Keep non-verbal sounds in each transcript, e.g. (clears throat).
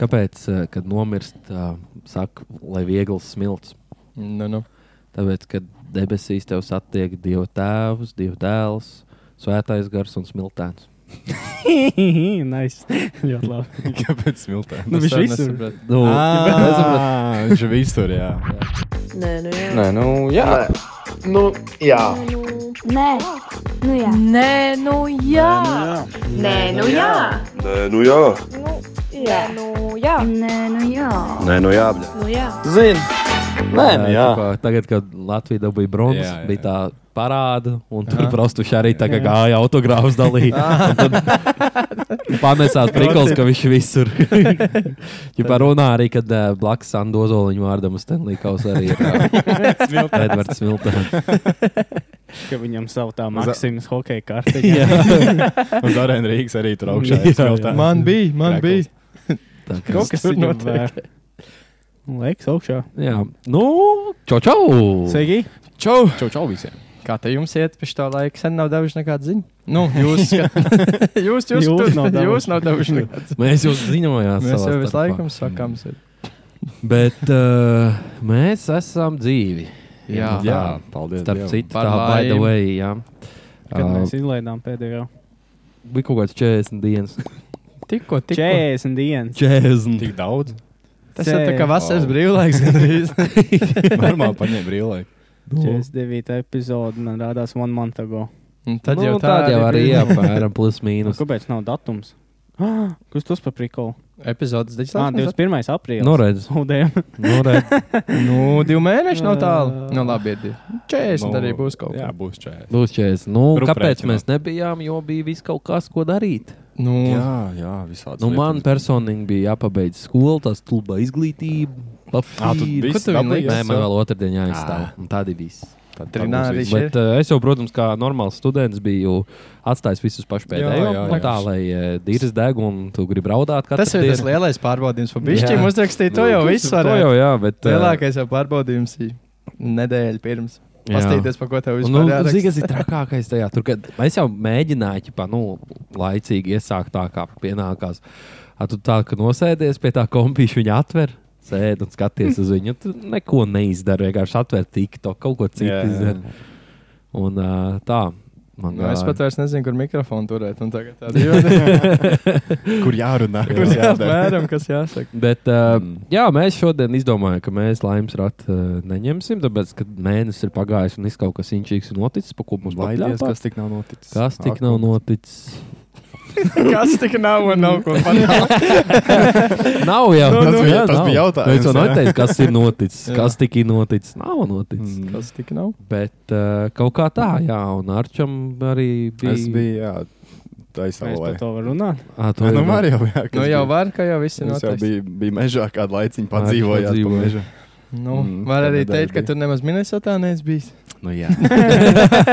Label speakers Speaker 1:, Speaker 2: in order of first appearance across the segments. Speaker 1: Kāpēc, eh, kad nomirst, eh, saka, lai viegls smilts?
Speaker 2: Nu, nu.
Speaker 1: Tāpēc, kad debesīs tev satiek Dieva tēvs, Dieva dēls, Svētais gars un smiltēns.
Speaker 3: (laughs) nice. (laughs) Ļoti labi.
Speaker 2: (laughs) Kāpēc smiltē?
Speaker 3: Nu,
Speaker 2: Es
Speaker 3: viņš
Speaker 2: arī
Speaker 3: visur.
Speaker 2: nesapratu.
Speaker 1: Nu,
Speaker 2: Ah! Ā, Viņš ir visur, jā.
Speaker 4: Nē, nu jā.
Speaker 5: Nē, nu jā.
Speaker 6: Nu, jā.
Speaker 7: Nē, nu jā.
Speaker 4: Nē, nu jā. Nē, nu jā.
Speaker 8: Nē, nu jā,
Speaker 4: Jā, nu jā.
Speaker 7: Nē, nu jā.
Speaker 8: nē, nu jā,
Speaker 4: Nu jā.
Speaker 5: Zini, nē,
Speaker 1: eh,
Speaker 5: nu jā.
Speaker 1: tā kā Tagad, kad Latvija dabūja bronzas,
Speaker 2: Jā, jā.
Speaker 1: bija tā parāda, un tur prostuši arī tā kā gāja autogrāfs dalīt. Un
Speaker 9: (laughs)
Speaker 1: tad Pamēsās priklis, ka viņš visur. Viņa runā arī, kad eh, blakus Andozoliņu vārdam uz Stenlīkaus arī ir
Speaker 9: (laughs)
Speaker 1: eh, Edvards Smiltēns.
Speaker 3: Ka viņam savu tā
Speaker 2: Za-
Speaker 3: maksimas (laughs) hokeja karte.
Speaker 2: (laughs) Un Zorēna Rīgas arī tur augšā.
Speaker 3: Jā,
Speaker 2: ir smiltēns.
Speaker 9: Man bija, man bija.
Speaker 1: Tā
Speaker 2: Krekls.
Speaker 1: kā-
Speaker 3: Kaut kas
Speaker 2: tur
Speaker 3: tur
Speaker 2: notiek?
Speaker 3: notiek. Liekas augšā.
Speaker 1: Jā, nu, čau, čau!
Speaker 3: Sveiki!
Speaker 2: Čau! Čau, čau visiem!
Speaker 9: Kā te jums iet, pēc tā laika sen nav devuši nekādu ziņu?
Speaker 2: Nu, jūs skat...
Speaker 9: (laughs) Jūs,
Speaker 3: Jūs
Speaker 9: jūs, jūs,
Speaker 3: nav
Speaker 9: nav,
Speaker 3: devuši.
Speaker 9: jūs nav devuši nekādu ziņu.
Speaker 1: Mēs jau ziņojām,
Speaker 9: Mēs jau visu laiku jums sakām, mums ir.
Speaker 1: Bet uh, mēs esam dzīvi.
Speaker 9: Jā.
Speaker 1: jā.
Speaker 2: paldies.
Speaker 1: Starp
Speaker 2: Dievam.
Speaker 1: citu,
Speaker 9: Par
Speaker 1: tā by the
Speaker 9: laimi.
Speaker 1: way, jā.
Speaker 3: Kad
Speaker 1: Ā,
Speaker 3: mēs izlaidām pēdējo
Speaker 1: bija kaut kāds 40
Speaker 2: (laughs)
Speaker 1: dienas.
Speaker 9: Tikko, tikko.
Speaker 3: 40 dienas.
Speaker 1: 40.
Speaker 2: Tik daudz.
Speaker 9: Tas ir tā kā vasaras
Speaker 2: Wow.
Speaker 9: brīvlaiks gandrīz.
Speaker 2: Normāli paņēma brīvlaiku.
Speaker 3: 49. epizode man rādās one month ago. Nu,
Speaker 9: Un Tad
Speaker 1: nu,
Speaker 9: jau tā
Speaker 1: tāda jau Nu, arī
Speaker 9: bija.
Speaker 1: apmēram (laughs) plus mīnus.
Speaker 3: Kāpēc nav datums? (gasps) Ah, Kas tas par prikolu?
Speaker 9: Epizodes
Speaker 3: Ah,
Speaker 9: daļas.
Speaker 3: 21. aprīlis.
Speaker 1: Noredz,
Speaker 3: Zaudējām.
Speaker 1: noredz.
Speaker 9: Nu, divi mēneši nav tālu.
Speaker 3: Jā.
Speaker 9: Nu, labi, ir divi. 40 arī būs kaut
Speaker 2: Nu, Jā,
Speaker 9: kas.
Speaker 2: būs 40.
Speaker 1: Būs 40. Nu,
Speaker 2: Rup
Speaker 1: kāpēc
Speaker 2: rēķinot.
Speaker 1: mēs nebijām, jo bija viss kaut kas, ko darīt.
Speaker 9: Nu,
Speaker 2: Jā, jā, visādi.
Speaker 1: Nu, man personīgi bija jāpabeidz skola, tā stulba izglītība.
Speaker 2: Ā, tu
Speaker 1: papīri.
Speaker 2: viss
Speaker 9: Ko tu viņu
Speaker 2: dabūji?
Speaker 9: liksi?
Speaker 1: Nē, man vēl otrdienā
Speaker 2: Ā.
Speaker 1: jāizstāv. Un tādi viss.
Speaker 2: Tad- tad
Speaker 9: Trināri
Speaker 2: būs viss.
Speaker 9: šeit.
Speaker 1: Bet uh, es jau, protams, kā normāls students, biju atstājis visus
Speaker 2: Jā,
Speaker 1: pašpēdējos.
Speaker 2: jā,
Speaker 1: Nu,
Speaker 2: jā.
Speaker 1: tā lai uh, dīras deg un tu gribi raudāt. katru
Speaker 9: Tas ir tas
Speaker 1: dienu.
Speaker 9: lielais pārbaudījums.
Speaker 1: Jā.
Speaker 9: Pabeigšķi mums rakstīja, to jau viss
Speaker 1: To
Speaker 9: varēja.
Speaker 1: jau, jā, bet. ā,
Speaker 9: Lielākais jau pārbaudījums ir nedēļa pirms.
Speaker 1: jā.
Speaker 9: Pastāties, pa ko tev
Speaker 1: Un, Nu,
Speaker 9: vispār
Speaker 1: Zini,
Speaker 9: jāraksta.
Speaker 1: kas ir trakākais tajā? Tur, kad es jau mēģināju, ķipā, nu, laicīgi iesākt tā, kā pienākās. A, tu tā, ka nosēdies pie tā kompīša, viņa atver, sēdi un skaties uz viņu. Tur neko neizdara, vienkārši atver tikto, kaut ko citu
Speaker 2: Jā, jā.
Speaker 1: izdara. Un ā, tā, man
Speaker 9: Nu, es
Speaker 1: gāja.
Speaker 9: pat
Speaker 1: (laughs)
Speaker 9: vairs nezinu, kur mikrofonu turēt. un Tagad (laughs) tāda jūtas.
Speaker 2: (laughs) Kur jārunā? Kur
Speaker 9: Tas ir
Speaker 2: jādara?
Speaker 9: apmēram, kas jāsaka.
Speaker 1: Bet, uh, mm.
Speaker 2: Mm.
Speaker 1: jā, mēs šodien izdomājām, ka mēs laimes ratu uh, neņemsim, tāpēc, ka mēnesis ir pagājis un viss kaut kas inčīgs ir noticis, pa ko mums baidās.
Speaker 2: Baidies, kas tik nav noticis.
Speaker 1: kas tik nav noticis?
Speaker 9: (laughs) Kas tik nav un nav ko panākt?
Speaker 1: nav jau
Speaker 2: (laughs) Nu, nu,
Speaker 1: jā,
Speaker 2: tas
Speaker 1: nav.
Speaker 2: bija jautājums,
Speaker 1: Mēs jau
Speaker 2: jā.
Speaker 1: neteicām, kas ir noticis,
Speaker 9: Jā.
Speaker 1: kas tik ir noticis. Nav noticis. Mm.
Speaker 9: Kas tik nav?
Speaker 1: Bet uh, kaut kā tā, jā, un Arčam arī bija. Ah,
Speaker 2: Es biju, jā, taisā
Speaker 3: Mēs par
Speaker 2: laika.
Speaker 3: to varam runāt.
Speaker 1: à, to
Speaker 2: Nu,
Speaker 1: jau
Speaker 2: var jau, jā. kas
Speaker 9: Nu jau
Speaker 2: bija.
Speaker 9: var, ka jau viss ir
Speaker 2: Es jau
Speaker 9: noticis.
Speaker 2: biju, biju mežā kādu laiciņu
Speaker 1: Ai,
Speaker 2: padzīvojis.
Speaker 1: padzīvoju.
Speaker 9: Nu,
Speaker 2: Mm,
Speaker 9: var
Speaker 2: tā
Speaker 9: arī
Speaker 2: nedēļa
Speaker 9: teikt, ka
Speaker 2: bija.
Speaker 9: tur nemaz Minnesotā neesi bijis.
Speaker 1: Nu,
Speaker 2: (laughs)
Speaker 1: jā.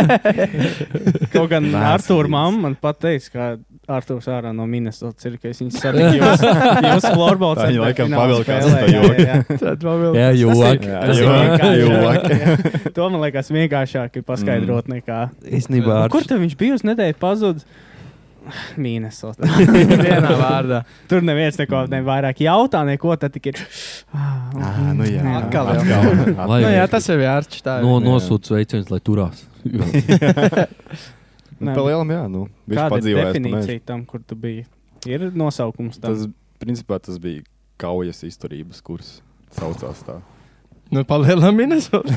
Speaker 3: (laughs) Kaut gan Arthurs mamma man pateica, ka Arthurs ārā no Minnesotas ir, ka es viņu satiku jūs, jūs florballs.
Speaker 2: Tā viņa laikam pavilkās uz to joku.
Speaker 3: joku.
Speaker 9: Tad vēl vēl.
Speaker 1: jā, joki.
Speaker 2: Jā,
Speaker 3: Tas ir
Speaker 2: jā,
Speaker 3: vienkārši. (laughs)
Speaker 2: jā.
Speaker 3: To man liekas vienkāršāk ir paskaidrot
Speaker 2: Mm.
Speaker 3: nekā. Nu,
Speaker 1: Īstenībā
Speaker 2: Nu,
Speaker 3: Kur
Speaker 1: Arčs-
Speaker 3: tur viņš bija uz nedēļu pazudis? Minnesota. (laughs) Vienā vārdā. Tur neviens neko ne vairāk jautā, neko tad tik ir. "Ah,
Speaker 2: Ā,
Speaker 3: Mhm.
Speaker 2: Nu jā,
Speaker 9: Atkal jau.
Speaker 2: Atkal.
Speaker 1: Lai
Speaker 9: Nu, jā,
Speaker 1: viņš
Speaker 9: tas jau ir ārčs. Tā
Speaker 1: No,
Speaker 9: ir.
Speaker 1: nosūta sveicienus, lai turās.
Speaker 2: (laughs) Nu, Pa lielam, jā, nu. Viņš
Speaker 3: Kāda ir
Speaker 2: padzīvoja.
Speaker 3: definīcija tam, kur tu biji? Ir nosaukums tam.
Speaker 2: Tas, principā, tas bija kaujas izturības kurs. Saucās
Speaker 3: (laughs)
Speaker 2: tā.
Speaker 9: Nu, palielā (laughs) Minnesotā.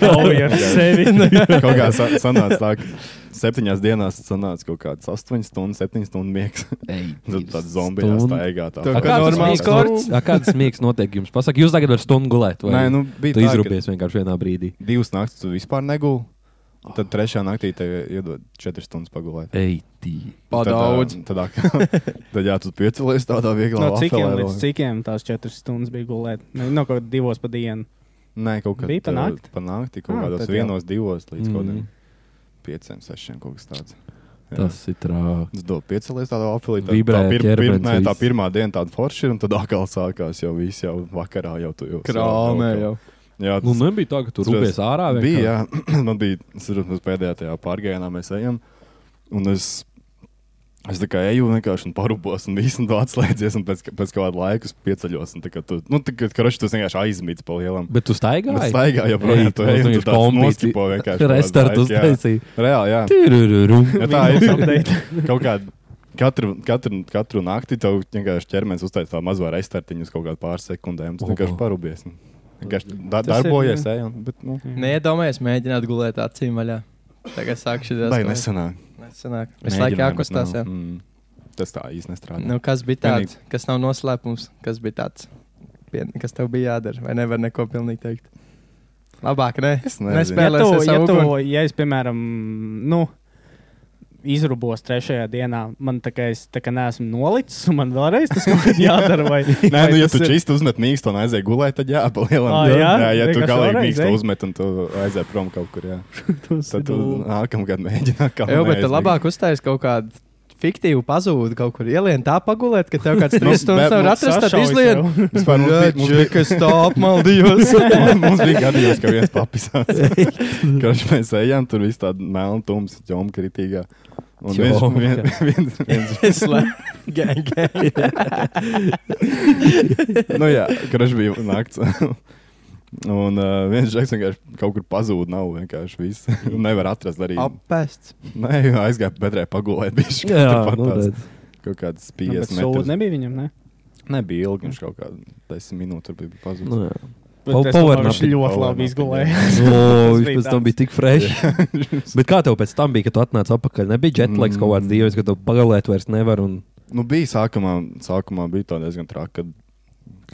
Speaker 3: Kauja ar
Speaker 9: (laughs)
Speaker 3: sevi.
Speaker 9: Nu,
Speaker 2: Kaut kā sa- sanāca tā, ka septiņās dienās sanāca kaut kāds astoņas stundas, septiņas stundu miegs. Nu, Tad tāds zombijās
Speaker 1: Stundu.
Speaker 2: tā eigā. Tā.
Speaker 9: Tā
Speaker 1: A
Speaker 9: kā
Speaker 1: kāds
Speaker 9: normāls
Speaker 2: Nu-
Speaker 1: miegs
Speaker 9: korts.
Speaker 1: not- a Kāds miegs notiek jums? Pasaka, jūs tagad varat stundu gulēt. Vai?
Speaker 2: Nē, nu bija
Speaker 1: Tu
Speaker 2: tā, ka-
Speaker 1: izrūpies vienkārši vienā brīdī.
Speaker 2: divas naktis tu vispār negulēji. Tad trešā naktī tev iedod četras stundas pagulēt.
Speaker 1: Ei, tī.
Speaker 2: Tad,
Speaker 9: Padaudz.
Speaker 2: ā, Tad, ā, (laughs) tad jā, tu piecelies tādā vieglā
Speaker 3: No cikiem
Speaker 2: vafelē
Speaker 3: līdz
Speaker 2: vēl.
Speaker 3: cikiem tās četras stundas bija gulēt? Nu, No kaut kā divos pa dienu.
Speaker 2: Nē, kaut kā
Speaker 3: Bija pa
Speaker 2: ā,
Speaker 3: nakti?
Speaker 2: Pa nakti kaut
Speaker 3: Ā,
Speaker 2: kādos
Speaker 3: tad jau.
Speaker 2: vienos, divos līdz
Speaker 1: Mm.
Speaker 2: kaut kādiem pieciem, sešiem kaut kas tāds. Jā.
Speaker 1: Tas ir trāk.
Speaker 2: Es domāju, piecelies tādā apelī. Tā, tā,
Speaker 1: Vibrē
Speaker 2: pir, pir,
Speaker 1: ķermenis,
Speaker 2: nē, tā
Speaker 1: viss.
Speaker 2: pirmā diena tāda forša ir, un tad atkal sākās jau viss jau vakarā. Jau tu jau
Speaker 9: Krāmē
Speaker 2: jau.
Speaker 9: jau.
Speaker 2: Jā,
Speaker 1: Nu,
Speaker 2: tas
Speaker 1: nebija tā, ka tu
Speaker 2: tas
Speaker 1: rūpies ārā. vienkārši?
Speaker 2: Bija, (clears throat) jā, man bija, es saprotu, mēs pēdējā tajā pārgājienā mēs ejam. Un es Es tā kā eju vienkārši un parūpos, un viss tur atslēdzies, un pēc, pēc kāda laika es pieceļos. Un tā kā tu, nu, tā kā krošs tas vienkārši aizmīts pa lielam.
Speaker 1: Bet tu staigā?
Speaker 2: Bet staigā joprojām, tu ej, un tu tāds noskipo vienkārši kaut kādu
Speaker 1: Restartu
Speaker 2: laiku, jā. (laughs)
Speaker 1: uztaisīja.
Speaker 2: Reāli, jā. Ja tā ir (laughs) kaut kāda. Katru, katru, katru naktī tev vienkārši ķermenis uztaisīja tādu mazo restartiņu uz kaut kādu pāris sekundēm. Tu
Speaker 1: Oho.
Speaker 2: vienkārši parūpies. un Vienkārši da,
Speaker 9: Tas ir,
Speaker 2: darbojies,
Speaker 9: jā.
Speaker 2: ej, un, bet, nu,
Speaker 9: Neiedomājies, mēģināt gulēt acīm vaļā. Tagad sākšu
Speaker 2: tā ir nesenāk.
Speaker 9: nesenāk. Visu laiku jākustās. Jā.
Speaker 2: Mm, tas tā īsti nestrādā.
Speaker 9: Nu, kas bija
Speaker 2: Vienīgi-
Speaker 9: tāds, kas nav noslēpums, kas bija tāds, pien- kas tev bija jādara, vai nevar neko pilnīgi teikt? Labāk, nē,
Speaker 2: Es nezinu.
Speaker 3: Ja,
Speaker 9: nespēlēsim.
Speaker 3: tu, ja,
Speaker 9: savu
Speaker 3: tu,
Speaker 9: uguni.
Speaker 3: ja es, piemēram, nu, izrubos trešajā dienā, man tā kā es tā kā neesmu nolicis, un man vēlreiz tas kaut
Speaker 2: (laughs)
Speaker 3: kad jādara. Vai,
Speaker 2: Nē,
Speaker 3: (laughs) vai
Speaker 2: nu, ja
Speaker 3: tas
Speaker 2: tu
Speaker 3: ir-
Speaker 2: čisto uzmet mīkstu un aizej gulēt, tad jā, palielam.
Speaker 3: Ā, jā?
Speaker 2: jā, ja tu
Speaker 3: Vienkārši
Speaker 2: galīgi
Speaker 3: vēlreiz,
Speaker 2: mīkstu
Speaker 3: ej?
Speaker 2: uzmet un tu aizej prom kaut kur, jā.
Speaker 3: (laughs) tas ir
Speaker 2: Tad tu
Speaker 3: dū.
Speaker 2: nākamgad mēģini atkal.
Speaker 9: Jā, bet
Speaker 2: neaizmigt.
Speaker 9: tad labāk uztais kaut kādu fiktīvu pazūdu, kaut kur ielien tā pagulēt, ka tev
Speaker 2: (laughs)
Speaker 9: kāds
Speaker 2: Nu,
Speaker 9: trīs stundas
Speaker 2: bet
Speaker 9: nevar
Speaker 2: mums
Speaker 9: atrast, tad
Speaker 3: sašauj
Speaker 9: izlien.
Speaker 3: sev.
Speaker 2: (laughs) Vispār mums bija- mums bija-
Speaker 9: kas tā apmaldījos.
Speaker 2: (laughs) Mums bija gadījums, ka viens papisās.
Speaker 3: (laughs)
Speaker 2: Kurš mēs ejam, tur viss tāds melns, tums, ķom kritīgā. Un viens,
Speaker 1: Ķoma.
Speaker 2: viens, viens,
Speaker 1: (laughs)
Speaker 2: viens,
Speaker 9: Es
Speaker 2: (laughs)
Speaker 9: (laughs) lēmu, gan, gan.
Speaker 2: nu jā, kurš bija nakts. (laughs) Un uh, viens žeks vienkārši kaut kur pazūd, nav vienkārši viss. (laughs) Un nevar atrast arī.
Speaker 9: Apēsts.
Speaker 2: Nē, jo aizgāja bedrē pagulēt. (laughs) Viņš
Speaker 1: Jā, nu,
Speaker 2: tāds
Speaker 1: redz.
Speaker 2: kaut kāds
Speaker 3: Nu, (laughs) bet
Speaker 2: 50
Speaker 3: sūdu
Speaker 2: metrus.
Speaker 3: nebija viņam, ne?
Speaker 2: Nebija ilgi, viņš kaut kādā 10 minūtē bija pazudis.
Speaker 1: Nu,
Speaker 2: (laughs)
Speaker 1: jā.
Speaker 3: Bet
Speaker 1: Pa-
Speaker 3: es domāju,
Speaker 1: powernap.
Speaker 3: Viņš ļoti
Speaker 2: Powernap,
Speaker 3: labi
Speaker 2: jā.
Speaker 1: (laughs)
Speaker 3: izgulēja.
Speaker 1: O,
Speaker 3: Tas
Speaker 1: viņš
Speaker 3: bija
Speaker 1: pēc tam
Speaker 3: tāds.
Speaker 1: bija tik fresh.
Speaker 2: (laughs)
Speaker 1: Bet kā tev pēc tam bija, kad tu atnāci atpakaļ? Nebija
Speaker 2: Mm.
Speaker 1: jetlags kaut kāds dievs, ka tu pagalēt vairs nevar. Un...
Speaker 2: Nu, bija sākumā, sākumā bija tā diezgan traki, kad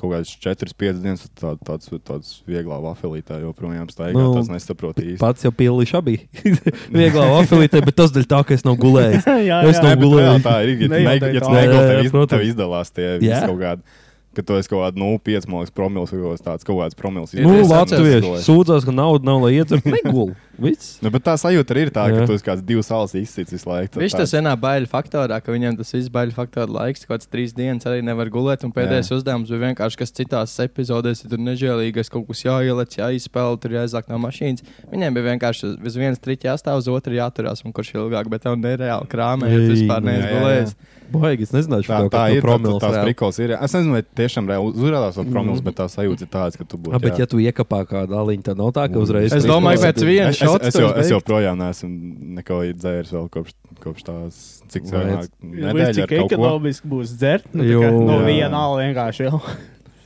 Speaker 2: kaut kādas 4-5 dienas tā, tāds, tāds vieglā vafelītā joprojām staigā.
Speaker 1: Nu,
Speaker 2: Nu, tas nesaprot īsti.
Speaker 1: Pats jau piliši abi. (laughs) Vieglā afilītē, bet tas dēļ tā, ka es nav
Speaker 2: (laughs)
Speaker 1: gulējis.
Speaker 3: (laughs) Jā,
Speaker 1: Es
Speaker 3: jā.
Speaker 1: nav
Speaker 2: Nē, bet
Speaker 1: gulējis.
Speaker 2: (laughs) reāli Tā ir. Ja tu
Speaker 3: Ne jau
Speaker 2: ne-
Speaker 3: tā,
Speaker 2: ja tu
Speaker 3: tā.
Speaker 1: Jā,
Speaker 2: neguli,
Speaker 1: jā,
Speaker 2: tev iz- tev
Speaker 1: protams.
Speaker 2: izdalās tie
Speaker 1: Jā.
Speaker 2: visi kaut kādi. Ka tu esi kaut nu, kādā 0,5 mārciņā promils vai kaut kas tāds - kaut kāds promils.
Speaker 1: Nu,
Speaker 9: Es
Speaker 1: Latvieši sūdzās, ka nauda nav, lai
Speaker 2: (laughs)
Speaker 1: ietur. Negul. Viss.
Speaker 2: Nu, bet tā sajūta arī ir tā,
Speaker 1: Jā.
Speaker 2: ka tu esi kāds divs salas izsits visu laiku. tad
Speaker 9: Viņš
Speaker 2: tāds-
Speaker 9: tas vienā bailī faktorā, ka viņam tas viss bailī faktorā laiks, kaut kāds trīs dienas arī nevar gulēt. Un pēdējais Jā. uzdevums bija vienkārši, kas citās epizodēs ir tur nežēlīgais, kaut kas jāieliec, jāizspēlē, tur jāizāk no mašīnas. Viņiem bija vienkārši uz viens triķis jāstāv, uz otru jāturās, un kurš ilgāk, bet tev nereāli krāmē, ja tu
Speaker 1: Ei,
Speaker 9: vispār
Speaker 2: nu jā,
Speaker 9: neesi
Speaker 2: jā,
Speaker 9: gulējis.
Speaker 1: Baigi, es nezināšu,
Speaker 2: Tā,
Speaker 1: kā
Speaker 2: tā ir promils, tās
Speaker 1: promils. Mhm.
Speaker 2: prikals ir. jā. Es nezinu, vai tiešām reāli uzrādās ar promils, bet tā sajūta ir tāda, ka tu būtu.
Speaker 1: Ah, bet,
Speaker 2: jā.
Speaker 1: ja tu iekāpā kādā līnijā, tad nav tā, ka uzreiz.
Speaker 9: Es
Speaker 1: trīs
Speaker 9: domāju,
Speaker 1: procentus.
Speaker 9: pēc viena
Speaker 2: Es, es,
Speaker 9: šots
Speaker 2: es, jau,
Speaker 9: tev
Speaker 2: es
Speaker 9: beigt.
Speaker 2: joprojām neesmu neko dzēris vēl kopš, kopš tās, cik
Speaker 1: Vai
Speaker 2: senāk
Speaker 1: es-
Speaker 3: Līdz
Speaker 2: nedēļa
Speaker 3: cik
Speaker 2: ar kaut ko.
Speaker 3: ekonomiski būs dzert, nu, tā
Speaker 1: Jo.
Speaker 3: kā no
Speaker 2: Jā.
Speaker 3: viena ala vienkārši jau. (laughs)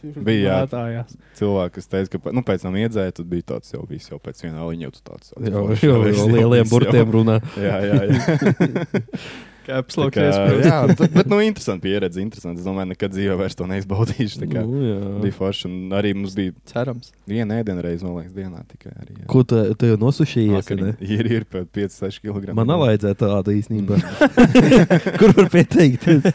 Speaker 2: Bija, jā.
Speaker 3: Mētājās.
Speaker 2: Cilvēki, kas teica, ka pa- nu, pēc tam iedzēja, tad bija tāds jau viss, jau pēc viena aliņa, jau tu tāds.
Speaker 1: (laughs)
Speaker 2: jau,
Speaker 1: Jau,
Speaker 2: jau,
Speaker 1: jau,
Speaker 2: viss,
Speaker 1: jau
Speaker 2: jau,
Speaker 1: lieliem (laughs)
Speaker 2: viss, jau.
Speaker 1: burtiem runā.
Speaker 2: (laughs) Jā, jā, jā.
Speaker 1: (laughs)
Speaker 2: Tā
Speaker 9: Kapslūks,
Speaker 2: kā, jā t- bet, nu, interesanti pieredze, interesanti. Es domāju, nekad dzīvē vairs to neizbaudīšu. tā kā.
Speaker 1: Nu, jā.
Speaker 2: Bija forši, un arī mums bija
Speaker 9: cerams.
Speaker 2: viena ēdiena reize, man liekas, dienā tikai arī. jā.
Speaker 1: Ko tu, tu jau nosušījies?
Speaker 2: Vakariņa.
Speaker 1: ne?
Speaker 2: (laughs) Ir, ir pat 5-6 kg.
Speaker 1: Man nevajadzēja tādu īstenībā. (laughs) Kur var pieteikties?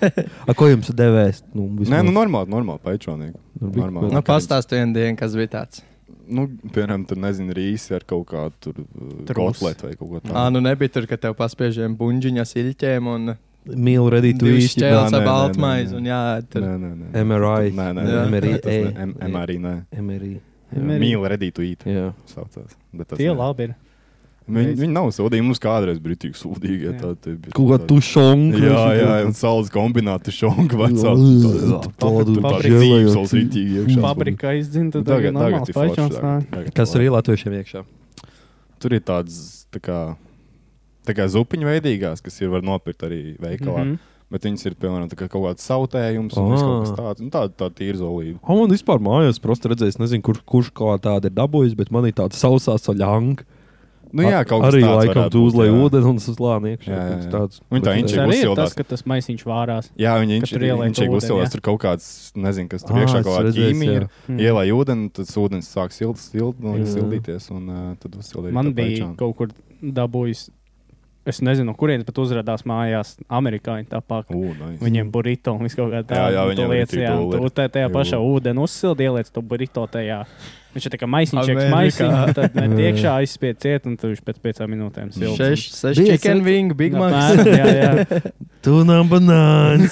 Speaker 1: A, ko jums devēs? Nu,
Speaker 2: Nē, nu normāli, normāli paičonīgi.
Speaker 1: Nu, bija
Speaker 2: Normāli.
Speaker 1: kaut-
Speaker 9: Nu, pastāst vienu dienu, kas bija tāds.
Speaker 2: Nu, piemēram, tur nezinu, rīsi ar kaut kādu tur uh,
Speaker 3: Trūs.
Speaker 2: kotletu vai kaut ko tādu.
Speaker 9: Ā, nu nebija tur, ka tev paspiežiem buļģiņas, iļķiem un
Speaker 1: Mīlu redīt, Nu, tu
Speaker 9: divas
Speaker 1: īsti
Speaker 2: šķēl-
Speaker 9: ķēles
Speaker 2: Nē, nē,
Speaker 9: ar
Speaker 2: nē,
Speaker 9: baltmaizi.
Speaker 2: nē.
Speaker 9: un jā, tur-
Speaker 2: Nē, nē, nē.
Speaker 1: MRI.
Speaker 2: Nē, nē,
Speaker 9: Jā.
Speaker 2: nē,
Speaker 1: MRI.
Speaker 2: tas ne- M- MRI, nē.
Speaker 1: MRI.
Speaker 3: MRI.
Speaker 2: Mīlu redītu īti.
Speaker 1: Jā.
Speaker 2: Saucās, bet tas
Speaker 3: Tie
Speaker 2: ne.
Speaker 3: labi ir.
Speaker 2: Viņi, viņi nav sodīgi. Mums kādreiz bija tik sūdīgi.
Speaker 3: Jā.
Speaker 2: Ja, tā, tā,
Speaker 1: Kaut kā tušonga.
Speaker 2: Jā, jā, un saules kombināti šonku
Speaker 1: Tādu-
Speaker 2: vecāku.
Speaker 1: Nu, tādu žēlēju.
Speaker 2: Tādu rītīgi iekšā. Nu,
Speaker 3: Fabrika izdzinta, tad ir normāls paļķons.
Speaker 1: Kas ir latviešiem iekšā?
Speaker 2: Tur ir tādas tā kā, tā kā zupiņu veidīgās, kas ir var nopirkt arī veikalā.
Speaker 3: Mhm.
Speaker 2: Mm -hmm. Bet viņas ir piemēram tā kā kaut kāds sautējums,
Speaker 1: Ah.
Speaker 2: un viss kaut kas tāds - tāda tā tīra zolīda.
Speaker 1: O, man vispār mājās prosti redzējis, nezinu, kur, kurš kā tāda ir dabūjis, bet man ir tāda sausā soļanga.
Speaker 2: Nu, jā, kaut kas
Speaker 1: Arī
Speaker 2: tāds
Speaker 1: laikam
Speaker 2: varētu
Speaker 1: tu
Speaker 2: būt,
Speaker 1: uzlai
Speaker 2: jā.
Speaker 1: ūdeni un slāni iekšā.
Speaker 2: Jā, jā,
Speaker 1: kaut kas
Speaker 2: jā.
Speaker 1: tāds.
Speaker 2: Un tā
Speaker 1: Bet-
Speaker 2: viņš
Speaker 3: Tas
Speaker 2: ir
Speaker 3: arī ir
Speaker 2: uzsildās.
Speaker 3: tas, ka tas maisiņš vārās.
Speaker 2: Jā, viņi
Speaker 3: Ka tur ieliek
Speaker 2: viņš ir
Speaker 3: ūdeni, jā.
Speaker 2: uzsilās. Tur kaut kāds, nezinu, kas tur
Speaker 1: Ā,
Speaker 2: iekšā
Speaker 1: Ah, es
Speaker 2: kaut kāda
Speaker 1: redzēju,
Speaker 2: ķīmija ir.
Speaker 1: jā.
Speaker 3: Mm.
Speaker 2: Ielai ūdeni, tad ūdens sāk sild, sild, nu,
Speaker 1: Jā.
Speaker 2: sildīties, un uh, tad uzsildīt.
Speaker 3: Man bija kaut kur dabūjis. Es nezinu, no kurienes pat uzrādās mājās. Amerikāņi tāpat.
Speaker 2: Viņa
Speaker 3: Viņiem burrito un viss kaut kā tāda
Speaker 2: Jā, jā, viņiem
Speaker 3: lietas,
Speaker 2: ir tik
Speaker 3: jā.
Speaker 2: dulli.
Speaker 3: Tu tā, tajā
Speaker 2: Jū.
Speaker 3: pašā ūdenī uzsildi, ieliec to burrito tajā. Viņš ir tā kā maisiņš,
Speaker 9: Amerikā.
Speaker 3: maisiņš, tad
Speaker 2: (laughs)
Speaker 3: met
Speaker 1: Jā.
Speaker 3: iekšā aizspied ciet, un tu viņš pēc piecām minūtēm sildi.
Speaker 9: Šeši, seši
Speaker 1: Bija
Speaker 2: (laughs)
Speaker 9: (laughs) chicken wing, big mac.
Speaker 3: Apmēram, jā, jā.
Speaker 1: Tu nav banāns.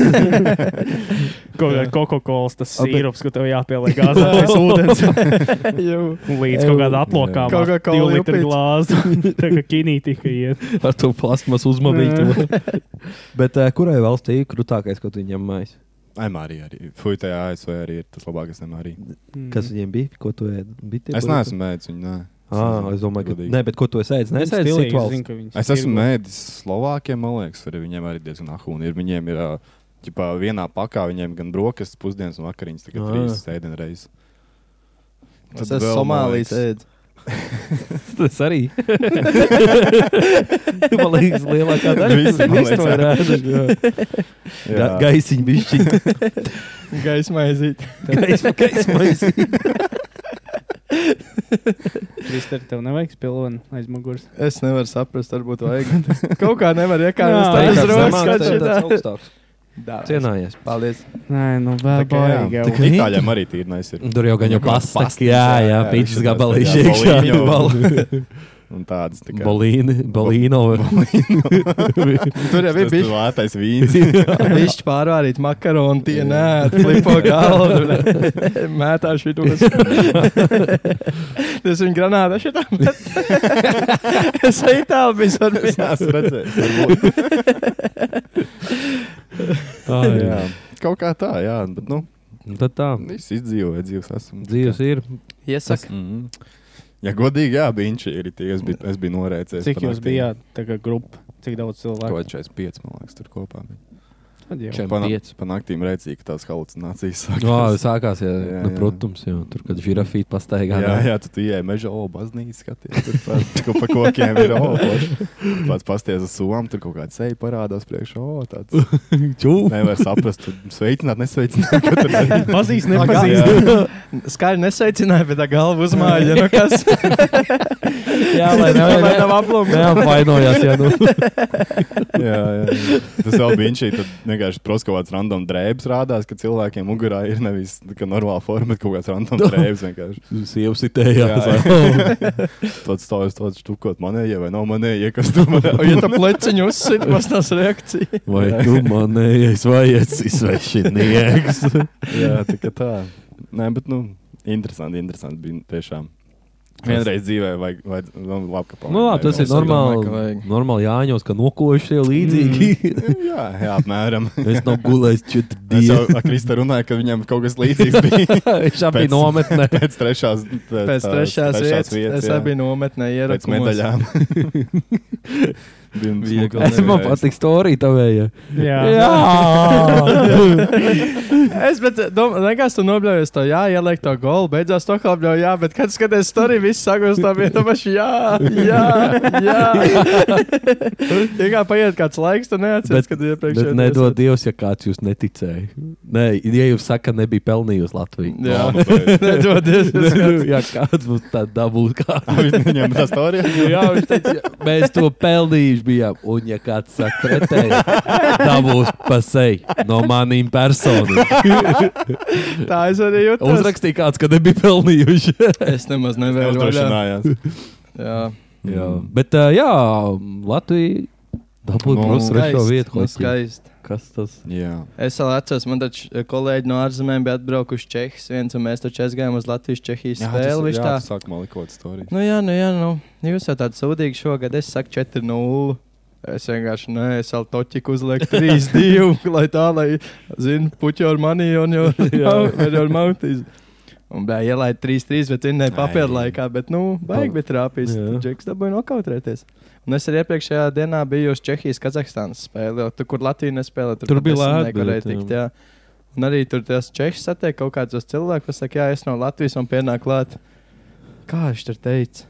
Speaker 3: Ko- Coca-Cola tas sīrups, ko tev
Speaker 2: (laughs)
Speaker 3: jāpieliek gāzē, tas ūdens.
Speaker 9: (laughs)
Speaker 3: Un līdz kaut kādā atlokā
Speaker 9: Jā.
Speaker 3: mums
Speaker 9: Coca-Cola
Speaker 3: divu litru
Speaker 9: jupīts.
Speaker 3: glāzi. Tā kā kinīti tika iet.
Speaker 1: (laughs) ar to plasmasu uzmanību. (laughs) Bet uh, kurai valstī ir krūtākais, ko tu viņam mājies?
Speaker 2: Mm. Aimārī arī. Fui, tajā ASV arī ir tas labākais. Aimārī.
Speaker 3: Mm.
Speaker 1: Kas viņiem bija? Ko tu ēdi? Bija tie
Speaker 2: Es
Speaker 1: produkti?
Speaker 2: neesmu mēģinājis viņu. Nē.
Speaker 1: Ah,
Speaker 2: nezinu,
Speaker 1: es domāju, ka.
Speaker 2: godīgi.
Speaker 1: Nē, bet ko tu esi ēdis? Nē, es ēdu citu
Speaker 3: Stilīgi, es
Speaker 1: valstu.
Speaker 3: zinu, ka viņus
Speaker 2: Es
Speaker 3: (laughs)
Speaker 2: esmu
Speaker 3: tirgo.
Speaker 2: mēģinājis Slovākiem, man liekas, arī viņiem arī diezgan ahūni ir. Viņiem ir ā, ķipā, vienā pakā viņiem gan brokastis, pusdienas un vakariņas, tikai
Speaker 1: Ā.
Speaker 2: trīs sēdienreizes.
Speaker 9: Tas ir Somālijas ēdz.
Speaker 1: (laughs) Tas
Speaker 2: (laughs)
Speaker 1: arī. Man liekas, lielākā daļa
Speaker 2: Visi, man
Speaker 1: Visi to ir
Speaker 2: liekas,
Speaker 1: ēduši, jā. Ga- Gaisiņš
Speaker 2: (laughs)
Speaker 1: bija
Speaker 9: (laughs) Gaismā aiziet.
Speaker 1: šis.
Speaker 2: (laughs)
Speaker 3: Krister, tev nevajag spilvenu aiz muguras.
Speaker 9: Es nevaru saprast, varbūt vajag. (laughs) Kaut kā nevar
Speaker 3: Jā, tas
Speaker 9: iekārtas. Tā ir
Speaker 3: rokas
Speaker 9: rokas skatšana.
Speaker 1: Cienājies.
Speaker 9: Paldies.
Speaker 3: Nē, nu
Speaker 2: Tā
Speaker 3: vēl
Speaker 2: kā jā,
Speaker 3: baigi.
Speaker 2: tik
Speaker 3: jau.
Speaker 2: Itāļiem arī tīri nais ir.
Speaker 1: Tur jau gan jau
Speaker 2: Kaut kāds
Speaker 1: pasta.
Speaker 2: pastas,
Speaker 1: Jā, jā,
Speaker 2: jā,
Speaker 1: pīcis
Speaker 2: jā,
Speaker 1: gabalīši
Speaker 2: jā,
Speaker 1: iekšā. (laughs)
Speaker 2: bolīņo.
Speaker 1: Bal-
Speaker 2: (laughs) Un tādas tikai.
Speaker 1: Bolīni,
Speaker 2: (laughs)
Speaker 1: bolīno.
Speaker 9: Tur
Speaker 2: Tas
Speaker 9: jau bija
Speaker 2: ir
Speaker 9: bijis.
Speaker 2: lētais vīns. (laughs)
Speaker 9: Viņš pārvarīja makaronu, tie nē, flipo (laughs) galdu. (laughs) Mētā (laughs) šitos. Tas viņa granāta šitām. (laughs) bet- Es eju tālu visur.
Speaker 2: Es neesmu redzējis. varbūt.
Speaker 1: Tā, jā.
Speaker 2: Jā. Kaut kā tā, jā. Bet, nu,
Speaker 1: Nu, Tad tā.
Speaker 2: viss izdzīvoja, dzīves esmu.
Speaker 1: Dzīves ir.
Speaker 9: (laughs) Iesaka.
Speaker 2: Mhm. Ja godīgi, jā, bija viņš ir. tie, Es biju, es biju norēcējis.
Speaker 3: Cik
Speaker 2: par
Speaker 3: jūs
Speaker 2: naktīm.
Speaker 3: bijāt tagad grupa? Cik daudz cilvēku?
Speaker 2: Kaut 45, man liekas, tur kopā. bija.
Speaker 3: Tad jau.
Speaker 1: Čem
Speaker 2: Pana-
Speaker 1: piec.
Speaker 2: Pa naktīm redzēja, ka tās halucinācijas sākās.
Speaker 1: Jā, Nu, sākās, jā,
Speaker 2: Jā,
Speaker 1: nu,
Speaker 2: jā.
Speaker 1: protams, jau tur, kad žirafīte pastaigā.
Speaker 2: Jā,
Speaker 1: nāk.
Speaker 2: jā, tu ienāc mežā, oh, baznīca skaties. Tur tā- kaut pa kokiem ir olas. Pats pasties uz somu, tur kaut kāda ceļa parādās priekšā. Oh, tāds
Speaker 1: Čū.
Speaker 2: nevar saprast, tur sveicināt, nesveicināt. ka tur arī-
Speaker 3: Pazīst,
Speaker 2: Jā.
Speaker 3: nepazīst.
Speaker 9: Skaļi nesaicināja, bet tā galva uzmāja. Nu kas?
Speaker 1: Jā, (laughs) lai
Speaker 9: Vai
Speaker 1: ne-
Speaker 9: tev aplūks?
Speaker 1: Jā, vainojās, jā, nu.
Speaker 2: (laughs) jā, jā, jā. Tas vēl bija viņš. Tad vienkārši prasa kaut kāds random drēbes rādās, ka cilvēkiem mugurā ir nevis tā kā normāla forma, bet kaut kāds random drēbes vienkārši.
Speaker 1: Sievas itējās.
Speaker 2: (laughs) Tāds stāvis, tāds štukot manējie vai nav manējie, kas tu
Speaker 9: Un,
Speaker 2: manējie.
Speaker 9: ja tu pleciņu uzsit, kas tas reakcija?
Speaker 1: Vai tu manējies, vai esi svešinieks?
Speaker 2: (laughs) Jā, tā kā tā. Nē, bet, nu, interesanti, interesanti bija tiešām. Vienreiz dzīvē vajag, vajag, vajag labi, ka
Speaker 1: Nu, labi, tas ir
Speaker 9: Es domāju, ka
Speaker 1: normāli.
Speaker 9: vajag.
Speaker 1: Normāli jāņos, ka nokojuši sev līdzīgi.
Speaker 2: (laughs) Jā, jā, apmēram.
Speaker 1: Es nav gulējis četri
Speaker 2: Mm. (laughs) Es jau
Speaker 1: dienas.
Speaker 2: (laughs) ar Kristu runāju, ka viņam kaut kas līdzīgs
Speaker 1: (laughs)
Speaker 2: bija. (laughs)
Speaker 1: Viņš jau bija
Speaker 2: Pēc-
Speaker 1: nometnē.
Speaker 2: (laughs) Pēc trešās, pēc,
Speaker 9: Pēc
Speaker 2: tās
Speaker 9: trešās vietas. Es
Speaker 2: jā.
Speaker 9: arī biju nometnē
Speaker 2: pēc
Speaker 9: ierakumos.
Speaker 2: medaļām.
Speaker 1: (laughs)
Speaker 2: Bija
Speaker 9: Viegli
Speaker 2: smukais
Speaker 1: Es man
Speaker 2: reiz.
Speaker 1: patīk storija tavējā.
Speaker 3: (laughs) Jā.
Speaker 9: (laughs) Es domāju, ka tu nobļaujies to, jā, ieliek to golu, beidzās to kalbļo, jā, bet kad skaties storiju, viss sākos tā vietā, paši jā, jā, jā. (laughs) Ja kā paiet kāds laiks, tu neatceries,
Speaker 1: Bet-
Speaker 9: kad iepriekš.
Speaker 1: Bet nedod Dievs, ja kāds jūs neticēja. Nē, ja jūs saka, nebija pelnījusi Latviju.
Speaker 9: Jā,
Speaker 2: Nu, tā ir.
Speaker 9: nedodies.
Speaker 1: (laughs) Jā, kāds būs tāds dabūs.
Speaker 2: (laughs) (laughs) Viņam tā stāvīja.
Speaker 1: Jā, (laughs) viņš teica, "Ja mēs to pelnījuši bijām. Un, ja kāds saka, pretēji, tā būs pasēji no manīm (laughs) personīgi.
Speaker 9: Tā es arī jūtu.
Speaker 1: Uzrakstīja kāds, ka nebija pelnījuši.
Speaker 9: Es nemaz nevēru. vaļā.
Speaker 2: Uzdrošinājās.
Speaker 9: Jā,
Speaker 1: jā. Bet, uh, jā, Latvija dabūja
Speaker 2: Nu,
Speaker 1: no, trešo
Speaker 9: Skaisti,
Speaker 1: vietu.
Speaker 9: nu,
Speaker 1: hokeja.
Speaker 9: skaisti.
Speaker 1: Kas tas?
Speaker 2: Jā.
Speaker 9: Es vēl atceros, man taču eh, kolēģi no ārzemēm bija atbraukuši Čehijas viens, un mēs taču aizgājām uz Latvijas-Čehijas spēli. viņš tā.
Speaker 2: tas sāk malikot stāvīju.
Speaker 9: Nu, jā, nu, jā, nu. Jūs jau tādi sūdīgi šogad. Es saku 4-0. Es vienkārši nē, es vēl toķiku uzlieku 3-2, (laughs) lai tā, lai zinu, puķi ar mani
Speaker 1: (laughs)
Speaker 9: un jau ar mautīs. Un bija ielaid 3-3, bet viņa papildu
Speaker 2: Ai.
Speaker 9: laikā, bet, nu, baigi bija trāpījis.
Speaker 1: Jā.
Speaker 9: Džeks dabūja nokautrēties. Un es arī iepriekšējā dienā biju uz Čehijas, Kazahstānas spēli, jo tur, kur Latvija nespēlē, tur,
Speaker 1: Tur
Speaker 9: pat
Speaker 1: bija
Speaker 9: es
Speaker 1: lēti
Speaker 9: nevarēju
Speaker 1: biļeti, jā.
Speaker 9: tikt. Jā. Un arī tur tas Čehijas satiek kaut kādus cilvēkus, kas saka, jā, es no Latvijas un pienāk klāt. Kā viņš tur teica?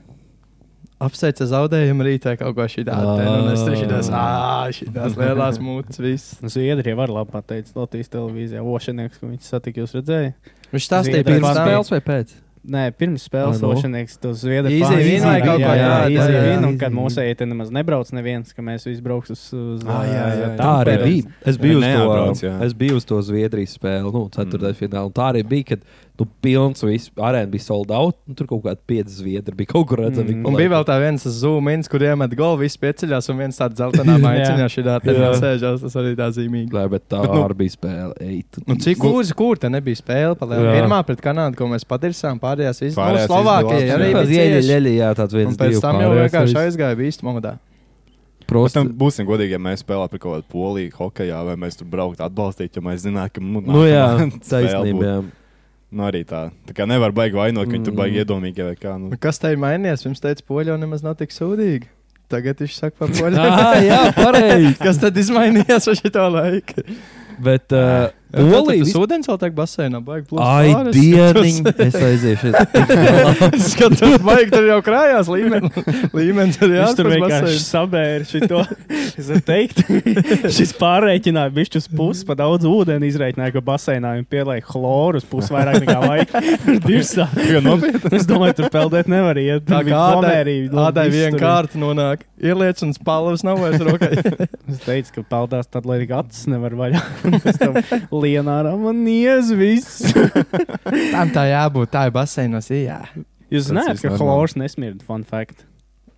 Speaker 9: Apsveica zaudējumu rītā kaut ko šādu. Un es tur šitās, ah, šitās lielās mūtas viss.
Speaker 3: Zviedrija Nu, var labi pateikt Latvijas televīzijā. Ošanieks, ko viņš satika, jūs redzējāt?
Speaker 9: Viņš stāstīja
Speaker 3: Zviedrija
Speaker 9: pirms
Speaker 3: spēles
Speaker 9: spēles.
Speaker 1: vai pēc?
Speaker 3: Nē, pirms spēles
Speaker 1: Ai, nu.
Speaker 3: lošanieks to zviedru
Speaker 9: Easy
Speaker 3: fans-
Speaker 9: win vai
Speaker 3: Jā,
Speaker 9: kaut
Speaker 3: jā,
Speaker 9: kā
Speaker 3: jā,
Speaker 9: tāda,
Speaker 3: easy
Speaker 9: jā, jā.
Speaker 3: win, un kad mūsu eite nemaz nebrauc neviens, ka mēs visi brauks uz, uz
Speaker 2: Ah, jā, jā, jā.
Speaker 1: Tā arī
Speaker 3: Tampere.
Speaker 1: bija. Es biju, uz
Speaker 2: Neatbrauc,
Speaker 1: to,
Speaker 2: jā.
Speaker 1: es biju uz to Zviedrijas spēli, nu, ceturtajā mm. finālā. Tā arī bija, kad nu, pilns viss arēna bija sold out. Nu, tur kaut kāda pieci zviedri bija kaut kur redzami.
Speaker 3: Mm.
Speaker 1: Mm.
Speaker 9: Un bija vēl tā viens zūmins, kur iemet golfu, viss pieceļās, un viens tāds
Speaker 1: (laughs)
Speaker 9: zeltainā maiciņā šī tā
Speaker 1: Jā.
Speaker 9: sēžās. Tas arī tā zīmīgi.
Speaker 1: Nē, bet tā
Speaker 2: Bet,
Speaker 1: bet, nu,
Speaker 2: nu-
Speaker 1: arī bija spēle. Eit.
Speaker 9: Un cik gluži, kur te nebija spēle? Palēl.
Speaker 1: Jā.
Speaker 9: Pirmā pret Kanādu, ko mēs patirsām, pārējās visas bija
Speaker 2: Pārējās
Speaker 9: Slovākija.
Speaker 2: izdevās,
Speaker 9: Arī
Speaker 2: jā.
Speaker 1: tas
Speaker 9: bija
Speaker 1: ieļa,
Speaker 9: cieši.
Speaker 1: ieļa, jā, tāds viens.
Speaker 9: Un pēc
Speaker 1: divi
Speaker 9: tam jau
Speaker 1: pārējās
Speaker 9: vienkārši
Speaker 1: viss.
Speaker 9: aizgāja īstenībā momentā.
Speaker 2: Pēc
Speaker 1: Prosti,
Speaker 2: tam būsim godīgi, ja mēs spēlējām par kaut kādu poliju, hokeju, vai mēs tur brauktu atbalstīt, jo mēs zinām, ka mums
Speaker 1: nu, jā,
Speaker 9: (laughs)
Speaker 2: (laughs)
Speaker 1: taisnība. jā.
Speaker 2: Nu, arī tā. Tā kā nevar baigi vainot, ka viņi tur
Speaker 1: Mm.
Speaker 2: baigi iedomīgi vai kā. Nu.
Speaker 9: Un Kas te ir mainījies? Pirms teica, poļi jau nemaz nav tik sūdīgi. Tagad viņš saka,
Speaker 1: (laughs)
Speaker 9: pa
Speaker 1: Ā,
Speaker 9: poļiem.
Speaker 1: jā, pareizi.
Speaker 9: (laughs) Kas tad izmainījās ar šito laiku?
Speaker 1: Bet, uh,
Speaker 9: Polijas
Speaker 1: Olīds.
Speaker 9: ūdens vēl tagad basēnā, baigi plūst.
Speaker 1: Ai, dieniņ, es aiziešu.
Speaker 9: Skatos, (laughs) baigi tur jau krājās
Speaker 2: (laughs)
Speaker 9: līmenis. Līmenis arī
Speaker 3: Viņš tur
Speaker 9: ārpus
Speaker 3: vienkārši
Speaker 9: basēna.
Speaker 3: sabēra
Speaker 9: (laughs)
Speaker 3: šo teiktu. (laughs) Šis pārreikināja bišķi uz pusi, pa daudz ūdeni izreikināja, ka basēnā viņam pielēja chloru uz pusi vairāk nekā
Speaker 9: (laughs)
Speaker 3: vajag. Dirsā.
Speaker 2: Jā, nopietni.
Speaker 3: Es domāju, tur peldēt nevar iet.
Speaker 9: Tā kā ādai
Speaker 3: vienkārši.
Speaker 9: vienkārši nonāk. Ieliec un spālvs nav vairs rokai.
Speaker 3: Es teicu, ka peldās tad, lai arī acis nevar vaļā. (laughs) Un Pēc tam lienā ar man niez viss.
Speaker 9: (laughs) Tam tā jābūt, tā ir basēnos, jā.
Speaker 3: Jūs
Speaker 2: Tas
Speaker 3: zināt,
Speaker 2: viss
Speaker 3: ka
Speaker 2: normāli.
Speaker 3: chlors nesmird, fun fact.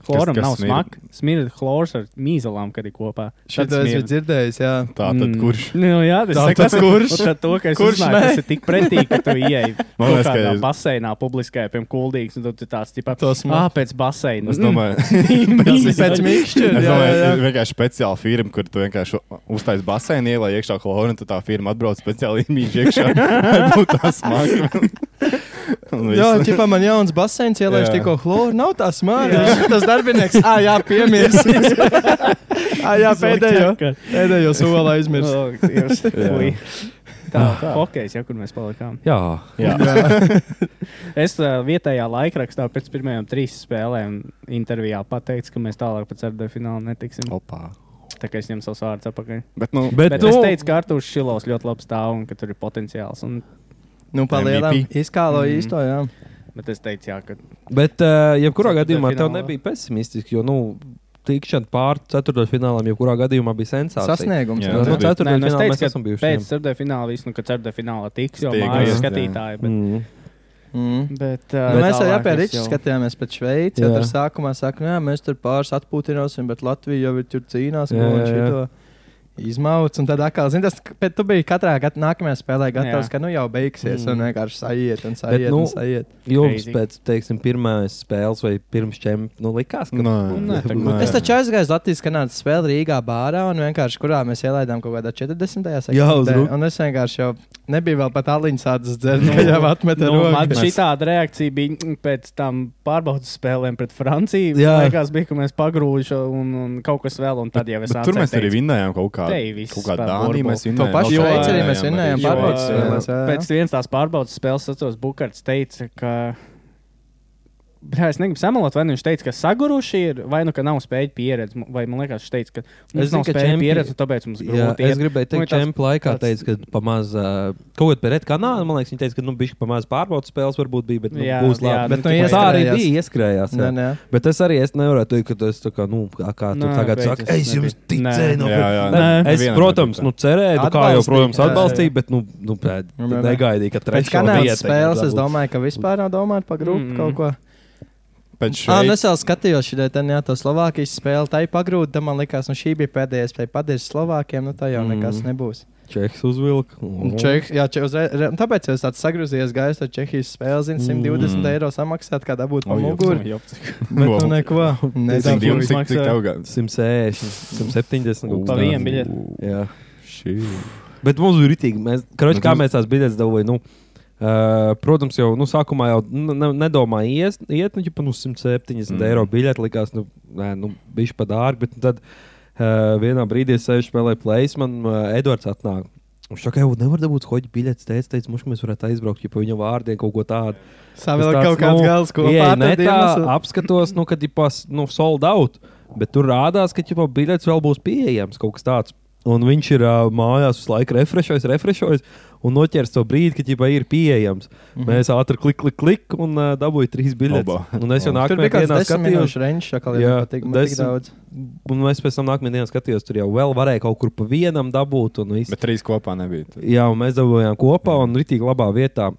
Speaker 3: Chloram
Speaker 2: kas
Speaker 3: nav
Speaker 2: smird?
Speaker 3: smaka. Smird chlors ar mīzelām, kad ir kopā. Tad
Speaker 9: Šito es biju
Speaker 3: smird.
Speaker 9: dzirdējis, jā.
Speaker 2: Tā tad
Speaker 3: Mm.
Speaker 2: kurš?
Speaker 3: (laughs) Nu, jā, tas
Speaker 9: Tā
Speaker 3: ir
Speaker 9: tad kurš?
Speaker 3: To, ka es
Speaker 9: Kurš
Speaker 3: uzzināju,
Speaker 9: ne?
Speaker 3: tas ir tik pretīgi, ka tu
Speaker 2: (laughs)
Speaker 3: ieej
Speaker 2: Man
Speaker 3: kaut
Speaker 2: liekas, ka
Speaker 3: kādā
Speaker 2: es-
Speaker 3: baseinā, publiskajā, piemēram, kuldīgs, un tad tu tāds, tipā,
Speaker 9: To smaku.
Speaker 3: "Ā, pēc baseina.
Speaker 2: Es
Speaker 3: (laughs)
Speaker 2: domāju, (laughs)
Speaker 9: Pēc pēc
Speaker 3: Mīzeļ.
Speaker 2: Es
Speaker 9: mīkšķiem, jā,
Speaker 2: domāju,
Speaker 9: jā.
Speaker 2: ir vienkārši speciāla firma, kur tu vienkārši uztaisīji basēnu, ielai iekšā chlorā, un tad tā firma atbrauc speciāli imīļš iekšā. lai būtu tā smaga. (laughs) Un
Speaker 9: Jā,
Speaker 2: viss.
Speaker 9: ķipā man jauns basēns ielaiž
Speaker 2: Jā.
Speaker 9: tikko chloru, nav tā smāra. Tas darbinieks, ā, jā, piemirs. (laughs) Ā, jā, pēdējo. Pēdējo solā
Speaker 3: (laughs)
Speaker 9: aizmirst.
Speaker 3: O, Oh, Dievs.
Speaker 2: (laughs) Jā.
Speaker 3: Ui. Tā, hokejs, ja kur mēs palikām.
Speaker 1: Jā, (laughs)
Speaker 2: Jā.
Speaker 3: Es uh, vietējā laikrakstā pēc pirmajām trīs spēlēm intervijā pateicu, ka mēs tālāk pēc ar finālu netiksim.
Speaker 2: Opā.
Speaker 3: Tā kā es ņemu savus vārdus apakaļ.
Speaker 2: Bet, nu,
Speaker 1: bet,
Speaker 3: Bet
Speaker 1: nu,
Speaker 3: es teicu, ka Artūrs Šilovs ļoti labi stāv un ka tur ir potenciāls. Un,
Speaker 9: Nu, palielam.
Speaker 2: MVP.
Speaker 9: Izkālo
Speaker 3: Mm.
Speaker 9: īsto, jā.
Speaker 3: bet es teicu, jā, ka
Speaker 1: Bet, uh, jebkurā
Speaker 3: Ceturtajā
Speaker 1: gadījumā, tev
Speaker 3: finālā.
Speaker 1: nebija pesimistiski, jo, nu, tikšana pār ceturtajā finālā, jebkurā gadījumā bija sensācija.
Speaker 9: Sasniegums.
Speaker 2: Jā,
Speaker 1: Jā,
Speaker 9: nu,
Speaker 1: no
Speaker 2: tas bija.
Speaker 1: ceturtajā
Speaker 3: Nē, nu es
Speaker 1: finālā
Speaker 3: teicu,
Speaker 1: mēs
Speaker 3: ka
Speaker 1: esam bijuši.
Speaker 3: Pēc
Speaker 1: jā.
Speaker 3: ceturtajā fināla viss, nu, kad ceturtajā finālā tiks jau
Speaker 2: Tiek,
Speaker 3: mājas
Speaker 1: jā.
Speaker 3: skatītāji. Bet,
Speaker 1: Mm.
Speaker 9: Mm.
Speaker 3: bet,
Speaker 9: Nu,
Speaker 3: bet
Speaker 9: mēs arī
Speaker 3: tālāk
Speaker 9: pie
Speaker 3: es
Speaker 9: Rīgas
Speaker 3: jau-
Speaker 9: skatījāmies pēc Šveices.
Speaker 1: Jā.
Speaker 9: Tur sākumā saka, ka mēs tur pāris atpūtināsim, bet Latvija jau ir tur cīnās.
Speaker 1: Jā, jā, jā.
Speaker 9: Izmauts, un tad atkal, zini, tas, bet tu biji katrā gada nākamajā spēlē
Speaker 3: Jā.
Speaker 9: gatavs, jā. ka nu jau
Speaker 1: Mm.
Speaker 9: beigsies, mm. un vienkārši aiziet, un aiziet,
Speaker 1: nu,
Speaker 9: un aiziet.
Speaker 1: Jums
Speaker 3: Crazy.
Speaker 1: pēc, teiksim, pirmās spēles vai pirms čempionāta, nu, likās, ka.
Speaker 3: Nē, tā
Speaker 2: Nē.
Speaker 3: kā-
Speaker 9: Es taču aizgāju uz Latvijas kanādas spēli Rīgā bārā, un vienkārši kurā mēs ielaidām kaut kādā 40.
Speaker 1: Jā, uz
Speaker 9: sekundē,
Speaker 1: rūk-
Speaker 9: un es vienkārši jau nebiju vēl pat aliņas sācis dzert, ka jau atmetu
Speaker 3: Nu, man
Speaker 9: roku.
Speaker 3: šī tāda reakcija bija mm, pēc tam pārbaudas spēlēm pret Franciju.
Speaker 1: Jā.
Speaker 3: Jā, liekas, bija, ka mēs pagrūžam un, un kaut kas vēl, un tad jau es
Speaker 2: Bet tur mēs arī vinnējām kaut
Speaker 3: Te
Speaker 2: kādu.
Speaker 3: viss
Speaker 2: Kaut kā
Speaker 3: par
Speaker 2: Dāniju
Speaker 3: burbuļu.
Speaker 2: mēs
Speaker 9: To
Speaker 2: vinnējām.
Speaker 9: pašu
Speaker 3: Jo-
Speaker 9: Šveici arī mēs vinnējām
Speaker 3: Jo,
Speaker 9: pārbaudas
Speaker 3: jā,
Speaker 9: spēlēs. jā, jā.
Speaker 3: Pēc vienas tās pārbaudas spēles, atceros, Bukārts teica, ka. Jā, es negribu samalot, vai nu viņš teica, ka saguruši ir, vai nu ka nav spēļu pieredzi. mu- Vai man liekas, viņš teica, ka mums
Speaker 1: zinu,
Speaker 3: nav
Speaker 1: ka
Speaker 3: spēļu
Speaker 1: čempi-
Speaker 3: pieredzi, un tāpēc mums
Speaker 1: Jā,
Speaker 3: grūti.
Speaker 1: es gribēju
Speaker 3: iet. Nu, ir
Speaker 1: teikt, ka
Speaker 3: tāds-
Speaker 1: čempionu laikā
Speaker 3: tāds-
Speaker 1: teica, ka pamazs uh, kaut kādā pret kanālu, man liekas, viņi teica, ka nu, bija pamazs pārbaudas spēles, varbūt bija, bet nu,
Speaker 3: Jā,
Speaker 1: būs
Speaker 3: jā,
Speaker 1: labi.
Speaker 3: nu,
Speaker 1: bet,
Speaker 9: nu,
Speaker 1: tā arī
Speaker 9: ieskrējās.
Speaker 1: bija ieskrējās.
Speaker 9: Nē,
Speaker 1: Jā.
Speaker 9: nē.
Speaker 1: Bet es arī es nevaru teikt, ka tas ir kā, nu, kā, kā tu
Speaker 3: Nē,
Speaker 1: tagad
Speaker 3: beidzas
Speaker 1: saki, es jums
Speaker 3: nebija.
Speaker 1: ticēju. nu,
Speaker 3: Nē.
Speaker 1: No,
Speaker 2: Jā, jā.
Speaker 1: bet-
Speaker 3: Nē.
Speaker 1: Es,
Speaker 2: Nevienam
Speaker 1: protams,
Speaker 2: nebija tā.
Speaker 1: nu, cerēju, nu, kā jau,
Speaker 9: Atbalstīju,
Speaker 1: protams,
Speaker 9: jā, jā.
Speaker 1: atbalstīju, bet, nu, nu pēc,
Speaker 9: Nu, jā, jā.
Speaker 1: negaidīju, ka
Speaker 9: Pēc
Speaker 1: trešā vieta.
Speaker 9: kanādas spēles es
Speaker 1: būs.
Speaker 9: domāju, ka vispār nav domāta par grupu
Speaker 3: Mm.
Speaker 9: mm. kaut ko.
Speaker 2: Pēc
Speaker 9: Ah,
Speaker 2: šveic-
Speaker 9: nu es vēl skatījos šī dienā, to Slovākijas spēli. Tā ir pagrūta, tad man likās, nu šī bija pēdējā spēle. Padarīt Slovākiem, nu tā jau
Speaker 1: Mm.
Speaker 9: nekas nebūs.
Speaker 1: Čeks uzvilka.
Speaker 9: Un Čeh, jā, če, uzre, re, un tāpēc jau es tāds sagrūzies gaisa ar Čehijas spēli, zinu, 120
Speaker 2: Mm.
Speaker 9: mm. eiro samaksāt, kā dabūt pa
Speaker 2: Oi,
Speaker 9: muguru.
Speaker 3: Jā,
Speaker 9: Bet nu neko.
Speaker 2: Cik
Speaker 9: Nedabūju.
Speaker 2: divas- cik- cik
Speaker 3: maksā?
Speaker 2: tev gads?
Speaker 1: 160, 170. kaut
Speaker 3: Pa
Speaker 1: kā.
Speaker 3: vienam biļeti.
Speaker 1: Jā.
Speaker 2: Šī.
Speaker 1: Bet mums bija rītīgi. Mēs, karoči,
Speaker 2: Bet
Speaker 1: kā mēs
Speaker 2: mums-
Speaker 1: tās biļetes dabūjām? Nu, Uh, protams, jau nu, sākumā jau nu, ne, nedomāju, ies, iet, nu, jau nu, 170 mm.
Speaker 2: Mm.
Speaker 1: eiro biļeti likās, nu, nē, nu bija pa dārgi. Bet nu tad uh, vienā brīdī es sēžu spēlēju plēs, man uh, Edvards atnāk. Viņš saka, ka nevar dabūt hoģi biļetes. Teic, teic, mums mēs varētu aizbraukt, ja pa viņa vārdiem kaut ko tādu.
Speaker 9: Savēl
Speaker 1: Es tāds,
Speaker 9: kaut kāds
Speaker 1: nu,
Speaker 9: gals, ko
Speaker 1: ieeju netā,
Speaker 9: pārdodījums.
Speaker 1: apskatos, nu, kad ir pas, nu, sold out, bet tur rādās, ka jau biļets vēl būs pieejams kaut kas tāds. Un viņš ir uh, mājās visu laiku refreshojis, refreshojis. Un noķers to brīdi, kad jau ir pieejams. Mm -hmm. Mēs ātri klikšķi, klik, klik, un uh, dabūjām trīs biļetes.
Speaker 2: Mhm. Oba.
Speaker 1: Un es jau
Speaker 9: Tur
Speaker 1: nākamajā
Speaker 9: bija kāds
Speaker 1: dienā
Speaker 9: desmit
Speaker 1: skatījos,
Speaker 9: minūšu reņš, kā jau
Speaker 1: Jā,
Speaker 9: patīk. Man tik
Speaker 1: desmit-
Speaker 9: daudz.
Speaker 1: un es pēc tam nākamajā dienā skatījos, tur jau vēl varēja kaut kur pa vienam dabūt. Un viss.
Speaker 2: Bet trīs kopā nebija. Tad-
Speaker 1: Jā, un mēs dabūjām kopā un ritīgi labā vietā.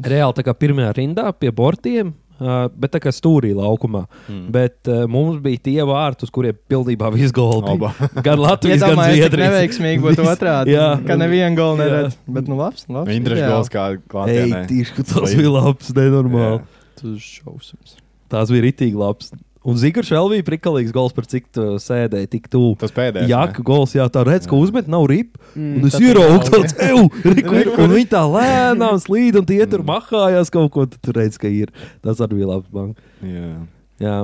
Speaker 1: Reāli tā kā pirmajā rindā pie bortiem. Uh, bet tā kā stūrī laukumā. Mm. Bet uh, mums bija tie vārti, uz kuriem pilnībā viss (laughs) golda.
Speaker 2: Oba.
Speaker 1: Gan Latvijas, gan
Speaker 9: Iedomājieties, cik
Speaker 1: Zviedrijas.
Speaker 9: neveiksmīgi būtu
Speaker 1: Viss.
Speaker 9: otrādi.
Speaker 1: Jā.
Speaker 9: Ka nevienu golu
Speaker 1: Jā.
Speaker 9: neredz. Bet, nu, labs. nu, labs
Speaker 2: Indrišķis
Speaker 9: ideāli.
Speaker 2: gals kā
Speaker 1: Ei,
Speaker 2: klātienē.
Speaker 1: tīši, tas
Speaker 2: Slim.
Speaker 1: bija labs, nenormāli. Jā.
Speaker 9: Tas šausmas.
Speaker 1: Tās bija rītīgi labs. Un Zigards vēl bija prikalīgs gols, par cik tu sēdēji tik tuvu.
Speaker 2: Tas pēdējais.
Speaker 1: Jā,
Speaker 2: ne?
Speaker 1: ka gols, jā, tā redz, ka uzmet nav rips.
Speaker 3: Mm,
Speaker 1: Un es
Speaker 9: tad ir
Speaker 1: ieraugu
Speaker 9: labi.
Speaker 1: tādu
Speaker 2: (laughs)
Speaker 1: ceļu, un viņi tā lēnām slīd, un tie
Speaker 2: Mm.
Speaker 1: tur mahājās kaut ko. Tad tu redz, ka ir. Tas arī bija labs banks.
Speaker 2: Jā.
Speaker 1: Jā,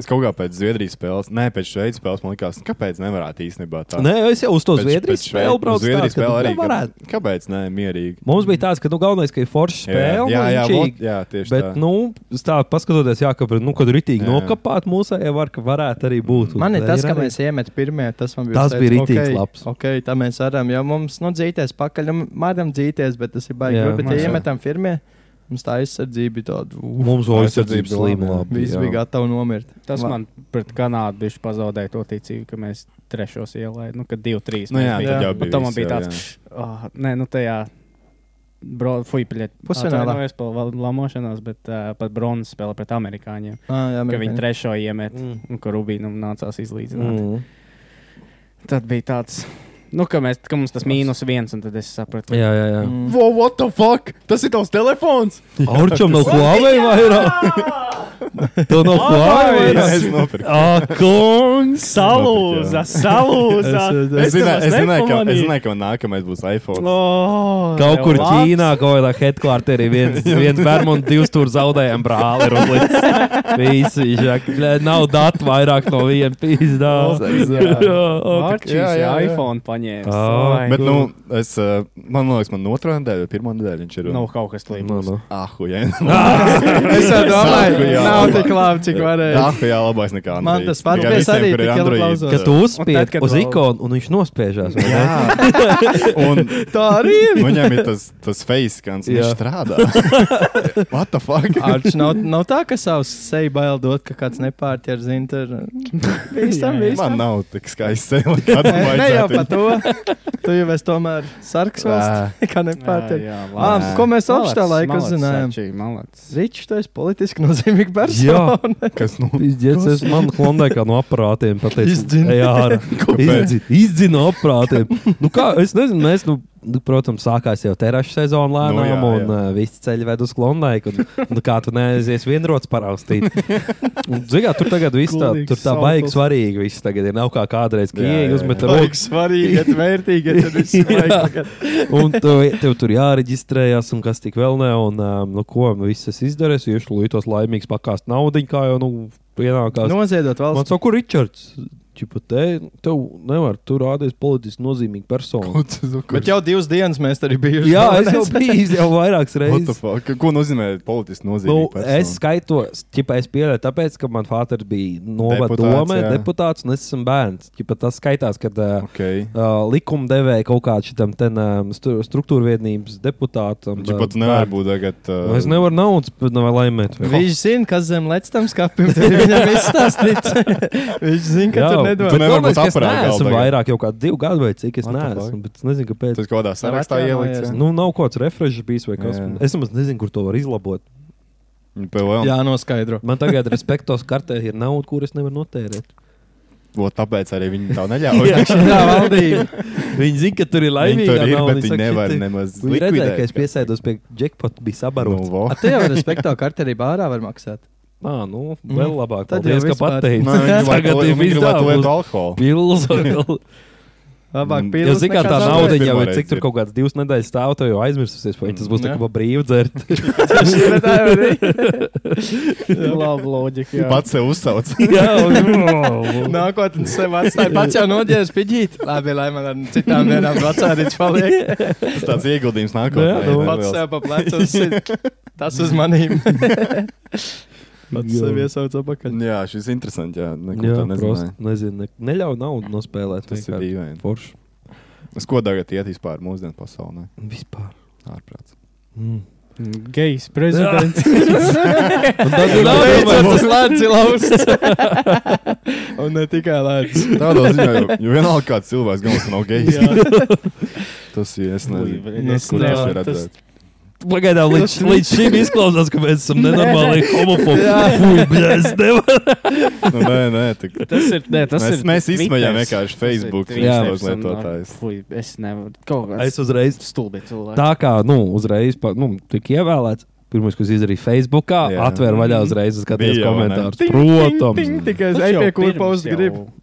Speaker 2: Es kaut kā pēc Zviedrijas spēles, ne pēc Šveices spēles, man liekas, nu, kāpēc nevarētu īstenībā tā.
Speaker 1: Nē, es jau uz to
Speaker 2: Pēc-
Speaker 1: Zviedrijas
Speaker 2: pēc Švei-
Speaker 1: spēli
Speaker 2: uz
Speaker 1: braucu. tā,
Speaker 2: Zviedrijas
Speaker 1: ka
Speaker 2: spēle arī.
Speaker 1: nu, varētu.
Speaker 2: ka- Kāpēc? Nē, mierīgi.
Speaker 1: Mums bija tāds, ka nu, galvenais, ka ir forša spēle.
Speaker 2: jā, jā,
Speaker 1: un
Speaker 2: vot-
Speaker 1: viņš-
Speaker 2: jā, tieši
Speaker 1: Bet,
Speaker 2: tā.
Speaker 1: nu, uz tā paskatoties, jā, ka, nu, kad ritīgi
Speaker 2: Jā.
Speaker 1: nokapāt mūsu, ja var, ka varētu arī būt. Un
Speaker 9: Man ir
Speaker 1: tā
Speaker 9: tas, ka
Speaker 1: arī.
Speaker 9: mēs iemetam pirmie, tas man bija
Speaker 1: Tas
Speaker 9: uzteicis,
Speaker 1: bija ritīgs
Speaker 9: "Ok,
Speaker 1: labs."
Speaker 9: Ok, tā mēs varam, jo mums, nu, dzīties pakaļ, nu, mēdam dzīties, bet tas ir baigi.
Speaker 1: Jā.
Speaker 9: grūti, Bet,
Speaker 3: Mēs
Speaker 9: ja
Speaker 3: varam.
Speaker 9: iemetam pirmie, mums tā aizsardzība bija tāda. uh,
Speaker 1: Mums vēl aizsardzība
Speaker 2: Aizsardzība
Speaker 1: slīma
Speaker 2: laba, jā.
Speaker 1: labi.
Speaker 9: Viss
Speaker 1: jā.
Speaker 9: bija gatavs nomirt.
Speaker 3: Tas
Speaker 9: La-
Speaker 3: man pret Kanādu bija pazaudējis to ticību, ka mēs trešos ielaidām. Nu, kad divi, trīs.
Speaker 2: Nu,
Speaker 3: mēs
Speaker 2: jā,
Speaker 3: bijām.
Speaker 2: tad jau
Speaker 3: Un
Speaker 2: bija.
Speaker 3: tam man
Speaker 2: viss
Speaker 3: bija
Speaker 2: jau,
Speaker 3: tāds, oh, nē, nu tajā. Bro, fuj, pļaļ.
Speaker 9: Pusfinālā.
Speaker 3: Es par lamošanos, bet uh, pat bronzas spēle pret amerikāņiem.
Speaker 9: Ah,
Speaker 3: Ka
Speaker 9: jā, amerikāņi.
Speaker 3: viņi trešo iemet, mm.
Speaker 1: Mm.
Speaker 3: un ka Rubīnam nācās izlīdzināt. Mm.
Speaker 1: Mm.
Speaker 3: Tad bija tāds, nu, ka, mēs, ka mums tas mīnus viens, un tad es sapratu,
Speaker 1: Jā, jā, jā.
Speaker 9: Mm.
Speaker 2: Wow, what the fuck? Tas ir tavs telefons!
Speaker 1: (laughs) Aurčam nav klāvei vairāk. Tev nav klāvei
Speaker 2: Jā,
Speaker 1: vairāk. Ah,
Speaker 2: es nopirku.
Speaker 1: Ak, kungs,
Speaker 2: salūza,
Speaker 3: salūza!
Speaker 2: Es zināju, es zināju, ka, es zināju, ka man nākamais būs iPhone.
Speaker 3: Oh,
Speaker 1: Kaut kur Ķīnā, kaut kādā headquarterī,
Speaker 3: (laughs)
Speaker 1: viens, viens bērns un divas tur zaudējām brāli. Rudlis.
Speaker 3: (laughs)
Speaker 1: Visi, žak, bļē, nav datu vairāk no viena pīzdā. (laughs) Oh,
Speaker 3: Arčīs, jā,
Speaker 2: Jā,
Speaker 3: jā,
Speaker 2: jā, jā.
Speaker 3: iPhone paņēma.
Speaker 1: Ah,
Speaker 3: Ai,
Speaker 2: Bet, nu, es, eh, man liekas, man otrā nedēļa, pirmā nedēļa viņš ir.
Speaker 3: nav kaut kas
Speaker 1: Nu,
Speaker 3: līdzīgs.
Speaker 1: nu.
Speaker 3: (laughs)
Speaker 2: Ah, jā.
Speaker 9: (laughs) Es jau domāju,
Speaker 2: Jā,
Speaker 9: nav
Speaker 2: jā.
Speaker 9: tik labi, cik varēja.
Speaker 2: Ah, jā, labais nekā.
Speaker 9: Man
Speaker 2: Andrejs.
Speaker 9: tas pats
Speaker 2: Tikai
Speaker 9: bija
Speaker 2: visiem, kur
Speaker 9: arī
Speaker 2: ir
Speaker 9: tik liela
Speaker 2: Android.
Speaker 9: aplausa.
Speaker 1: Kad tu
Speaker 3: Un tad,
Speaker 1: uzspiež
Speaker 3: kad
Speaker 1: uz
Speaker 3: vēl-
Speaker 1: ikonu un viņš nospiežās. vai ne?
Speaker 9: (laughs)
Speaker 2: Un
Speaker 9: Tā arī ir.
Speaker 2: viņam ir tas, tas face skans, viņš
Speaker 1: Jā.
Speaker 2: strādā.
Speaker 9: (laughs)
Speaker 2: What the fuck?
Speaker 9: Arčs nav, nav tā, ka savus seju bail dot, ka kāds nepārķer zina. tur. uh, Visam,
Speaker 3: Jā, jā.
Speaker 9: visam.
Speaker 2: Man nav tik skaisti sevi, kāda
Speaker 9: Nē, ne jau par
Speaker 2: vajadzētu.
Speaker 9: to. (laughs) Tu jau esi tomēr sarks valsts. Kā nepārķer.
Speaker 3: jā, labi.
Speaker 9: Ah, ko mēs
Speaker 3: Malacis,
Speaker 9: apšā laikā
Speaker 3: malacis,
Speaker 9: uzzinājām?
Speaker 3: Arčī, malacis.
Speaker 9: Rīčs, tu esi politiski nozīmīgs
Speaker 1: Jā.
Speaker 9: persona.
Speaker 2: Kas nu?
Speaker 1: Izdzēs, es man klondēkā no aparātiem pateicu,
Speaker 9: Izdzin.
Speaker 1: "Ej ārā."
Speaker 2: (laughs) Kāpēc?
Speaker 1: Izdzi- Izdzin no aparātiem. Nu kā, es nezinu, mēs, nu, nu, protams, sākās jau terašu sezona
Speaker 2: Nu
Speaker 1: lēnām,
Speaker 2: jā,
Speaker 1: un
Speaker 2: jā.
Speaker 1: uh, visi ceļi ved uz klondēku. Un, nu, kā tu neaizies vienrots paraustīt. Un, zini kā, tur tagad viss tā,
Speaker 9: Gulīgs
Speaker 1: tur tā baigi svarīgi viss tagad ir. Nav kā kādreiz, ka
Speaker 2: Jā, jā,
Speaker 1: ieeji
Speaker 2: jā.
Speaker 1: uzmet
Speaker 2: Baigi
Speaker 1: roku.
Speaker 9: svarīgi, ir vērtīgi, ja tas ir svarīgi.
Speaker 1: (laughs) Un tev, tev tur jāreģistrējas, un kas tik vēl ne. Un, um, nu, ko nu, viss es izdarīju, jo es lūdzu, laimīgs pakāst naudu, kā jau nu, pienākās.
Speaker 9: Noziedot
Speaker 1: Man
Speaker 9: valsts.
Speaker 1: saka, kur Ričards? Čipa, te, tev nevar tur rādīties politiski nozīmīga persona.
Speaker 9: Bet jau divas dienes mēs tur bijām.
Speaker 1: Jā, es jau biju jau vairākas
Speaker 2: What the
Speaker 1: reizes.
Speaker 2: fuck? Ko nozīmē politiski
Speaker 1: Nu,
Speaker 2: nozīmīgi?
Speaker 1: es skaitos, ķipa, es pieļauju, tāpēc, ka man faters bija
Speaker 2: Deputāts,
Speaker 1: novadome,
Speaker 2: jā.
Speaker 1: deputāts, un es esmu bērns. Ķipa, tas skaitās, kad uh,
Speaker 2: Okay.
Speaker 1: uh, likumdevēja kaut kādā šitam ten, um, stru, struktūrvienības deputātam.
Speaker 2: Viņš
Speaker 1: ā,
Speaker 2: pat nevar
Speaker 1: bērns.
Speaker 2: būt eh, tagad. uh,
Speaker 1: Nu, Es nevaru naudas, bet nav laimēt.
Speaker 9: Viņš zina, kas zem lecam skāpim. Viņam viss tas tic. (laughs) Viņš zina, ka tur nedod.
Speaker 2: Tu nevari būt
Speaker 1: es
Speaker 2: aparātā galā
Speaker 1: neesmu
Speaker 2: tagad.
Speaker 1: vairāk, jau kādu divu gadu vai cik es
Speaker 2: What the
Speaker 1: neesmu,
Speaker 2: fuck?
Speaker 1: bet es nezinu, kāpēc.
Speaker 2: Tas kaut kādā sarakstā
Speaker 9: atjaunojies.
Speaker 2: ielikt.
Speaker 1: Nu, nav kaut kāds refreshers bijis vai kas
Speaker 2: Jā.
Speaker 1: cits. Es nemaz nezinu, kur to var izlabot.
Speaker 2: Jā,
Speaker 9: Jā, noskaidro.
Speaker 1: Man tagad respektos kartē ir nauda, kur es nevaru notērēt.
Speaker 2: O, tāpēc arī viņi
Speaker 1: (laughs)
Speaker 2: tā neļauj.
Speaker 9: Jā, valdība.
Speaker 1: Viņi zina, ka tur ir
Speaker 2: Viņi
Speaker 1: laimīga
Speaker 2: tur ir,
Speaker 1: nauda.
Speaker 2: bet viņi nevar nemaz
Speaker 1: Viņi redzēja, ka es
Speaker 2: (laughs) likvidēt.
Speaker 1: piesēdos pie jackpota, bija sabarots.
Speaker 2: Nu, vo.
Speaker 9: A, Te jau respektā kartē arī bārā var maksāt.
Speaker 1: Nā, nu, vēl
Speaker 9: Mm.
Speaker 1: labāk.
Speaker 9: Tad
Speaker 1: Paldies, ka
Speaker 9: jau vispār.
Speaker 1: pateici. (laughs)
Speaker 2: Nē, viņi gribētu-
Speaker 1: Tagad ir
Speaker 2: viņi gribētu lietot
Speaker 1: vizdāvus. (laughs)
Speaker 2: alkoholu.
Speaker 1: Pils
Speaker 2: (laughs)
Speaker 1: vēl. Jo,
Speaker 2: Mm.
Speaker 9: Labāk pīlārs.
Speaker 1: zikā, tā
Speaker 2: nekā
Speaker 9: (laughs)
Speaker 1: nauda
Speaker 2: zaudēt.
Speaker 1: jau ir,
Speaker 2: Pirmo
Speaker 1: cik
Speaker 2: reizi
Speaker 1: tur
Speaker 2: ir.
Speaker 1: kaut kāds divas nedēļas stāv, tev jau aizmirsusies, vai tas
Speaker 2: Mm,
Speaker 1: būs tā
Speaker 9: Jā.
Speaker 1: kā brīvi
Speaker 2: (laughs)
Speaker 1: dzert.
Speaker 3: Labi, loģika. jā.
Speaker 2: Pats sev uzsauc.
Speaker 1: Jā, (laughs) un...
Speaker 9: Nākotnē sev atstāja pats jau noģēris piģīt. Labi, lai man ar citām dienām vecārīts (laughs) paliek.
Speaker 2: Tas
Speaker 1: (laughs)
Speaker 2: tāds ieguldījums
Speaker 1: Nu
Speaker 2: nākotnē.
Speaker 1: jā, nu.
Speaker 2: neliels.
Speaker 9: Pats sev pa plecos. sit. Tas uz manīm. (laughs) Pats sevi iesauc apakaļ.
Speaker 2: Jā, šis ir interesants. Jā, neko
Speaker 1: Jā,
Speaker 2: tā nezinu.
Speaker 1: prosti, nezinu. ne- Neļauj naudu nospēlēt.
Speaker 2: Tas ir
Speaker 1: vienkārši.
Speaker 2: dīvaini.
Speaker 1: Forši.
Speaker 2: Uz ko tagad iet vispār mūsdienu pasaulē?
Speaker 1: Vispār.
Speaker 2: Ārprāts.
Speaker 1: Mm.
Speaker 3: Gejs
Speaker 1: (laughs)
Speaker 3: prezidents.
Speaker 1: Tad ir
Speaker 9: Tas lēca lausts. (laughs) Un ne tikai lēca.
Speaker 2: Tādā ziņā, jo, jo vienalga kāds cilvēks galvenais nav gejs. tas ir, es nezinu,
Speaker 9: Nu,
Speaker 3: Es
Speaker 2: kur tas ir
Speaker 3: nevaru. tas-
Speaker 2: redzēt.
Speaker 1: Pagaidām, līdz, līdz šim izklausās, ka mēs (laughs) esam nenormāli homofobi. Fui, bļēs, (laughs) nevar.
Speaker 2: Nu, nē, nē, tik.
Speaker 3: Tas ir. Nē, tas
Speaker 2: Mēs-
Speaker 3: ir
Speaker 2: mēs
Speaker 3: Twitters.
Speaker 2: izsmējām
Speaker 3: Tas
Speaker 2: vienkārši
Speaker 3: ir
Speaker 2: Facebook
Speaker 3: Twitters
Speaker 2: visus tos
Speaker 3: un-
Speaker 2: lietotājus.
Speaker 3: Fuj, Es nevaru. Kaut
Speaker 1: Es
Speaker 3: kāds
Speaker 1: uzreiz.
Speaker 3: stulbi cilvēks.
Speaker 1: Tā kā, nu, uzreiz, pa- nu, tik ievēlēts. Pirmais, ko es izdarīju Facebookā,
Speaker 2: Jā.
Speaker 1: atvēru vaļā uzreiz, skatījos
Speaker 2: Bija jau, vai ne?
Speaker 1: komentārus. Protams.
Speaker 2: Mm.
Speaker 9: Ting, tikai
Speaker 3: Tas
Speaker 9: es
Speaker 3: jau
Speaker 9: eju pie
Speaker 3: pirms
Speaker 9: kurpa uz gribu.
Speaker 3: jau-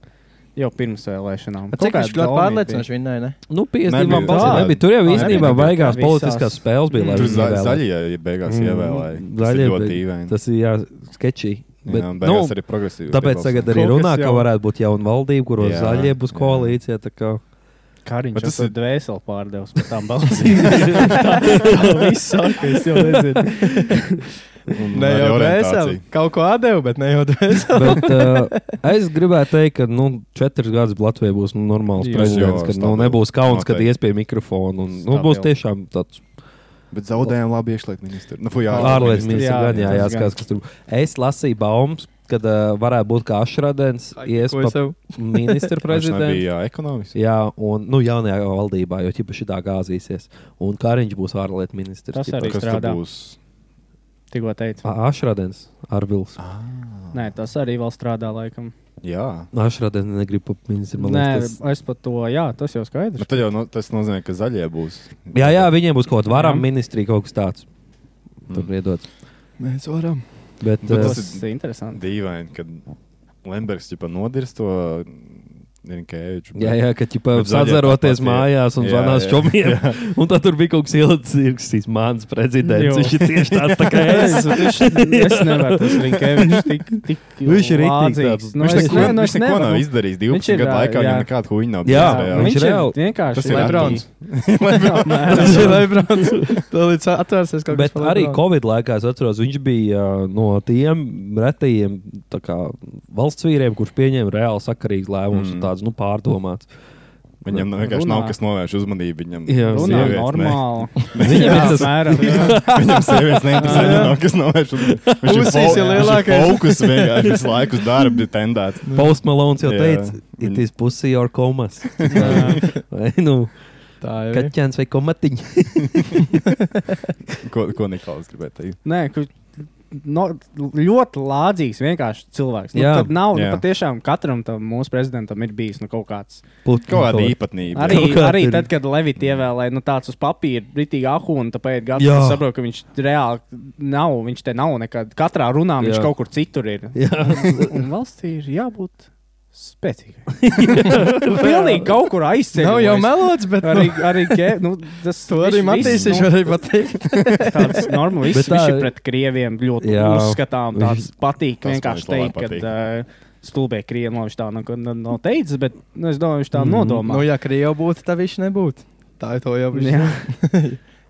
Speaker 3: Jau pirms vēlēšanām. Kaut
Speaker 9: Cik viņš
Speaker 3: kāda
Speaker 9: ļoti
Speaker 3: gaumība
Speaker 9: pārliecinoši viņa, nē, nē.
Speaker 1: Nu,
Speaker 2: Nebija
Speaker 1: 52
Speaker 2: tāda.
Speaker 1: balsis nebija. Tur jau
Speaker 3: Nebija
Speaker 1: īstenībā
Speaker 3: nekā
Speaker 1: vajagās
Speaker 3: visās.
Speaker 1: politiskās spēles bija, lai
Speaker 2: Tur
Speaker 1: viņi
Speaker 2: za-
Speaker 1: ievēlētu.
Speaker 2: zaļie beigās
Speaker 1: Mm,
Speaker 2: ievēlēja. Tas
Speaker 1: zaļie
Speaker 2: ir ļoti
Speaker 1: bija-
Speaker 2: dīvaini.
Speaker 1: Tas ir jā, sketčī. Bet,
Speaker 2: Jā, un
Speaker 1: nu,
Speaker 2: beigās arī progresīvi.
Speaker 1: tāpēc
Speaker 2: iebalsoja.
Speaker 1: tagad arī
Speaker 9: Kaut
Speaker 1: runā,
Speaker 9: kas
Speaker 1: ka
Speaker 9: jau-
Speaker 1: varētu būt jauna valdība, kuros
Speaker 2: Jā,
Speaker 1: zaļie būs
Speaker 2: jā.
Speaker 1: koalīcija. tā kā-
Speaker 3: Kariņš
Speaker 2: Bet tas
Speaker 3: tas ir
Speaker 2: ir-
Speaker 3: dvēseli pārdevis par tām balsīm. tā viss saka, es jau nezinu.
Speaker 2: Un
Speaker 9: Ne
Speaker 2: arī
Speaker 9: jau dvēseli.
Speaker 2: orientācija.
Speaker 9: Kaut ko atdevu, bet ne jau dvēseli.
Speaker 1: Bet, uh, es gribēju teikt, ka nu, četras gadus Latvijā būs nu, normāls
Speaker 2: Jā,
Speaker 1: prezidents,
Speaker 2: jā,
Speaker 1: ka nu,
Speaker 2: stabilu.
Speaker 1: nebūs kauns, kad
Speaker 2: Noteikti.
Speaker 1: ies pie mikrofona. Un, nu, būs
Speaker 3: Stabilu.
Speaker 1: tiešām tāds
Speaker 2: Bet zaudējām labi iekšlietu ministru. Nu, fuj,
Speaker 1: ārlietu ministrs,
Speaker 3: jā,
Speaker 1: gan jā,
Speaker 3: tas
Speaker 1: jāskatās, kas tur būs. Es lasīju baumas, kad uh, varētu būt kā Ašradens ies
Speaker 9: Ko es
Speaker 1: pa
Speaker 9: tev?
Speaker 1: ministru
Speaker 2: Viņš
Speaker 1: prezidentu.
Speaker 2: bija jā, ekonomists.
Speaker 1: Jā, un nu, jaunajā valdībā, jo ķipa šitā gāzīsies. Un Kariņš būs ārlietu ministrs.
Speaker 3: Tas
Speaker 1: ķipa.
Speaker 3: arī.
Speaker 2: Kas tur
Speaker 3: strādā.
Speaker 2: būs?
Speaker 3: Tikko teicu.
Speaker 2: Ah.
Speaker 1: A- Ašradens ar Vils.
Speaker 3: Nē, tas arī vēl strādā laikam.
Speaker 2: Jā.
Speaker 1: Ašradens negrib pat ministru. man
Speaker 3: Nē,
Speaker 1: liekas, tas-
Speaker 3: es pat to, jā, tas jau skaidrs.
Speaker 2: Nu, tad jau no, tas nozīmē, ka zaļie būs.
Speaker 1: Jā, jā, viņiem būs kaut kāda varam
Speaker 3: Jā.
Speaker 1: ministrija, kaut kas tāds. Tur
Speaker 2: Mm.
Speaker 1: iedodas.
Speaker 9: Mēs varam.
Speaker 1: Bet,
Speaker 2: Bet
Speaker 1: uh,
Speaker 3: Tas
Speaker 2: tas
Speaker 3: ir interesanti.
Speaker 2: Dīvaini, kad Lembergs jau nodirs to Rinkēviču.
Speaker 1: Jā, jā, ka ķipa
Speaker 2: Bet zaļie
Speaker 1: sadzaroties
Speaker 2: tāpat, jā.
Speaker 1: mājās un
Speaker 2: Jā,
Speaker 1: zvanās
Speaker 2: jā.
Speaker 1: čomiem. Un tad tur bija kaut kas ielicis, mans prezidents.
Speaker 3: Jo.
Speaker 1: Viņš ir tieši tāds tā
Speaker 3: (laughs)
Speaker 1: kā es.
Speaker 3: Es,
Speaker 1: (laughs)
Speaker 3: es, es nevaru tas rinkēviņš tik, tik
Speaker 1: Viņš ir rīktīgi
Speaker 3: lādzīgs.
Speaker 1: tāds.
Speaker 3: Nu,
Speaker 2: Viņš
Speaker 3: es
Speaker 2: neko,
Speaker 3: ne- nu,
Speaker 2: viņš
Speaker 3: es
Speaker 2: neko nav
Speaker 3: nevaru.
Speaker 2: izdarījis
Speaker 3: Viņš
Speaker 2: 12
Speaker 3: ir,
Speaker 2: gadu
Speaker 3: ā,
Speaker 2: laikā,
Speaker 3: jā.
Speaker 2: viņam nekāda huīņa nav.
Speaker 1: Jā,
Speaker 2: bijusi,
Speaker 1: viņš
Speaker 3: Viņš ir
Speaker 1: reāli-
Speaker 3: vienkārši
Speaker 2: Tas ir
Speaker 3: (laughs) Lebrons.
Speaker 9: Tas ir Lebrons. Tad līdz atvērsies kaut kas
Speaker 1: Bet arī Covid laikā es atceros, viņš bija ā, no tiem retajiem tā kā, valsts vīriem, kurš pieņēma reāli sakarīgus lēmumus,
Speaker 2: Mm.
Speaker 1: mm. tādus nu,
Speaker 2: (laughs)
Speaker 1: pārdomātus.
Speaker 2: Viņam nav- vienkārši nav
Speaker 3: Runā.
Speaker 2: kas novērš uzmanību. Viņam
Speaker 1: Jā,
Speaker 3: Runā
Speaker 1: Sievietes,
Speaker 2: sievietes ne-
Speaker 3: normāli.
Speaker 1: Viņam ir tas-
Speaker 3: mēram. jā.
Speaker 2: (laughs) Viņam sievietes neinteresē. Viņam nav kas novērš uzmanību. Viņš
Speaker 9: Pusīs ir lielākais.
Speaker 2: Fokus vienkārši visu laiku uz darbu ir tendēts.
Speaker 1: Post Malone jau
Speaker 2: Jā.
Speaker 1: teica, it is pussy or komas.
Speaker 3: Jā.
Speaker 1: (laughs) Vai nu
Speaker 9: Tā ir.
Speaker 1: kaķēns vai komatiņa?
Speaker 2: Ko, ko Niklaus gribēja teikt?
Speaker 3: Nē, ka no, ļoti lādzīgs vienkārši cilvēks. Nu,
Speaker 1: Jā.
Speaker 3: tad nav, nu,
Speaker 2: Jā.
Speaker 3: patiešām katram tam mūsu prezidentam ir bijis nu, kaut kāds.
Speaker 2: Kaut kāda īpatnība.
Speaker 3: Arī,
Speaker 1: Kaut kāda
Speaker 3: arī
Speaker 1: ir.
Speaker 3: tad, kad Levita ievēlēja nu, tāds uz papīra, ritīgi ahūna, tāpēc gada
Speaker 1: Jā.
Speaker 3: es saprotu, ka viņš reāli nav, viņš te nav nekad. Katrā runā jā.
Speaker 1: Jā.
Speaker 3: viņš kaut kur citur ir.
Speaker 1: Jā.
Speaker 3: Un valstī ir jābūt
Speaker 1: (laughs)
Speaker 3: spēcīgai. Nu, Pilnīgi kaut kur aizceļot.
Speaker 9: Nav jau melots, bet
Speaker 3: Arī,
Speaker 9: arī.
Speaker 3: arī ke, nu, tas
Speaker 9: To arī
Speaker 3: viss-
Speaker 9: Matīs
Speaker 3: viss,
Speaker 9: viņš
Speaker 3: nu,
Speaker 9: arī pateikt.
Speaker 3: tāds normāls.
Speaker 1: Bet
Speaker 3: Viņš tā...
Speaker 1: tā-
Speaker 3: ir pret krieviem ļoti
Speaker 1: Jā.
Speaker 3: uzskatām. Tāds patīk
Speaker 2: Tas
Speaker 3: vienkārši
Speaker 2: man
Speaker 3: teikt,
Speaker 2: ļoti labi
Speaker 3: ka uh, stulbē krievi no viņš tā nu, nav, nav, nav teicis, bet nu, es domāju, viņš tā
Speaker 1: Mhm.
Speaker 3: nodomā.
Speaker 9: Nu, ja Krievija būtu, tad viņš nebūtu. Tā ir to jau viņš.
Speaker 3: Jā.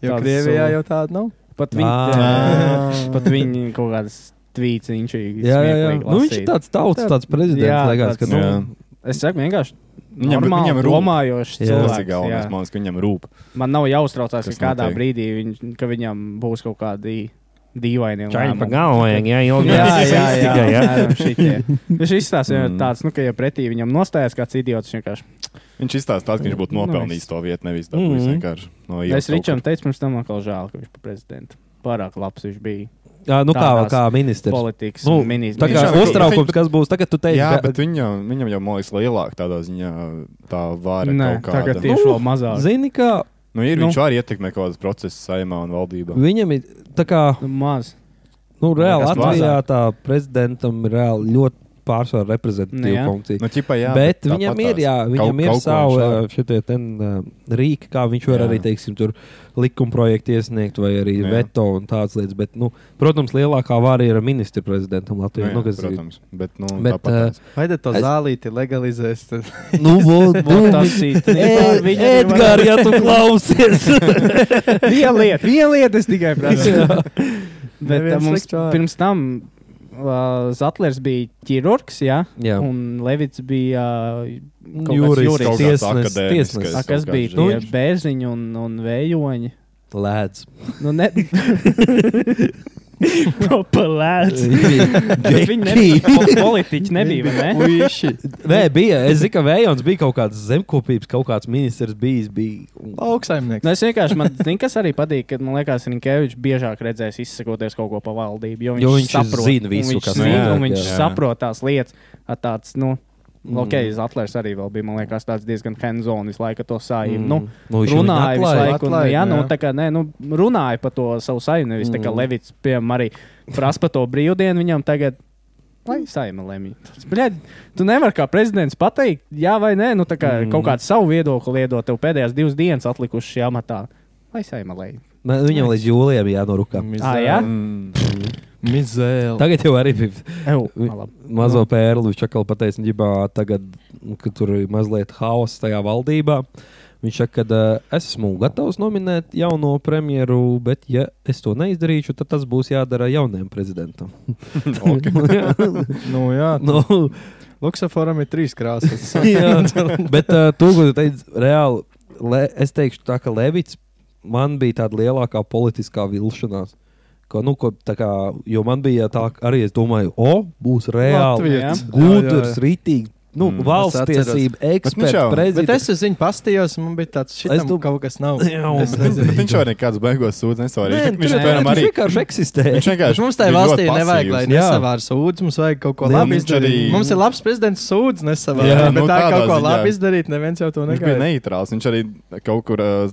Speaker 9: Jo
Speaker 3: Tāds,
Speaker 9: Krievijā
Speaker 3: uh,
Speaker 9: jau nu. tāda nav.
Speaker 3: Pat viņi,
Speaker 1: Ā.
Speaker 3: ā, pat viņi kaut kādas tvīts, viņš ir.
Speaker 1: Jā, jā, jā. Nu, viņš ir tāds tauts, tāds prezidents.
Speaker 3: Jā,
Speaker 1: Jā,
Speaker 3: tāds-
Speaker 1: tāds, nu,
Speaker 2: Jā.
Speaker 3: Es saku, vienkārši.
Speaker 2: Viņam-
Speaker 3: Viņam, normāli,
Speaker 2: viņam
Speaker 3: viņam
Speaker 2: rūp.
Speaker 3: domājošs
Speaker 1: Jā.
Speaker 2: Tas ir
Speaker 3: cilvēks.
Speaker 2: galvenais.
Speaker 3: jā.
Speaker 2: Man liekas, ka viņam rūp.
Speaker 3: Man nav jāuztraucās,
Speaker 2: Kas
Speaker 3: ka kādā
Speaker 2: notiek?
Speaker 3: brīdī viņ, ka viņam būs kaut kādi dīvaini
Speaker 1: Čaņi pa
Speaker 3: lēmumi.
Speaker 1: galvu vajag, jā, ilgi.
Speaker 3: Jā, jā, jā,
Speaker 1: Tikai, jā.
Speaker 3: jā.
Speaker 1: (laughs)
Speaker 3: šitie. Viņš izstāsta,
Speaker 2: Mm.
Speaker 3: mm. tāds, nu, ka, ja pretī viņam nostājas kāds idiots, viņš vienkārši.
Speaker 2: Viņš izstāsta, tā, ka viņš būtu
Speaker 3: Nu,
Speaker 2: nopelnījis to vietu, nevis
Speaker 1: Mhm.
Speaker 2: dabūjis vienkārši no ielas.
Speaker 3: Es Ričam teicu, pirms tam man kaut kā žēl, ka viņš par prezidentu. Pārāk labs viņš bija
Speaker 1: Jā, nu kā,
Speaker 3: Tādās
Speaker 1: kā ministrs.
Speaker 3: politikas
Speaker 1: Nu,
Speaker 3: ministrs.
Speaker 1: Tā kā
Speaker 2: Viņš jau-
Speaker 1: uztraukums, kas būs tagad, tu teici,
Speaker 2: Jā,
Speaker 1: ka-
Speaker 2: bet viņam, viņam jau, man liekas, lielāka tādā ziņā tā vāra
Speaker 3: Nē,
Speaker 2: kaut kāda.
Speaker 3: tagad tieši
Speaker 1: Nu,
Speaker 3: vēl mazāk.
Speaker 1: zini, kā
Speaker 2: Nu, ir,
Speaker 3: Nu.
Speaker 2: viņš var ietekmēt kaut kādas procesus saimā un valdībā.
Speaker 1: viņam ir tā kā,
Speaker 3: Nu, maz.
Speaker 1: nu, reāli
Speaker 3: Nekas
Speaker 1: Latvijā
Speaker 3: mazāk.
Speaker 1: tā prezidentam ir reāli ļoti pārsvarā
Speaker 3: Nu,
Speaker 1: reprezentatīva
Speaker 3: jā.
Speaker 1: funkcija.
Speaker 2: Nu, ķipa, jā,
Speaker 1: Bet
Speaker 2: tāpat
Speaker 1: viņam
Speaker 2: tās.
Speaker 1: ir, jā, viņam ir
Speaker 2: Kaut-
Speaker 1: eh,
Speaker 2: kaut ko
Speaker 1: savi
Speaker 2: viņš
Speaker 1: ā, šitie ten, ā, rīki, kā viņš var
Speaker 2: Jā.
Speaker 1: arī, teiksim, tur likumprojektu iesniegt vai arī
Speaker 2: Jā.
Speaker 1: veto un tādas lietas. Bet, nu, protams, lielākā vara ir ministra prezidentam
Speaker 2: Nu,
Speaker 1: Latvijā.
Speaker 2: jā,
Speaker 1: Nu, kas ir-
Speaker 2: protams, bet, nu,
Speaker 1: Bet,
Speaker 2: tāpat
Speaker 1: ā,
Speaker 2: tās.
Speaker 9: Vai tad to
Speaker 1: Es-
Speaker 9: zālīti legalizēs? Tad... (laughs)
Speaker 1: Nu,
Speaker 2: (laughs)
Speaker 1: vot,
Speaker 3: Vot
Speaker 1: dūmi. (laughs)
Speaker 3: Tas
Speaker 1: Ed- Edgars, ja tu klausies, (laughs)
Speaker 3: Viena lieta, viena lieta es tikai prasu. Bet
Speaker 9: Neviens
Speaker 3: tā, mums
Speaker 9: slikts vārds.
Speaker 3: pirms tam uh, Zetlers bija ķirurgs, jā,
Speaker 1: Jā.
Speaker 3: un Levits bija uh, kaut kāds
Speaker 1: Jūris,
Speaker 3: jurists.
Speaker 2: kaut kāds
Speaker 1: tiesnes,
Speaker 2: akadēmiskais.
Speaker 1: tiesnes.
Speaker 3: A,
Speaker 2: kaut
Speaker 3: kas
Speaker 2: kāds
Speaker 3: bija
Speaker 1: Nu,
Speaker 3: tie
Speaker 1: viņš-
Speaker 3: bērziņi un, un vējoņi?
Speaker 1: Lēdz. (laughs)
Speaker 3: Nu, ne... (laughs) Propelēts. Viņi nebija po- politiķi, nebija, vai ne?
Speaker 9: Puiši.
Speaker 1: Nē, bija. Es zinu, ka Vējons bija kaut kāds zemkopības, kaut kāds ministrs bijis. Bija.
Speaker 9: Lauksaimnieks.
Speaker 3: Nu, es vienkārši, man zin, kas arī patīk, kad man liekas, Rinkevičs biežāk redzēs izsakoties kaut ko pa valdību. Jo viņš,
Speaker 1: Jo viņš
Speaker 3: saprot,
Speaker 1: zina
Speaker 3: un
Speaker 1: visu,
Speaker 3: viņš
Speaker 1: kas
Speaker 3: zina,
Speaker 2: notiek,
Speaker 3: un viņš
Speaker 2: jā.
Speaker 3: saprot tās lietas. ar Tāds, nu,
Speaker 1: Mm.
Speaker 3: Ok, Zetlers arī vēl bija, man liekas, tāds diezgan hands-on visu laiku ar to sājumu. Nu,
Speaker 1: nu, viņš viņu
Speaker 3: runāja visu
Speaker 1: atlaida.
Speaker 3: laiku. Un,
Speaker 9: atlaid,
Speaker 3: jā, nu,
Speaker 9: jā.
Speaker 3: tā kā, nē, nu, runāja par to savu saimnu. Nevis tā kā
Speaker 1: Mm.
Speaker 3: Levits, piemēram, arī prasa par to brīvdienu viņam tagad. Lai saima lemj. Bļaļ, tu nevari kā prezidents pateikt, jā vai nē, nu tā kā mm.
Speaker 1: Mm.
Speaker 3: kaut kādu savu viedokli iedot tev pēdējās divas dienas atlikušas šajā matā. Lai saima lemj.
Speaker 1: Nē, Viņam līdz jūlijam jānorūkā.
Speaker 3: Ā, jā?
Speaker 2: Mm.
Speaker 9: Mizēla.
Speaker 1: Tagad jau arī bija
Speaker 3: Ew,
Speaker 1: Vi-
Speaker 3: labi.
Speaker 1: mazo pērlu. Viņš atkal pateica, ģibā, tagad, nu, ka tur ir mazliet haoss tajā valdībā. Viņš saka, ka es esmu gatavs nominēt jauno premjeru, bet, ja es to neizdarīšu, tad tas būs jādara jaunajam prezidentam.
Speaker 2: Ok.
Speaker 1: (laughs) Jā,
Speaker 9: Nu, jā.
Speaker 1: nu,
Speaker 9: Luksaforam ir trīs krāsas. (laughs)
Speaker 1: jā. Bet, uh, tu, ko tu teici, reāli, le, es teikšu, tā, ka Levits man bija tāda lielākā politiskā vilšanās. Ko, nu, ko, tā kā, jo man bija tā, ka arī es domāju, o, būs reāli
Speaker 9: Latvietis.
Speaker 1: gudrs, rītīgs. Nu,
Speaker 2: Mm.
Speaker 1: mm,
Speaker 9: Es
Speaker 1: valsts
Speaker 9: atceros.
Speaker 1: tiesība,
Speaker 2: viņš
Speaker 1: eksperts,
Speaker 2: jau-
Speaker 9: Bet
Speaker 1: prezidents.
Speaker 9: es uz viņu pastījos, un man bija tāds,
Speaker 1: Es
Speaker 9: šitam
Speaker 1: dom-
Speaker 9: kaut kas nav.
Speaker 1: Jā,
Speaker 9: Es
Speaker 1: bet-
Speaker 9: nezinu.
Speaker 2: Bet (laughs) viņš jau nekāds beigās sūdz nesvarīgi. Viņš
Speaker 3: tur-
Speaker 2: piemēram arī.
Speaker 1: nu, vienkārši eksistē.
Speaker 2: Viņš
Speaker 9: Bet
Speaker 2: vienkārši.
Speaker 9: mums tajā
Speaker 2: bija ļoti
Speaker 9: valstī nevajag, lai
Speaker 2: pasīvs.
Speaker 1: Jā.
Speaker 9: nesavāra sūdzes, mums vajag kaut ko
Speaker 1: Jā,
Speaker 9: labi
Speaker 2: viņš
Speaker 9: izdarīt.
Speaker 2: arī-
Speaker 9: Mums ir labs prezidents sūdzes nesavāra,
Speaker 2: Jā,
Speaker 9: bet
Speaker 2: nu,
Speaker 9: tā
Speaker 2: tādā
Speaker 9: kaut ko
Speaker 2: ziņā.
Speaker 9: labi izdarīt, neviens jau to
Speaker 3: Nu,
Speaker 2: Viņš bija
Speaker 9: negaida.
Speaker 2: neitrāls. Viņš arī kaut kur uh,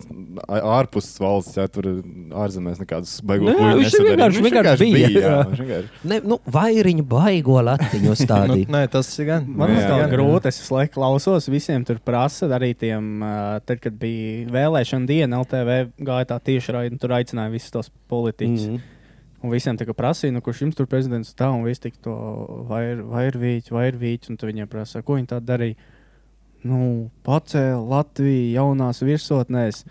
Speaker 2: ārpus valsts, ja tur ārzemēs nekādas baigot.
Speaker 1: Nē,
Speaker 2: buļļu
Speaker 1: viņš ir
Speaker 2: nesadarīja.
Speaker 1: vienkārši- vienkārši bija,
Speaker 2: jā,
Speaker 1: jā.
Speaker 2: viņš
Speaker 3: (laughs)
Speaker 2: vienkārši.
Speaker 1: Ne, nu, vairiņu baigo latiņu
Speaker 9: (laughs) Nu,
Speaker 1: stādīt.
Speaker 9: nē, tas ir gan.
Speaker 3: Man
Speaker 2: Jā.
Speaker 3: liekas, tā ir
Speaker 2: Jā.
Speaker 3: grūti. Es visu laiku klausos, visiem tur prasa. Arī tiem, ā, tad, kad bija vēlēšana diena, LTV gāja tā tieši raidījuma. Tur aicināja visus tos politiķus. Mm.
Speaker 1: Mhm.
Speaker 3: Un visiem tika prasīja, nu, kurš jums tur prezidents tā, un viss tika to vairvīķi, vairvīķi, un tu viņiem prasa, ko viņi tā darīja. Nu, pacēla Latviju jaunās (laughs) virsotnēs.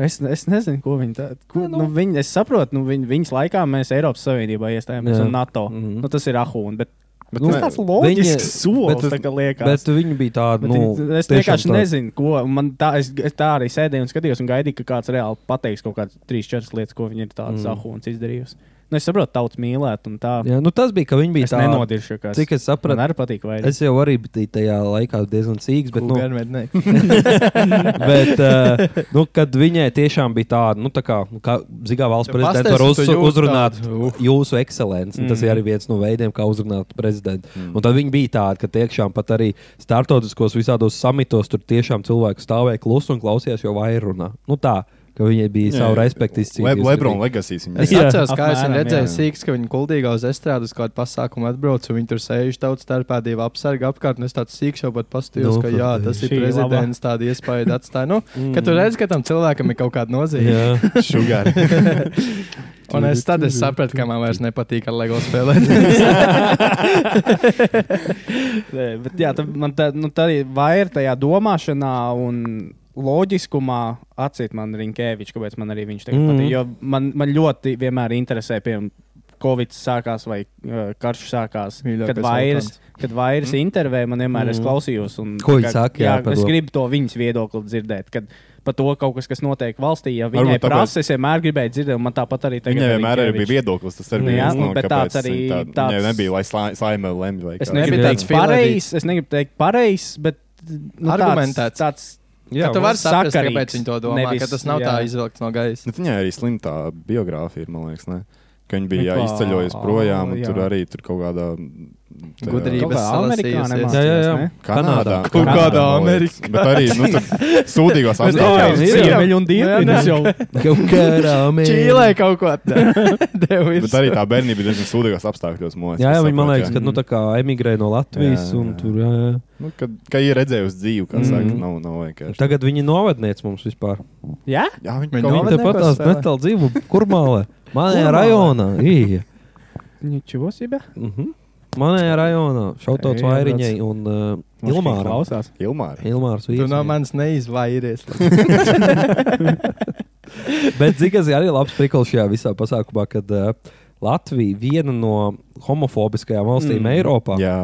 Speaker 3: Es, es nezinu, ko viņi tādu. Nu, nu, viņi, es saprotu, nu, viņ, viņas laikā mēs Eiropas Savienībā iestājāmies
Speaker 1: Jā.
Speaker 3: un NATO. Mm
Speaker 1: Mhm.
Speaker 3: -hmm. nu, tas ir ahūns, bet
Speaker 2: Bet
Speaker 3: nu,
Speaker 2: ne-
Speaker 3: tas
Speaker 2: (laughs)
Speaker 3: tāds
Speaker 1: viņa-
Speaker 3: loģisks solis,
Speaker 2: bet-
Speaker 3: tā kā liekas.
Speaker 1: Bet viņi bija tādi,
Speaker 3: Bet
Speaker 1: nu,
Speaker 3: viņi- es
Speaker 1: tiešām
Speaker 3: vienkārši
Speaker 1: tādi.
Speaker 3: nezinu, ko man tā, es, es tā arī sēdēju un skatījos, un gaidīju, ka kāds reāli pateiks kaut kādas trīs, četras lietas, ko viņi ir tādas
Speaker 1: Mm.
Speaker 3: mm. ahūns izdarījusi. Nu, es saprotu, tauts mīlēt, un tā.
Speaker 1: Jā, nu, tas bija, ka viņi bija
Speaker 3: es tā,
Speaker 1: tādi.
Speaker 3: nenodiršu, kas
Speaker 1: Cik es
Speaker 3: man
Speaker 1: sapratu,
Speaker 3: arī patīk. vai ne?
Speaker 1: es jau arī biju tajā laikā diezgan sīgs, bet, nu,
Speaker 9: Gubernmetnieki.
Speaker 1: (laughs) bet uh, nu, kad viņai tiešām bija tāda, nu, tā kā, nu, kā Zigā valsts
Speaker 9: Tu
Speaker 1: prezidents
Speaker 9: pasties,
Speaker 1: var uz,
Speaker 9: tu jūti
Speaker 1: uzrunāt
Speaker 9: tādu, uh.
Speaker 1: jūsu ekscelenci. Mm. Tas
Speaker 3: Mm.
Speaker 1: ir arī viens no veidiem, kā uzrunāt prezidentu.
Speaker 2: Mm.
Speaker 1: Un tad viņi bija tādi, ka tiešām pat arī startautiskos visādos samitos tur tiešām cilvēki stāvēja klusi un klausījās, jo vairāk runā. Nu tā, ka viņi bija
Speaker 2: Jā,
Speaker 1: savu
Speaker 2: jā.
Speaker 1: respektu
Speaker 2: Le,
Speaker 1: izcīnījuši.
Speaker 2: Lebrona legasīs
Speaker 3: (laughs)
Speaker 2: viņa.
Speaker 9: Es
Speaker 1: Jā,
Speaker 9: atceros, kā es viņu
Speaker 3: apmēram,
Speaker 9: redzēju,
Speaker 2: jā.
Speaker 9: sīks, ka viņi gudrīgā uz estrādes uz kādu pasākumu atbrauc, un viņi tur sēž tautas starpā, divi apsargi apkārt. un Es tādu sīkšu, bet paskatījos,
Speaker 1: Nu,
Speaker 9: ka jā, tas ir
Speaker 3: šī
Speaker 9: prezidents, tāda iespēja atstāja. Nu, kad tu redz, ka tam cilvēkam ir kaut kāda nozīme.
Speaker 1: Jā.
Speaker 3: (laughs)
Speaker 2: Šugāri.
Speaker 9: Un es tad es sapratu, ka man vairs nepatīk ar LEGO spēlēt.
Speaker 3: Nē, bet, jā, tā, man tā, nu, tā ir vairāk tajā domāšanā un loģiskumā atcīt man Rinkēvičs, kāpēc man arī viņš tagad
Speaker 1: Mhm.
Speaker 3: mm. patīk. Jo man, man ļoti vienmēr interesē, piemēram, Covid sākās vai uh, karš sākās.
Speaker 9: Mīļākais
Speaker 3: Kad vairs,
Speaker 9: vulkāns.
Speaker 3: kad vairs mm. intervēja, man vienmēr mm.
Speaker 1: Mhm.
Speaker 3: ir klausījos. Un,
Speaker 1: Ko
Speaker 3: tā
Speaker 1: viņi
Speaker 3: kā-
Speaker 1: saka, jā,
Speaker 3: jā,
Speaker 1: par
Speaker 3: es
Speaker 1: to?
Speaker 3: gribu to viņas viedokli dzirdēt. Kad, Par to kaut kas, kas notiek valstī, ja
Speaker 2: Varbūt
Speaker 3: viņai
Speaker 2: tāpēc-
Speaker 3: prasa, es vienmēr gribēju dzirdēt, un man tāpat arī tagad.
Speaker 2: Viņai
Speaker 3: ar
Speaker 2: vienmēr arī
Speaker 3: Rinkēviču.
Speaker 2: bija viedoklis. Tas arī bija
Speaker 3: Nu, Jā,
Speaker 2: viens no
Speaker 3: bet tāds arī-
Speaker 2: kāpēc viņa tā-
Speaker 3: tāds-
Speaker 2: Viņai nebija, lai slā- saima lemj vai
Speaker 3: Es
Speaker 2: kā.
Speaker 3: negribu
Speaker 1: Gribu
Speaker 3: teikt,
Speaker 9: teikt,
Speaker 3: pareizs. Es negribu teikt, pareizs, bet nu, tāds-
Speaker 9: Argumentēts.
Speaker 3: Tāds,
Speaker 9: (laughs) Jā, tu
Speaker 3: nu,
Speaker 9: vari
Speaker 3: sakarīgs.
Speaker 9: saprast, kāpēc viņi to domā,
Speaker 3: Nevis,
Speaker 9: Nevis, ka tas
Speaker 3: jā.
Speaker 9: nav jā. tā izvilkts no gaisa.
Speaker 2: Bet Viņai arī slimta biogrāfija, ir, man liekas, ne? ka viņa bija jā,
Speaker 3: Kā,
Speaker 2: izceļojusi projām, un
Speaker 3: jā.
Speaker 2: tur arī tur kaut kādā tajā-
Speaker 9: Gudrības.
Speaker 3: Kaut kā Amerikā
Speaker 9: salasījusies.
Speaker 3: nemācījās,
Speaker 1: Jā, jā, jā.
Speaker 3: ne?
Speaker 2: Kanādā.
Speaker 1: Kanādā.
Speaker 9: Kaut (laughs) kādā
Speaker 2: man liekas.
Speaker 9: Amerikā.
Speaker 2: Bet arī
Speaker 3: (laughs)
Speaker 2: nu, tur sūdīgos
Speaker 9: Bet tā
Speaker 2: apstākļos.
Speaker 9: jau ir.
Speaker 3: Ziemeļu un dienvidus jau.
Speaker 1: Kaut kādā
Speaker 9: Čīlē kaut ko (laughs) tādu.
Speaker 2: Bet arī tā bērnība bija diezgan sūdīgos apstākļos. man liekas,
Speaker 1: Jā, jā
Speaker 2: es
Speaker 1: viņi man
Speaker 2: saprotu,
Speaker 1: liekas,
Speaker 2: jā.
Speaker 1: ka nu, tā kā emigrē no Latvijas.
Speaker 2: Jā,
Speaker 1: Jā,
Speaker 2: jā.
Speaker 1: jā. Tur, jā, jā.
Speaker 2: Nu, kad, kad ir redzējusi dzīvi, kā
Speaker 1: Mhm.
Speaker 2: saka, nav, nav vienkārši.
Speaker 1: Tagad viņi novadniec mums vispār.
Speaker 3: Jā,
Speaker 2: Jā, viņi
Speaker 9: Viņi
Speaker 2: kaut
Speaker 9: nav-
Speaker 2: kā
Speaker 1: Viņi tepat tās
Speaker 9: Novadniekos, vai?
Speaker 1: netālu dzīvo Kurmālē. Manējā
Speaker 3: Kurmālē?
Speaker 1: rajonā. Ī.
Speaker 3: nečo sebe.
Speaker 1: Mhm. Manējā rajonā. Šautot
Speaker 3: Ej, brauc.
Speaker 1: vairiņai un uh, Ilmāram.
Speaker 3: klausās.
Speaker 2: Ilmāra.
Speaker 1: Ilmārs
Speaker 9: Tu no
Speaker 1: Vīsnieks.
Speaker 9: manis neizvairies.
Speaker 1: Bet Zigas ir arī labs prikals šajā visā pasākumā, kad uh, Latvija, viena no homofobiskajām valstīm mm. Eiropā,
Speaker 2: Jā,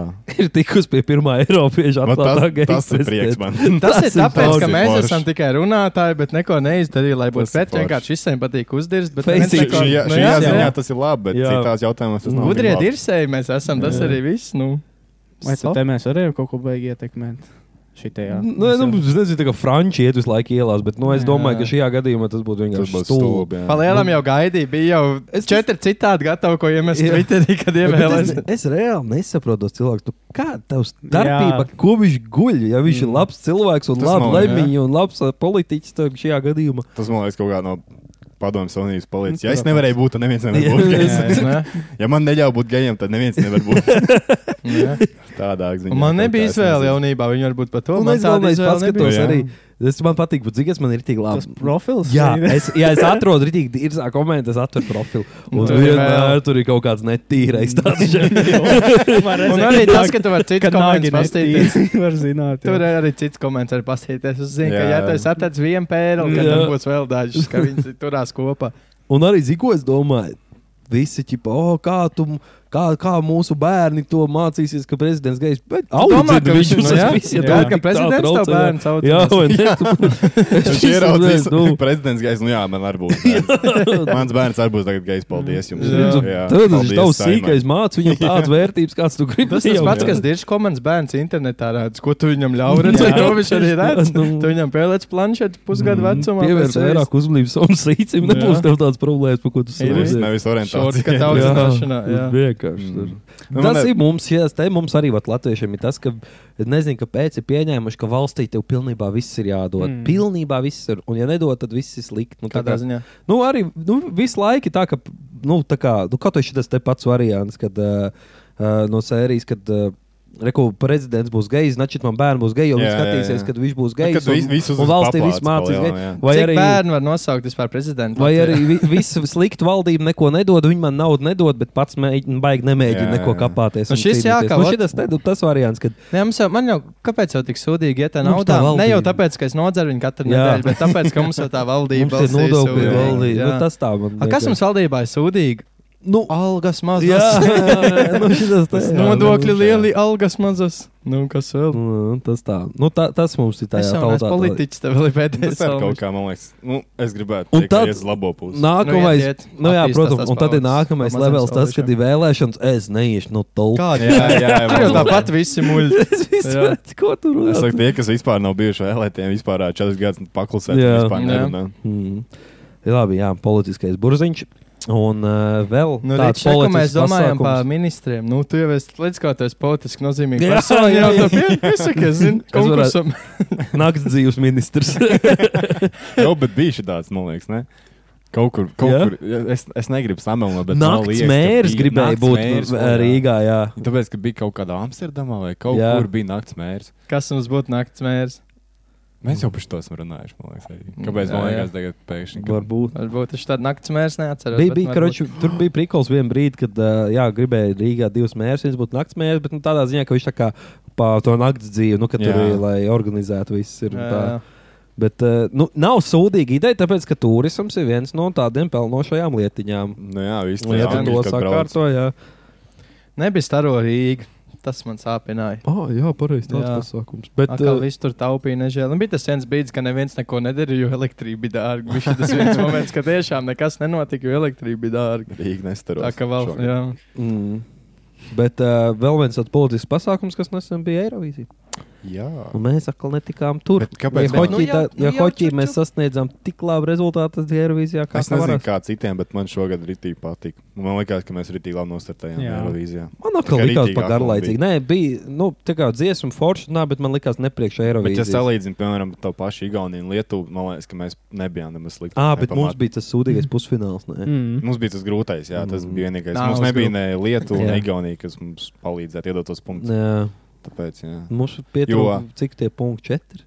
Speaker 1: ir tikusi pie pirmā Eiropieša
Speaker 2: Man tas,
Speaker 1: atklātā geju
Speaker 2: tas ir
Speaker 1: festē.
Speaker 2: prieks man.
Speaker 9: (laughs) Tas, tas ir tāpēc,
Speaker 2: daudz
Speaker 9: ka mēs
Speaker 2: forši.
Speaker 9: esam tikai runātāji, bet neko neizdarījām, lai būtu
Speaker 2: Tas ir
Speaker 9: pēc tam, kā
Speaker 2: forši.
Speaker 9: visiem patīk uzdirst. bet
Speaker 1: Feisī.
Speaker 9: neviens neko-
Speaker 2: Šajā
Speaker 9: Nu
Speaker 2: šajā
Speaker 9: jā,
Speaker 2: ziņā
Speaker 9: jā.
Speaker 2: tas ir labi, bet
Speaker 1: Jā.
Speaker 2: citās jautājumos tas nav.
Speaker 9: Gudrie
Speaker 2: tik labi.
Speaker 9: dirsēji mēs esam, tas arī viss. Nu.
Speaker 3: Vai
Speaker 9: Stop.
Speaker 3: tad te mēs arī kaut ko beigām ietekmēt? Šitajā.
Speaker 1: Nu, es, nu, es nezinu, kā franči iet visu laiku ielās, bet nu, es
Speaker 3: Jā.
Speaker 1: domāju, ka šajā gadījumā tas būtu
Speaker 2: Tas
Speaker 1: vienkārši
Speaker 2: būs stulbi. jā.
Speaker 9: Palielam jau gaidīju, bija jau es četri citādi gatavi, ko iemest
Speaker 1: Jā.
Speaker 9: Twitterī, kad
Speaker 1: Es,
Speaker 9: ievēlēs.
Speaker 1: es reāli nesaprotu tos cilvēkus. Nu, kā tavs darbība,
Speaker 3: Jā.
Speaker 1: ko viņš guļ? Ja viņš mm. ir labs cilvēks un
Speaker 2: Tas
Speaker 1: labs
Speaker 2: nav,
Speaker 1: lemjš un labs ā, politiķis tad šajā gadījumā.
Speaker 2: Tas man liekas, kaut kā no padomjas Savienības
Speaker 3: Nu,
Speaker 2: palīdzes. Ja es
Speaker 3: protams.
Speaker 2: nevarēju būt, tad neviens nevar būt
Speaker 9: (laughs)
Speaker 2: gejs.
Speaker 9: Ne?
Speaker 2: Ja man neļauj būt gejam, tad neviens nevar būt
Speaker 9: Jā.
Speaker 2: tādāk.
Speaker 9: Un Man nebija izvēle jaunībā, viņa varbūt pat to
Speaker 1: Un
Speaker 9: man
Speaker 1: es
Speaker 9: tāda
Speaker 1: galvenais
Speaker 9: izvēle
Speaker 1: paskatos
Speaker 9: nebija.
Speaker 1: arī. Es man patīk, bet zigas man ir tik labi.
Speaker 3: Tas profils?
Speaker 1: Jā, (laughs) es, jā, es atrodu rītīgi, ir tā komēdija, es atveru profilu. Un
Speaker 9: Tur
Speaker 1: tur
Speaker 9: ir
Speaker 1: vienmēr
Speaker 9: vēl.
Speaker 1: tur ir kaut kāds (laughs) netīrais tāds.
Speaker 9: Un arī tas, ka tu vari citu
Speaker 3: Kad nāgi
Speaker 9: komentāru pastīties.
Speaker 3: netīri, (laughs) var zināt.
Speaker 9: Tur
Speaker 3: jā.
Speaker 9: ir arī cits komentārs, kas pasakās, ka,
Speaker 2: Jā.
Speaker 9: ja tu esi atradis vienu pērli, tad
Speaker 1: Jā.
Speaker 9: tam būs vēl dažas, ka viņi turās kopā.
Speaker 1: Un arī zigo, es domāju, visi ķipa, oh, kā, tu, m- kā, kā mūsu bērni to mācīsies, ka prezidents gejs. Bet
Speaker 9: Domā,
Speaker 1: audzina
Speaker 9: ka viņš
Speaker 1: viņus,
Speaker 9: nu, jā,
Speaker 1: tas viss, ja
Speaker 3: jā,
Speaker 1: tā
Speaker 9: ka
Speaker 1: tik tā
Speaker 9: prezidents tev
Speaker 1: traucē, jā.
Speaker 9: bērns audzinās.
Speaker 1: Jā, vai (laughs) ne?
Speaker 2: Viņš ieraudzīs prezidents gejs. Nu jā, man arī
Speaker 1: (laughs)
Speaker 2: būs. bērns. Mans bērns arī būs tagad gejs. Paldies jums. Jā,
Speaker 1: Tad tas ir
Speaker 2: paldies,
Speaker 1: tavs
Speaker 2: Saimai.
Speaker 1: sīkais mācības, viņam tādas vērtības, kāds tu gribi.
Speaker 9: Tas tas
Speaker 1: jau,
Speaker 9: pats,
Speaker 1: jā.
Speaker 9: kas Diržs komandas bērns internetā redz, ko tu viņam ļauj redzēt. To viņš arī redz.
Speaker 1: Nu.
Speaker 9: Tu viņam pieliec planšetu pusgadu vecumā.
Speaker 1: Pievērst Mm. vairāk uzmanības savam sīcim, nebūs
Speaker 9: Jā.
Speaker 1: tev tādas problēmas, par ko tu
Speaker 9: Ir
Speaker 2: Nevis-
Speaker 1: sūdzi.
Speaker 2: Nevis (laughs)
Speaker 9: Šorka
Speaker 2: orientācija.
Speaker 9: daudz
Speaker 1: Jā.
Speaker 9: zināšanā. jā.
Speaker 1: Vienkārši. tur.
Speaker 2: Nu,
Speaker 1: Tas
Speaker 2: man-
Speaker 1: ir mums, jā, tas ir mums arī vat, latviešiem. Ir tas, ka es nezinu, kāpēc ir pieņēmuši, ka valstī tev pilnībā viss ir jādod. Mm.
Speaker 3: Mm.
Speaker 1: Pilnībā viss ir. Un, ja nedod, tad viss ir slikti. Nu, tā
Speaker 9: Kādā
Speaker 1: kā,
Speaker 9: ziņā?
Speaker 1: nu, arī nu, visu laiku ir tā, ka, nu, tā kā, nu, kaut kas tas te pats variants, kad uh, uh, no sērijas, kad. Uh, Reku, prezidents būs gejs, значит, man bērns būs gejs.
Speaker 2: Jā,
Speaker 1: Viņš
Speaker 2: jā,
Speaker 1: skatīsies,
Speaker 2: jā. Nu,
Speaker 1: kad viņš būs
Speaker 2: Kad
Speaker 1: gejs.
Speaker 2: tu vis- visus
Speaker 1: un
Speaker 2: uz
Speaker 1: valstī
Speaker 2: paplātes
Speaker 1: viss mācīs
Speaker 2: palielina,
Speaker 1: gejs.
Speaker 2: jā.
Speaker 1: Vai
Speaker 9: Cik
Speaker 1: arī,
Speaker 9: bērnu var nosaukt vispār prezidentu?
Speaker 1: vai
Speaker 9: Latvijā?
Speaker 1: arī vi, visu sliktu valdību neko nedod, viņi man naudu nedod, bet pats mēģina, baigi nemēģina
Speaker 2: Jā,
Speaker 1: neko
Speaker 2: jā.
Speaker 1: kapāties. un
Speaker 9: Nu, šis jā,
Speaker 1: cīnīties.
Speaker 9: kā
Speaker 1: nu,
Speaker 9: vat-
Speaker 1: šitas te- nu, tas variants, kad
Speaker 9: Nē, mums jau, man jau, kāpēc jau tik sūdīgi iet tā
Speaker 1: Mums
Speaker 9: naudā?
Speaker 1: tā
Speaker 9: Ne jau
Speaker 1: valdība.
Speaker 9: tāpēc, ka es nodzeru viņu katru
Speaker 1: Jā.
Speaker 9: nedēļu, bet tāpēc, ka mums jau
Speaker 1: (laughs)
Speaker 9: tā
Speaker 1: Mums
Speaker 9: valdība
Speaker 1: tie nodokļi
Speaker 9: sūdīga.
Speaker 1: valdīja.
Speaker 9: Jā.
Speaker 1: Nu, tas tā man
Speaker 9: A, Kas mums valdībā ir sūdīgi?
Speaker 1: Nu,
Speaker 9: Algas (laughs)
Speaker 1: jā,
Speaker 9: mazas.
Speaker 1: nu, šitas tā.
Speaker 2: Tas
Speaker 9: Nodokļi
Speaker 2: Jā.
Speaker 9: lieli, algas mazas. Nu, kas vēl?
Speaker 1: Nu, tas tā. Nu, tā, tas mums ir tā
Speaker 9: Es
Speaker 1: jā,
Speaker 9: jau
Speaker 1: tautā.
Speaker 9: neesmu politiķis, tev vēl ir
Speaker 2: Tas
Speaker 9: pēdējais.
Speaker 2: ir
Speaker 9: salmiņš.
Speaker 2: kaut kā, man liekas, nu, es gribētu
Speaker 1: Un
Speaker 2: teikt,
Speaker 1: tad-
Speaker 2: ka ies labo pusi.
Speaker 1: Nākamais,
Speaker 9: Nu,
Speaker 1: nu,
Speaker 9: iet, iet,
Speaker 1: nu, jā,
Speaker 9: attīstās
Speaker 1: protams,
Speaker 9: tās
Speaker 1: un tad ir
Speaker 9: paudzes.
Speaker 1: nākamais
Speaker 9: Pamazām
Speaker 1: levels, tas, kad ir vēlēšanas. Es neiešu no tolka.
Speaker 9: Kādi?
Speaker 2: Jā, jā, jā,
Speaker 9: Tur jau
Speaker 2: man-
Speaker 9: tāpat visi muļķi.
Speaker 1: (laughs) Es
Speaker 9: Jā.
Speaker 1: vispār, ko tur runā?
Speaker 2: Es saku, tie, kas vispār nav bijuši vēlētiem, vispār ā, četrus gadus paklusē,
Speaker 1: Jā.
Speaker 2: vispār
Speaker 9: Jā.
Speaker 2: nerunā.
Speaker 1: Mm. Labi, jā, politiskais burziņš. Un uh, vēl
Speaker 9: Nu,
Speaker 1: tāds
Speaker 9: Rīčs, ko mēs
Speaker 1: politisks
Speaker 9: domājam
Speaker 1: pasākums.
Speaker 9: par ministriem? Nu, tu jau esi līdz kā tas politiski nozīmīgi.
Speaker 1: Jā,
Speaker 9: persona,
Speaker 1: jā,
Speaker 9: jau
Speaker 1: jā.
Speaker 9: tā pie- Es saku, es zinu,
Speaker 1: Es varētu-
Speaker 9: konkursam.
Speaker 1: (laughs) Nakts dzīves ministrs.
Speaker 2: Jā, bet bija šī tāds, man liekas, ne? Kaut kur, kaut
Speaker 1: Jā.
Speaker 2: kur. ja, Es, es negribu samelnot, (laughs) bet man
Speaker 1: (laughs) Nakts
Speaker 2: liekas, ka
Speaker 1: mērs
Speaker 2: bija
Speaker 1: gribēja
Speaker 2: nakts
Speaker 1: būt
Speaker 2: mērs,
Speaker 1: uh,
Speaker 2: jā.
Speaker 1: Rīgā, jā.
Speaker 2: Tāpēc, ka bija kaut kādā Amsterdamā vai kaut
Speaker 1: Jā.
Speaker 2: jā. kur bija naktas mērs.
Speaker 9: Kas mums būtu nakts mērs?
Speaker 2: Mēs jau par to esam runājuši. man Liekas, arī. Kāpēc
Speaker 9: Jā,
Speaker 2: jā, man
Speaker 9: jā.
Speaker 2: liekas, tagad pēkšņi? Ka...
Speaker 1: Varbūt.
Speaker 9: Varbūt es tādu nakts mērs neatceros.
Speaker 1: Bija,
Speaker 9: bet
Speaker 1: bija,
Speaker 9: varbūt-
Speaker 1: karoči, tur bija prikals vienā brīdī, kad uh, jā, gribēja Rīgā divas mērs, viens būtu naktas mērs, bet nu, tādā ziņā, ka viņš tā kā pa to naktas dzīvi, nu, ka tur
Speaker 2: Jā.
Speaker 1: ir, lai organizētu viss. Ir, un
Speaker 9: Jā,
Speaker 1: tā.
Speaker 9: jā.
Speaker 1: Bet uh, nu, nav sūdīga ideja, tāpēc, ka turisms ir viens no tādiem pelnošajām lietiņām.
Speaker 2: Nu, jā, viss
Speaker 1: Un,
Speaker 2: tur
Speaker 1: ja tu to sakārto, jā.
Speaker 9: Nebija staro Rīga. Tas man sāpināja.
Speaker 1: Ah, jā, pareizi, tāds
Speaker 9: Jā.
Speaker 1: pasākums.
Speaker 9: Bet,
Speaker 1: Bet, eh,
Speaker 9: Atkal uh, viss tur taupīja, nežēl. Un bija tas viens brīdis, ka neviens neko nedarīja, jo elektrība bija dārga. Viņš tas viens moments, ka tiešām nekas nenotika, jo elektrība bija dārga.
Speaker 2: Rīga nestaros.
Speaker 9: Tā kā vēl,
Speaker 2: šogad.
Speaker 9: jā.
Speaker 1: mm, bet uh, vēl viens tāds politisks pasākums, kas nesen bija Eirovīzija.
Speaker 2: jā.
Speaker 1: Un mēs atkal netikām tur.
Speaker 2: Bet kāpēc
Speaker 1: ja
Speaker 2: man-
Speaker 1: hoķī,
Speaker 9: Nu jā,
Speaker 1: tā,
Speaker 9: nu
Speaker 1: ja
Speaker 9: jā,
Speaker 1: hoķī
Speaker 9: čau,
Speaker 1: mēs sasniedzām tik labu rezultātu, tad Eirovīzijā kā
Speaker 2: Es
Speaker 1: tā
Speaker 2: nezinu,
Speaker 1: varēs?
Speaker 2: kā citiem, bet man šogad rītīgi patīk. Man liekas, ka mēs rītīgi labi nostartējām
Speaker 3: Jā.
Speaker 2: Eirovīzijā.
Speaker 1: Man atkal
Speaker 2: Tikai
Speaker 1: likās
Speaker 2: rītīgāk
Speaker 1: par
Speaker 2: man
Speaker 1: garlaicīgu.
Speaker 2: bija.
Speaker 1: Nē, bija nu, tā kā dziesma forša, nā, bet man likās nepriekš
Speaker 2: Bet, ja
Speaker 1: Eirovīzijas.
Speaker 2: salīdzinām, piemēram, to pašu Igauniju un Lietuvu, man liekas, ka mēs nebijām nemaz slikti.
Speaker 1: Ā, bet mums
Speaker 2: nepamāc-
Speaker 1: bija tas sūdīgais pusfināls. Ne?
Speaker 3: Mm.
Speaker 2: Mums bija tas grūtais, jā, tas
Speaker 1: Mm.
Speaker 2: bija vienīgais.
Speaker 9: Nav
Speaker 2: Nā, mums
Speaker 9: uz
Speaker 2: nebija
Speaker 9: grūti.
Speaker 2: ne Lietuva, ne
Speaker 1: Jā.
Speaker 2: Igaunija, kas mums palīdzētu iedot tos punktus.
Speaker 1: Jā,
Speaker 2: Tāpēc, jā.
Speaker 1: mums pietrūka
Speaker 2: Jo-
Speaker 1: cik tie punkti četri.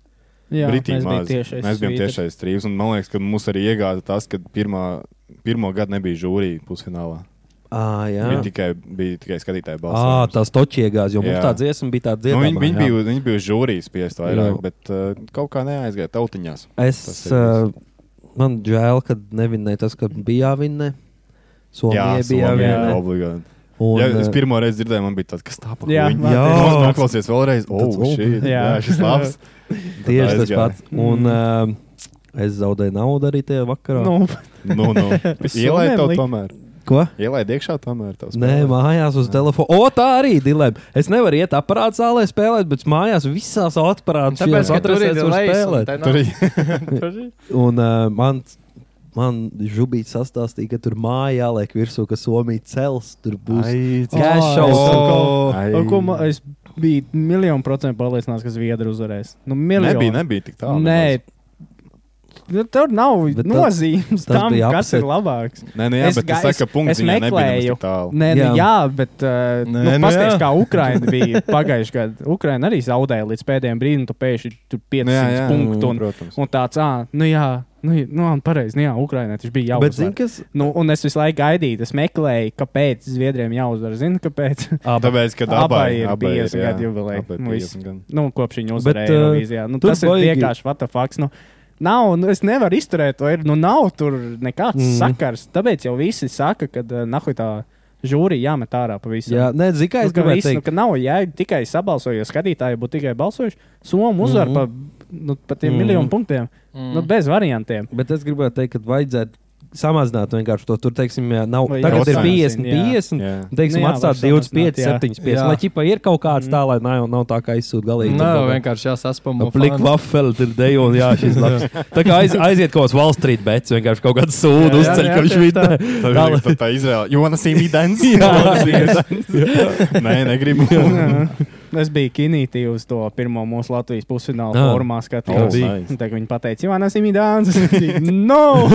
Speaker 3: Jā,
Speaker 2: Ritīgi
Speaker 3: mēs bijām
Speaker 2: maz.
Speaker 3: tiešais
Speaker 2: Mēs bijām
Speaker 3: svīters.
Speaker 2: tiešais strīds, un man liekas, ka mums arī iegāja tas, ka pirmā, pirmo gadu nebija žūrija pusfinālā.
Speaker 1: Ā, jā.
Speaker 2: Bija tikai, bija tikai skatītāji
Speaker 1: Ā,
Speaker 2: balsojums.
Speaker 1: tas točiegās, jo mums
Speaker 2: Jā.
Speaker 1: tā dziesma bija tāda
Speaker 2: Nu,
Speaker 1: dziedama.
Speaker 2: viņi, viņi,
Speaker 1: jā.
Speaker 2: bija, viņi bija žūrijas spiest vairāk,
Speaker 1: Jā.
Speaker 2: jā. bet uh, kaut kā neaizgāja tautiņās.
Speaker 1: Es,
Speaker 2: Tas ir
Speaker 1: uh, man žēl, ka nevinēja tas, ka bija jāvinē.
Speaker 2: Jā,
Speaker 1: Somijā bija
Speaker 2: Somijā,
Speaker 1: viena.
Speaker 2: obligāti.
Speaker 1: Un,
Speaker 2: Ja es
Speaker 1: eh,
Speaker 2: pirmo reizi dzirdēju, man bija tāds, kas tāpa.
Speaker 3: Jā,
Speaker 2: kuņi? (laughs)
Speaker 3: jā.
Speaker 2: Nos- Noklausies vēlreiz. O,
Speaker 1: Tāds, o,
Speaker 2: šī,
Speaker 3: jā.
Speaker 2: jā, šis
Speaker 1: (laughs)
Speaker 2: labs. Tad
Speaker 1: Tieši tas
Speaker 2: aizgāja.
Speaker 1: pats. Un mm. es zaudēju naudu arī tajā vakarā.
Speaker 3: Nu,
Speaker 1: (laughs)
Speaker 2: Nu, nu.
Speaker 3: Bez somiem
Speaker 2: Ielaid to
Speaker 3: likt?
Speaker 2: tomēr.
Speaker 1: Ko?
Speaker 2: Ielaid iekšā tomēr. tavs
Speaker 1: Nē,
Speaker 2: spēlē.
Speaker 1: mājās uz telefona. O, tā arī ir dilemma. Es nevaru iet apgāzties zālē spēlēt, bet mājās visās apgāzties
Speaker 9: Tāpēc, ka tur ir
Speaker 1: spēlēt. spēlēt.
Speaker 2: Tur
Speaker 9: spēlēt.
Speaker 2: ir
Speaker 1: Un uh, man, man žubīts sastāstīja, ka tur mājā liek virsū, ka Somija cels tur būs. Cash
Speaker 3: Ā,
Speaker 1: show.
Speaker 3: es
Speaker 9: Mm.
Speaker 2: Oh,
Speaker 3: atkal-
Speaker 2: ai.
Speaker 3: Ko ma- Es biju miljonu procentu pārliecināts, ka Zviedri uzvarēs. Nu, miljonu.
Speaker 2: nebija, nebija tik tālu.
Speaker 3: Nē, nu, tur nav
Speaker 1: Bet tas-
Speaker 3: nozīmes
Speaker 1: tas
Speaker 3: tam,
Speaker 1: bija
Speaker 3: kas ir
Speaker 1: upset.
Speaker 3: labāks.
Speaker 2: Nē, nu, jā,
Speaker 3: Es
Speaker 2: bet
Speaker 3: ga-
Speaker 2: es saku, ka
Speaker 3: es-
Speaker 2: punkts
Speaker 3: es
Speaker 2: viņai nebija nemaz
Speaker 3: meklēju.
Speaker 2: tik tālu.
Speaker 3: Nē, jā,
Speaker 1: Jā.
Speaker 3: nu, jā bet uh,
Speaker 9: Nē,
Speaker 3: nu,
Speaker 9: nu
Speaker 3: paskatieties,
Speaker 9: jā.
Speaker 3: kā Ukraiņa bija (laughs) pagājušajā gadā. Ukraiņa arī zaudēja līdz pēdējiem brīdiem, tu pēkšņi tur 500
Speaker 2: Nu,
Speaker 3: jā, jā, punktu. Un,
Speaker 2: protams.
Speaker 3: un tāds, ah, nu jā, nu, j- nu pareizi, nu jā, Ukraiņai tas bija
Speaker 1: Bet,
Speaker 3: jāuzvar.
Speaker 1: zini, kas?
Speaker 3: Nu, un es visu laiku gaidīju, es meklēju, kāpēc Zviedrijiem jāuzvar. Zinu, kāpēc.
Speaker 2: Tāpēc, ka
Speaker 3: abai
Speaker 2: abai
Speaker 3: ir
Speaker 2: abai
Speaker 3: 50
Speaker 2: jā,
Speaker 3: gadu jubileja.
Speaker 2: abai
Speaker 3: Nu, viss.
Speaker 2: (laughs) 50 gadu.
Speaker 3: nu, kopš viņa
Speaker 1: Bet,
Speaker 3: uzvarēja
Speaker 1: uh,
Speaker 3: Eirovīzijā. Nu,
Speaker 1: tur
Speaker 3: tas ir
Speaker 1: baigi-
Speaker 3: vienkārši vatafaks. Nu, nav, nu, es nevaru izturēt to. Ir, nu, nav tur nekāds mm.
Speaker 1: Mm.
Speaker 3: sakars. Tāpēc jau visi saka, ka uh, nahuj tā žūrija jāmet ārā pavisam.
Speaker 1: Jā, nē, zini, kā
Speaker 3: Nu,
Speaker 1: es
Speaker 3: ka,
Speaker 1: gribēju
Speaker 3: visu, nu,
Speaker 1: teikt.
Speaker 3: ka nav jēga tikai sabalsot, jo skatītāji būtu tikai balsojuši. Somu uzvar mm
Speaker 1: Mhm.
Speaker 3: -hmm. pa, nu, pa tiem
Speaker 1: Mhm.
Speaker 3: mm -hmm. miljonu punktiem. Mm -hmm. nu,
Speaker 9: Mhm.
Speaker 3: bez variantiem.
Speaker 1: Bet es gribēju teikt, ka vajadzētu samazināt vienkārši to. Tur, teiksim, jā, nav.
Speaker 3: Vai
Speaker 1: Tagad ir
Speaker 2: jāsamazina,
Speaker 1: 50,
Speaker 3: jā.
Speaker 1: 50.
Speaker 2: Jā.
Speaker 1: Teiksim,
Speaker 3: Nu jā,
Speaker 1: nu,
Speaker 3: var
Speaker 1: atstāt
Speaker 3: samazināt,
Speaker 1: 25,
Speaker 3: jā.
Speaker 1: 7, 5.
Speaker 9: Jā.
Speaker 1: Lai ķipa ir kaut kāds tā, lai nav, nav tā kā izsūta galīgi.
Speaker 9: Nav vienkārši jāsaspamo.
Speaker 1: Plakāta vafeli, tur dejo un jā,
Speaker 3: (laughs)
Speaker 1: šis labs. Tā kā aiz, aiziet kaut kāds Wall Street bets, vienkārši kaut kāds sūdu
Speaker 3: Jā,
Speaker 1: uzceļ,
Speaker 3: jā,
Speaker 1: ka viņš
Speaker 3: tieši
Speaker 1: vinnē.
Speaker 2: Tad
Speaker 1: Dal-
Speaker 2: ir pat tā Izraela. You wanna see me (laughs) dance?
Speaker 1: Jā.
Speaker 2: You wanna see me (laughs) dance? Nē, negribu.
Speaker 3: Es biju kinītī uz to pirmo mūsu Latvijas pusfināla
Speaker 1: Ah.
Speaker 3: formā,
Speaker 2: Oh,
Speaker 3: skatījos.
Speaker 2: nice.
Speaker 3: Un Tagad viņi pateica, Ivana (laughs) Simidāns. no!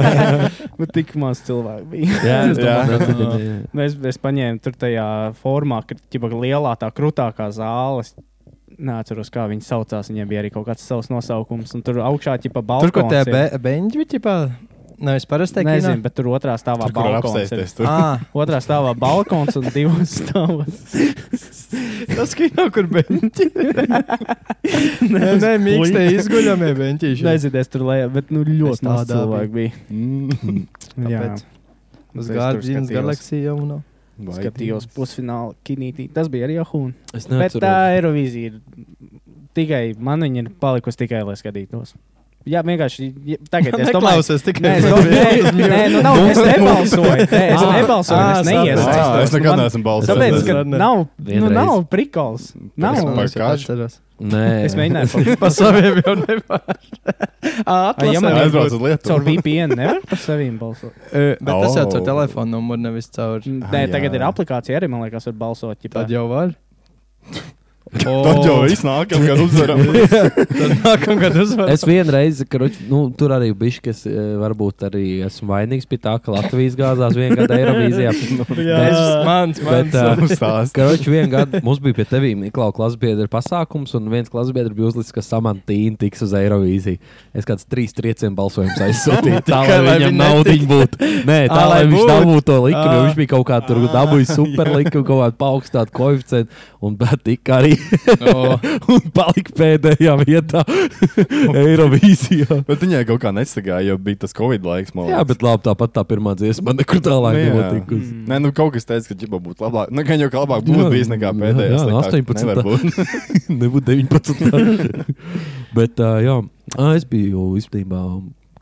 Speaker 3: (laughs) Bet tik maz cilvēku bija.
Speaker 1: (laughs) Jā, es
Speaker 2: Jā.
Speaker 1: domāju, ka tas ir.
Speaker 3: Nu, Es, es paņēmu tur tajā formā, ka ķipa lielā tā krūtākā zāle. es Neatceros, kā viņi saucās. Viņiem bija arī kaut kāds savs nosaukums. Un tur augšā ķipa
Speaker 9: Tur,
Speaker 3: balkons.
Speaker 9: kur tie
Speaker 3: ir.
Speaker 9: beņģi, tipā, nevis parastie
Speaker 3: Nezinu, bet tur otrā stāvā
Speaker 2: Tur, kur
Speaker 3: balkons. ir.
Speaker 2: apsēsties tur.
Speaker 9: Ah,
Speaker 3: Otrā stāvā balkons un divas stāvas.
Speaker 9: (laughs) tas kino, kur
Speaker 3: (laughs)
Speaker 9: beņķi. Nē, nē mīkstē izguļamie beņķīši.
Speaker 3: Nezinu, es tur lejā, bet nu,
Speaker 9: Es
Speaker 3: ļoti maz
Speaker 9: tādā
Speaker 3: cilvēku bija.
Speaker 2: (laughs) Mm.
Speaker 3: Jā.
Speaker 9: Tāpēc Uz
Speaker 3: Es tur
Speaker 9: Gārdzīnas
Speaker 3: skatījos.
Speaker 9: galaksiju jau nav.
Speaker 2: Vai
Speaker 3: skatījos pusfināla kinītī. Tas bija arī Jāhūna.
Speaker 1: Es
Speaker 3: Bet
Speaker 1: neatceros.
Speaker 3: tā Eirovīzija ir tikai man viņa ir palikusi tikai, lai skatītos. Jā, vienkārši ja, tagad es domāju,
Speaker 9: Neklausies
Speaker 3: Nē,
Speaker 9: tikai.
Speaker 3: es domāju, nē, nē, nu nav, es nebalsoju. Nē, es
Speaker 9: Ā,
Speaker 3: nebalsoju,
Speaker 9: ā,
Speaker 3: es
Speaker 9: sapratu.
Speaker 2: Ā,
Speaker 3: neiesaistos.
Speaker 2: Ah, Es nekad neesmu balsojis.
Speaker 3: Tāpēc, ka
Speaker 9: Tad ne.
Speaker 3: nav, nu,
Speaker 1: Vienreiz.
Speaker 3: nav prikols. Nav.
Speaker 2: Par
Speaker 9: Es
Speaker 2: kaču?
Speaker 9: atceros.
Speaker 1: Nē,
Speaker 3: Es mēģināju pa-
Speaker 9: Pa saviem jau nevar.
Speaker 3: Ai, ja
Speaker 9: Atlasē.
Speaker 3: man ir-
Speaker 2: aizbraucu uz
Speaker 3: caur
Speaker 2: Lietuvu.
Speaker 3: VPN, nevar par saviem balsot.
Speaker 9: Eh, Bet tas jau
Speaker 2: Oh.
Speaker 9: caur telefonu numuru nevis caur.
Speaker 3: Nē,
Speaker 2: jā.
Speaker 3: tagad ir aplikācija arī, man liekas, var balsot. ķipā.
Speaker 9: Tad jau var.
Speaker 2: (laughs) (laughs) Tad jau viss nākamā gada uzvaram. (laughs)
Speaker 9: Nākamgad uzvar.
Speaker 1: Es vienreiz, karuč, nu, tur arī bija tas, e, varbūt arī esmu vainīgs pie tā, ka Latvijas gāzās vienā gadā Eirovīzijā.
Speaker 9: (laughs) Jā, es- mans,
Speaker 1: Bet,
Speaker 9: mans.
Speaker 1: ā,
Speaker 2: Stāsts.
Speaker 1: Karoči, vienā gadā mums bija pie tevis Niklaus klasbiedra pasākums, un viens klasbiedrs bija uzlicis, ka Samantīna tiks uz Eirovīziju. Es kāds trīs triecienu balsojumus
Speaker 9: (laughs)
Speaker 1: aizsūtīju. Tā lai
Speaker 9: Tikai lai
Speaker 1: viņam
Speaker 9: viņi
Speaker 1: naudiņa būtu.
Speaker 9: (laughs)
Speaker 1: Nē, tā lai
Speaker 9: Ā, lai
Speaker 1: viņš
Speaker 9: būtu.
Speaker 1: dabūtu to likumu, jo
Speaker 9: Ā.
Speaker 1: viņš bija kaut kā tur dabūjis superlikumu, kaut kādu paaugstinātu koeficientu, un bet tik arī (laughs) un palika pēdējā
Speaker 9: (laughs)
Speaker 1: vietā Eirovīzijā.
Speaker 2: Bet viņai kaut kā nesagāja, jo bija tas Covid laiks. man
Speaker 1: Jā,
Speaker 2: liekas.
Speaker 1: bet labi, tāpat tā pirmā dziesma man nekur
Speaker 2: Nu,
Speaker 1: tālāk
Speaker 2: jā.
Speaker 1: nenotika.
Speaker 2: Mm. Nē, nu kaut kas teica, ka ģipa būtu labāk. Nu, gan jau kā labāk būtu
Speaker 1: Jā,
Speaker 2: bijis nekā
Speaker 1: jā,
Speaker 2: pēdējais.
Speaker 1: jā,
Speaker 2: tā kā
Speaker 1: 18.
Speaker 2: nevar būt.
Speaker 1: (laughs)
Speaker 2: (laughs)
Speaker 1: Nebūtu 19. Bet, uh, jā, Ā, es biju īstenībā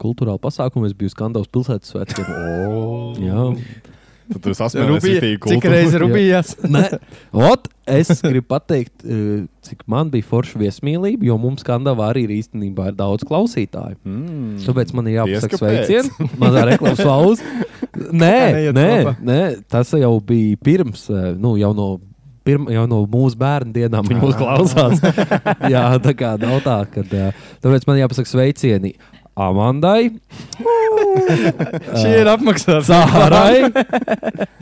Speaker 1: kultūrāla pasākumā, es biju skandāls pilsētas svētkiem. Jā,
Speaker 2: Tad tur
Speaker 9: Rubija,
Speaker 2: sasmēlēs
Speaker 9: Cik reizes rubijās?
Speaker 1: Nē, Ot, es gribu pateikt, eh, cik man bija forša viesmīlība, jo mums skandālā arī ir īstenībā ir daudz klausītāju.
Speaker 2: Mm.
Speaker 1: Tāpēc man ir
Speaker 2: Diez
Speaker 1: jāpasaka
Speaker 2: kāpēc.
Speaker 1: sveiciens. Mazā reklāmas valūs. Nē,
Speaker 9: neiet
Speaker 1: nē,
Speaker 9: kopā.
Speaker 1: nē, tas jau bija pirms, eh, nu, jau no, pirma, jau no mūsu bērnu dienām viņi mūs klausās. Jā, tā kā nav tā, ka. eh, Tāpēc man jāpasaka sveicieni Amandai,
Speaker 9: Šī ir apmaksāta.
Speaker 1: Sārai.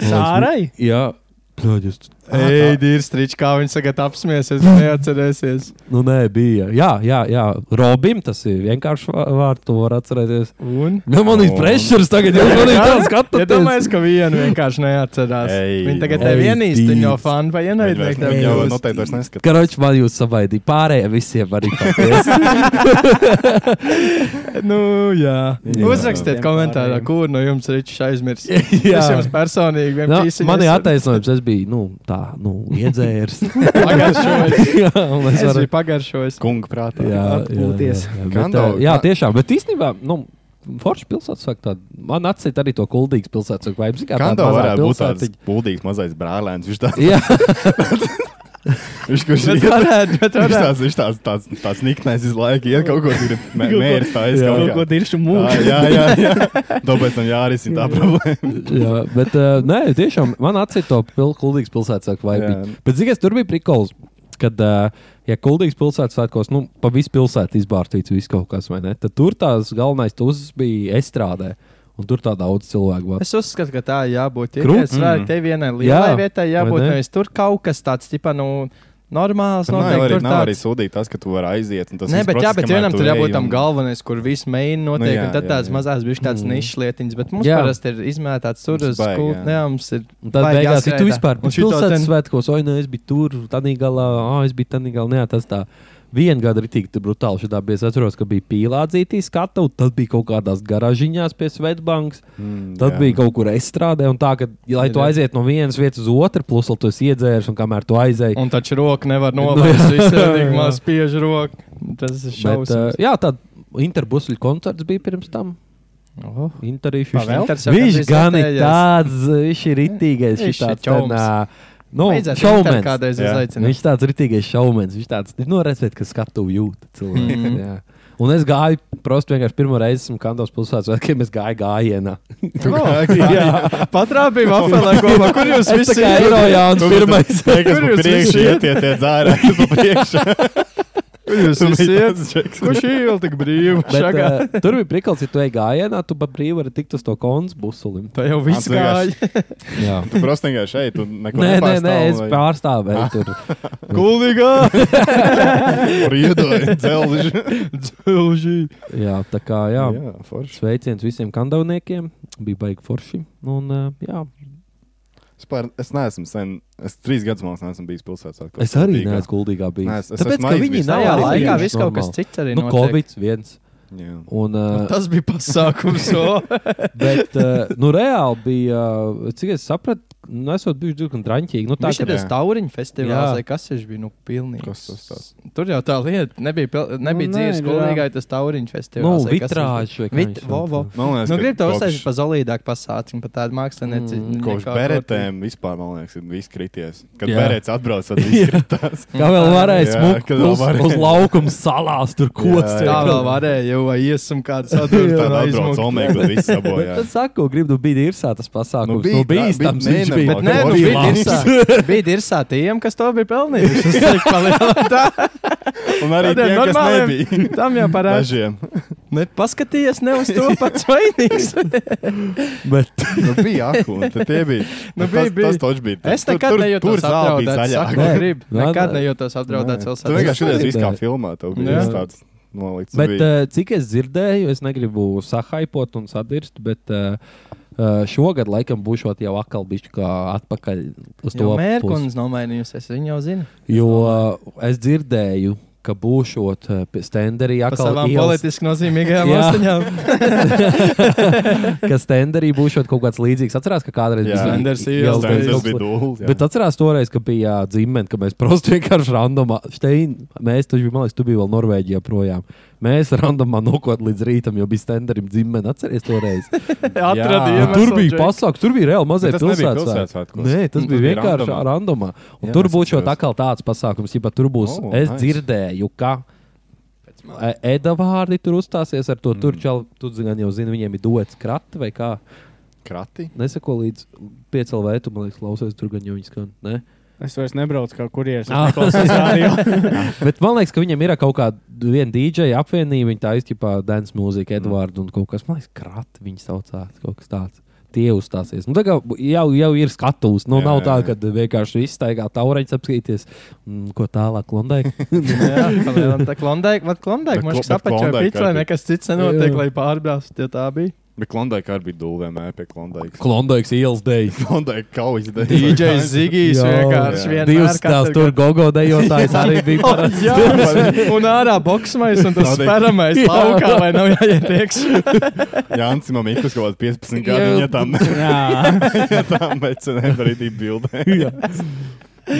Speaker 3: Sārai?
Speaker 1: Jā, plāģis.
Speaker 9: Ei, Dīrs, trīčs, kā viņš tagad
Speaker 1: (laughs)
Speaker 9: apsmiesies, neatcerēsies.
Speaker 1: Nu, nē, bija. Jā, jā, jā. Robim tas ir vienkārši vā- vārds, to var atcerēties.
Speaker 9: Un?
Speaker 1: Nu, man ir
Speaker 2: O.
Speaker 1: pressures tagad, jau
Speaker 9: (laughs)
Speaker 1: man ir tāds
Speaker 9: Ja
Speaker 1: skatījums.
Speaker 9: domājies, ka vienu vienkārši neatcerās.
Speaker 2: Ei,
Speaker 9: Viņa tagad
Speaker 1: Ei,
Speaker 9: tev vienīsti, viņa jau
Speaker 1: Dīts.
Speaker 9: fanu vai
Speaker 2: Viņi vairs-
Speaker 9: ienaidnieku tev
Speaker 2: viņi jau
Speaker 9: jau
Speaker 2: noteikti vairs neskatās.
Speaker 1: Karoči, man jūs savaidīja. Pārējie visiem arī
Speaker 2: (laughs)
Speaker 1: paldies.
Speaker 9: (laughs) Nu, jā. Uzrakstiet
Speaker 3: Tiem
Speaker 9: komentārā,
Speaker 3: pārējiem.
Speaker 9: kur no jums trīčs aizmirst.
Speaker 1: Jā.
Speaker 9: Es jums personīgi
Speaker 1: Nu,
Speaker 9: vienkārši.
Speaker 1: man ir attaisnojums, es biju, nu, tā, nu,
Speaker 2: (laughs)
Speaker 1: iedzērs.
Speaker 9: Pagaršojis.
Speaker 1: (laughs) jā, un es
Speaker 9: Es
Speaker 1: varu.
Speaker 9: biju pagaršojis.
Speaker 2: Kunga prātā.
Speaker 1: Jā,
Speaker 3: atpūties.
Speaker 1: jā, jā. Bet,
Speaker 2: Gandalf,
Speaker 1: ā, jā,
Speaker 2: kā-
Speaker 1: tiešām, bet īstenībā, nu, Forša pilsēta, tā, man atcīt arī to kuldīgas pilsētas vibe. Zini, kā tāda
Speaker 2: Kando
Speaker 1: mazā
Speaker 2: varētu būt tāds
Speaker 1: pilsētiņa.
Speaker 2: būdīgs mazais brālēns. Viņš tāds
Speaker 1: Jā,
Speaker 2: - viņš kurš
Speaker 9: Bet
Speaker 2: iet-
Speaker 9: varētu,
Speaker 2: (laughs)
Speaker 9: bet
Speaker 2: Viņš
Speaker 9: varētu.
Speaker 2: tāds, viņš tāds, tāds, tāds niknais visu laiku, iet kaut ko tur mērķis, tā es
Speaker 3: Kaut ko
Speaker 2: kaut kā.
Speaker 3: diršu
Speaker 2: Jā,
Speaker 3: mūžā.
Speaker 2: jā, jā, jā. Tāpēc tam jārisina tā problēma.
Speaker 1: jā, bet, uh, nē, tiešām, man atcīt to pil kuldīgas pilsētas vibe.
Speaker 2: Jā.
Speaker 1: Bet, zini, kas tur bija prikols, kad, uh, ja kuldīgas pilsētas svētkos, nu, pa visu pilsētu izbārtīts viss kaut kas, vai ne? Tad tur tās galvenais tuzas bija estrādē, un tur tā daudz cilvēku bija.
Speaker 9: Es uzskatu, ka tā jābūt. Ir
Speaker 1: Krū-
Speaker 9: viens vērts, te vienai lielai
Speaker 1: Jā,
Speaker 9: vietai
Speaker 1: vai
Speaker 9: jābūt.
Speaker 1: ne?
Speaker 9: Nevis tur kaut kas tāds, tipa, nu, normāls.
Speaker 2: Nav
Speaker 9: noteikti
Speaker 2: jau arī,
Speaker 9: tur
Speaker 2: nav
Speaker 9: tāds-
Speaker 2: arī sūdīgi tas, ka tu vari aiziet. un Tas
Speaker 9: Nē,
Speaker 2: viss
Speaker 9: bet, jā,
Speaker 2: process,
Speaker 9: bet
Speaker 2: kamēr
Speaker 9: vienam
Speaker 2: tu
Speaker 9: tur
Speaker 2: ej
Speaker 9: jābūt tam
Speaker 2: un-
Speaker 9: galvenais, kur viss mēģina notiek,
Speaker 2: jā,
Speaker 9: un tad
Speaker 2: jā,
Speaker 9: tādas
Speaker 2: jā.
Speaker 9: mazās bija tādas
Speaker 1: Mm.
Speaker 9: nišas lietiņas, bet mums
Speaker 1: Jā.
Speaker 9: parasti ir izmētāts tur
Speaker 2: Mums
Speaker 9: uz
Speaker 2: baigi, jā.
Speaker 9: skūpnēms.
Speaker 1: Un tad
Speaker 9: Vai
Speaker 1: beigās, ja tu
Speaker 9: jāskrēja
Speaker 1: vispār
Speaker 9: tā. Un
Speaker 1: biji
Speaker 9: šito
Speaker 1: pilsētas
Speaker 9: ten-
Speaker 1: svētkos, oi, nē, es biju tur, tādā galā, ah, es biju tādā galā, nē, tas tā. Vienu gadu arī tik brutāli šitā bija. Es atceros, ka bija pīlādzītī skata, un tad bija kaut kādās garažiņās pie Svetbankas.
Speaker 2: Mm,
Speaker 1: Tad
Speaker 2: jā.
Speaker 1: jā. bija kaut kur estrādē, un tā, ka, lai tu
Speaker 9: Jā.
Speaker 1: aiziet no vienas vietas uz otru, plus vēl tu esi iedzēries, un kamēr tu aizēji.
Speaker 9: Un taču roka nevar novērst,
Speaker 1: jā.
Speaker 9: viņš ir tik maz spiež roku. Tas ir
Speaker 1: Bet, uh,
Speaker 9: šausmas.
Speaker 1: jā, tāda interbusļu koncerts bija pirms tam.
Speaker 9: uh, Oho.
Speaker 1: Interīšu
Speaker 9: Pavēl? Inters jau
Speaker 1: Viņš
Speaker 9: gandrīz
Speaker 1: gan ir
Speaker 9: gatējais.
Speaker 1: tāds, viņš ir ritīgais,
Speaker 9: Viņš
Speaker 1: viņš
Speaker 9: ir
Speaker 1: ir
Speaker 9: čoms.
Speaker 1: tāds. Nu,
Speaker 9: Vajadzētu
Speaker 1: šaumens.
Speaker 9: Inter kādreiz
Speaker 2: Jā.
Speaker 9: (laughs) uzaicināt.
Speaker 1: Viņš tāds rītīgais šaumens. Viņš tāds noredzēts, ka skatu jūt cilvēks.
Speaker 9: Mhm.
Speaker 1: jā. Un es gāju, prosti vienkārši pirmo reizi esmu Kandos pilsētas svētkiem, es gāju gājienā.
Speaker 9: Patrāpīja vafelē kopā, kur jūs
Speaker 1: Es tā
Speaker 9: visi
Speaker 1: kā Eirojāns
Speaker 2: Nu, Tu-
Speaker 1: pirmais.
Speaker 2: Tie, kas
Speaker 9: Kur
Speaker 2: pa
Speaker 9: jūs
Speaker 2: priekšu
Speaker 9: visi
Speaker 2: iet, tie tie dzērā, kas pa priekšu.
Speaker 9: Kur jūs
Speaker 2: Tu
Speaker 9: visi
Speaker 2: biji
Speaker 9: iet?
Speaker 2: tāds čeks.
Speaker 9: Kurš ir tik brīvi?
Speaker 1: Bet,
Speaker 9: Šagā.
Speaker 1: uh, tur bija prikals, ja tu ej gājienā, tu pa brīvu vari tikt uz to kons busulim.
Speaker 9: Tā jau viss
Speaker 2: tu vienkārši-
Speaker 9: gāja.
Speaker 1: Jā.
Speaker 2: Tu prosti vienkārši šeit, tu neko
Speaker 1: Nē, nē, nē, es
Speaker 2: nepārstāvi,
Speaker 1: pārstāvēju
Speaker 2: vai-
Speaker 1: tur.
Speaker 9: Kuldīgā!
Speaker 2: Tur iedoju dzelzi.
Speaker 9: Dzelži.
Speaker 1: Jā, tā kā, (laughs) jā. jā.
Speaker 2: Jā, forši.
Speaker 1: Sveiciens visiem kandavniekiem. Bija baigi forši. Un, uh, jā,
Speaker 2: Vispār Es neesmu sen, es trīs gadus malas neesmu bijis pilsētā.
Speaker 1: es arī neesmu guldīgā bijis.
Speaker 2: Nē, es- es
Speaker 1: Tāpēc, ka
Speaker 2: esmu aiz
Speaker 1: viņi
Speaker 2: bijis.
Speaker 1: nav
Speaker 9: Tajā
Speaker 1: arī
Speaker 9: laikā
Speaker 1: bijuši
Speaker 9: viss kaut kas
Speaker 1: normāli.
Speaker 9: cits arī
Speaker 1: Nu,
Speaker 9: notiek.
Speaker 1: Covid viens. Un,
Speaker 2: Nu
Speaker 1: uh,
Speaker 9: Tas bija pasākums. (laughs) o.
Speaker 1: Bet, uh, nu, reāli bija, uh, cik es sapratu, nu, esot bijuši diezgan traņķīgi. Nu, tā,
Speaker 9: Viņš ir
Speaker 1: ka,
Speaker 9: tas
Speaker 2: jā.
Speaker 9: tauriņu
Speaker 1: Jā.
Speaker 9: festivāls, vai kas viņš bija? Nu, pilnīgi.
Speaker 2: Kas tas tāds?
Speaker 9: Tur jau tā lieta nebija, pil-
Speaker 3: nē,
Speaker 9: nebija nu, dzīves
Speaker 3: jā.
Speaker 9: skolīgai, tas tauriņu festivāls.
Speaker 1: nu,
Speaker 9: vai kas viņš bija.
Speaker 1: vitrāžu.
Speaker 9: Vit, vo, vo.
Speaker 2: Man liekas,
Speaker 9: Nu,
Speaker 2: ka
Speaker 9: gribu te
Speaker 2: kopš-
Speaker 9: uztaisīt pa zelīdāku pasākumu, pa tādu mākslinieci.
Speaker 1: Mm.
Speaker 9: nekā
Speaker 2: Kopš
Speaker 9: kaut
Speaker 2: beretēm vispār, man liekas, ir viss krities. Kad
Speaker 1: (laughs) Jā.
Speaker 2: berets atbrauc, tad viss kritās.
Speaker 1: Kā vēl varēja
Speaker 2: Jā,
Speaker 1: smukt
Speaker 2: kad vēl
Speaker 1: uz,
Speaker 2: varēja.
Speaker 1: uz laukuma salās, tur koks.
Speaker 2: Jā,
Speaker 9: kur. Tā vēl varēja, jo vai iesim
Speaker 2: (laughs)
Speaker 1: (laughs)
Speaker 9: kādu
Speaker 2: Tur
Speaker 9: saturu,
Speaker 2: tad
Speaker 9: tad
Speaker 2: atbrauc
Speaker 9: aizmukt.
Speaker 2: omega, tad viss
Speaker 1: Bet (laughs)
Speaker 2: sabojā.
Speaker 1: tad saku, gribu būt Nu, īrsā tas pasākums.
Speaker 2: Nu,
Speaker 1: Nu,
Speaker 2: bija,
Speaker 1: bija, nu, bija, tā,
Speaker 2: tā, bija
Speaker 1: bija,
Speaker 2: mēnesis,
Speaker 1: bija,
Speaker 9: Bet
Speaker 2: Labāk,
Speaker 9: nē, nu,
Speaker 2: labi.
Speaker 9: bija
Speaker 2: Labs.
Speaker 9: dirsā- bija dirsā tiem, kas to bija pelnījuši. Tas ir
Speaker 2: (laughs)
Speaker 9: palielināts.
Speaker 2: Un arī
Speaker 9: Tādiem
Speaker 2: tiem, kas
Speaker 1: (laughs)
Speaker 9: normāliem.
Speaker 2: nebija.
Speaker 9: Tam jau parāda.
Speaker 2: Dažiem.
Speaker 9: Ne, paskatījies ne uz to pats vainīgs.
Speaker 1: (laughs) bet,
Speaker 2: Nu, bija aku, un tad tie bija.
Speaker 9: (laughs)
Speaker 2: Nu,
Speaker 9: Nu, bija,
Speaker 2: tas,
Speaker 9: bija.
Speaker 2: tas toč bija.
Speaker 9: Es
Speaker 2: Tur-
Speaker 9: nekad
Speaker 2: tur- tur
Speaker 9: nejūtos
Speaker 2: zāle bija
Speaker 9: apdraudēts.
Speaker 2: zaļāka. Nu,
Speaker 9: Saku,
Speaker 1: Nē,
Speaker 9: gribu.
Speaker 1: nē,
Speaker 9: Nekad
Speaker 1: nē.
Speaker 9: nejūtos apdraudēts.
Speaker 2: Tu vienkārši
Speaker 1: Tas
Speaker 2: skaties, viss kā
Speaker 1: bija.
Speaker 2: filmā. Tev bija
Speaker 9: Jā.
Speaker 2: viss tāds nolikts.
Speaker 1: bet
Speaker 2: bija-
Speaker 1: uh, cik es dzirdēju, es negribu sahaipot un sadirst, bet uh, uh, šogad laikam būšot jau atkal bišķi kā atpakaļ uz to
Speaker 9: To
Speaker 1: pusi.
Speaker 9: mērķis nav mainījusies. Viņa jau zina.
Speaker 1: Jo uh, es dzirdēju, ka būšot uh, pie stenderī,
Speaker 9: Par
Speaker 1: atkal
Speaker 9: savām
Speaker 1: ielas-
Speaker 9: politiski nozīmīgajām
Speaker 1: Jā. (laughs)
Speaker 9: austiņām.
Speaker 1: ka stenderī būšot kaut kāds līdzīgs. Atcerās, ka kādreiz
Speaker 2: Jā,
Speaker 9: Stenders
Speaker 1: ielas
Speaker 9: ielas,
Speaker 2: Tas bija-
Speaker 1: kaut
Speaker 2: tas
Speaker 1: kas
Speaker 2: bija dūlis. jā.
Speaker 1: Bet atcerās toreiz, ka bija dzimene, ka mēs (laughs) prosti vienkārši randomā, Štein, mēs taču, man liekas, tu biji vēl Norvēģijā projām. Mēs randomā nokot līdz rītam, jo bija stenderim dzimene. Atceries toreiz.
Speaker 9: Atradīja
Speaker 1: Ja,
Speaker 9: iemeslu,
Speaker 1: tur bija
Speaker 9: Džek.
Speaker 1: pasākums, tur bija reāli mazais
Speaker 2: Bet tas nebija
Speaker 1: pilsētas
Speaker 2: pilsētas
Speaker 1: Nē, tas
Speaker 2: svētkos.
Speaker 1: bija
Speaker 2: Tas bija
Speaker 1: vienkārši
Speaker 2: randomā.
Speaker 1: randomā. Un
Speaker 2: Jā,
Speaker 1: tur
Speaker 2: es
Speaker 1: būs jau
Speaker 2: atceros.
Speaker 1: atkal tāds pasākums, ja tur būs.
Speaker 2: Oh,
Speaker 1: Oh, es nice.
Speaker 2: nice.
Speaker 1: dzirdēju, ka e- Eda vārdi tur uzstāsies ar to mm. turčālu. Tu zini, gan jau zini, viņiem ir dots krati vai kā.
Speaker 2: Krati.
Speaker 1: Nesako līdz pieciem vērtībiem, man liekas, klausies tur gan jau viņas skan. Ne?
Speaker 3: Es vairs nebraucu kā kurjeris.
Speaker 1: Ah.
Speaker 3: Es neklausos radio.
Speaker 1: Bet man liekas, ka viņam ir kaut kāda viena dīdžeja Mm. apvienība. Viņa tā izķipā dance mūziku, Edvards un kaut kas. Man liekas, krati viņa saucās. Kaut kas tāds. tie uzstāsies. Nu, tā kā jau, jau ir skatuves. Nu,
Speaker 2: Jā,
Speaker 1: nav tā,
Speaker 2: jā,
Speaker 1: ka vienkārši izstaigā taurēķis apskatīties, mm, ko tālāk Londai.
Speaker 9: Jā, tā ir klondēka. Man klondēka, man
Speaker 2: Bet klo-
Speaker 9: šis
Speaker 2: bet
Speaker 9: apakšā
Speaker 2: Klondaika
Speaker 9: pīts, lai
Speaker 2: arī.
Speaker 9: nekas cits nenotiek,
Speaker 1: Jā.
Speaker 9: lai pārbrāzt, ja tā
Speaker 2: (laughs)
Speaker 9: bija.
Speaker 2: Bet Klondaikā arī bija dūle vienmēr pie (laughs) Klondaikā.
Speaker 1: (laughs) Klondaiks ielas dēļ.
Speaker 2: Klondaikā kaujas dēļ.
Speaker 9: DJ Zigijs
Speaker 1: Jā.
Speaker 9: vienkārši
Speaker 2: Jā.
Speaker 9: vienmēr.
Speaker 1: Divas tās
Speaker 9: katru (laughs)
Speaker 1: tur gogo dejotājs arī bija.
Speaker 9: Oh,
Speaker 1: parasti.
Speaker 9: jā, un ārā boxmais, un tas
Speaker 2: Tādēļ.
Speaker 9: spēramais laukā, lai nav jāiet
Speaker 2: (laughs)
Speaker 9: iekšā.
Speaker 2: Jānis Mamikus kaut kāds 15
Speaker 1: Jā.
Speaker 2: gadu, ja
Speaker 9: (laughs)
Speaker 2: tam
Speaker 3: Jā,
Speaker 2: (laughs) ja tam mecenēm arī bija
Speaker 9: (laughs)
Speaker 2: bildē.
Speaker 1: Jā. (laughs)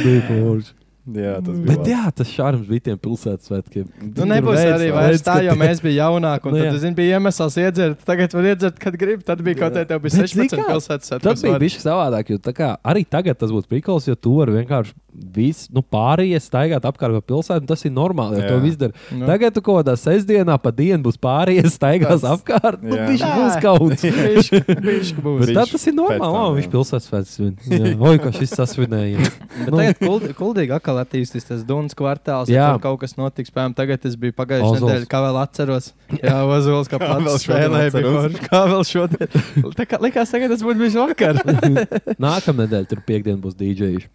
Speaker 1: Bija forši.
Speaker 2: Jā, tas bija.
Speaker 1: Bet
Speaker 2: labi.
Speaker 1: jā, tas šārums bija tiem pilsētasvētkiem.
Speaker 9: Nu, nebūs arī vairs tā, jo mēs bijām jaunāki. Un
Speaker 1: Nu,
Speaker 9: tad,
Speaker 1: jā.
Speaker 9: zini, bija iemesls iedzert. Tagad var iedzert, kad grib. Tad bija kaut kā tev bija
Speaker 1: Bet, zini
Speaker 9: 16
Speaker 1: kā?
Speaker 9: pilsētas.
Speaker 1: Tas bija
Speaker 9: (laughs)
Speaker 1: bijis savādāk, jo tā kā, arī tagad tas būtu prikals, jo tu vari vienkārši visu nu, pārējie staigāt apkārt pa pilsētu. un Tas ir normāli, ja
Speaker 2: Jā.
Speaker 1: to viss dara.
Speaker 9: Nu.
Speaker 1: Tagad tu kaut kādā sestdienā pa dienu būs pārējie staigās
Speaker 9: Tas-
Speaker 1: apkārt. Nu,
Speaker 2: Jā.
Speaker 1: viņš būs kaut
Speaker 9: (laughs)
Speaker 1: kas. Bet
Speaker 9: grūti.
Speaker 1: tā
Speaker 2: Viņš
Speaker 1: tas ir normāli.
Speaker 2: pēc tam,
Speaker 1: Tam,
Speaker 2: jā.
Speaker 1: viņš pilsētas svētdien. Oi, kā šis
Speaker 9: (laughs)
Speaker 1: sasvinēja. Nu. (laughs)
Speaker 9: Tagad kuld- kuldīgi atkal attīstīs tas Dunas kvartāls.
Speaker 1: Jā.
Speaker 9: Jā, tur kaut kas notiks. Piemēram, tagad tas bija pagājušā
Speaker 1: Ozols.
Speaker 9: nedēļa, kā vēl atceros. Jā, Ozols, kā
Speaker 2: Jā, vēl šodien
Speaker 9: pats spēlēja. bija
Speaker 2: atceros.
Speaker 9: forši. Kā vēl šodien? Tā kā likās, tagad tas būtu bijis vakar.
Speaker 1: Nākamnedēļ tur piekdien būs dīdžejs.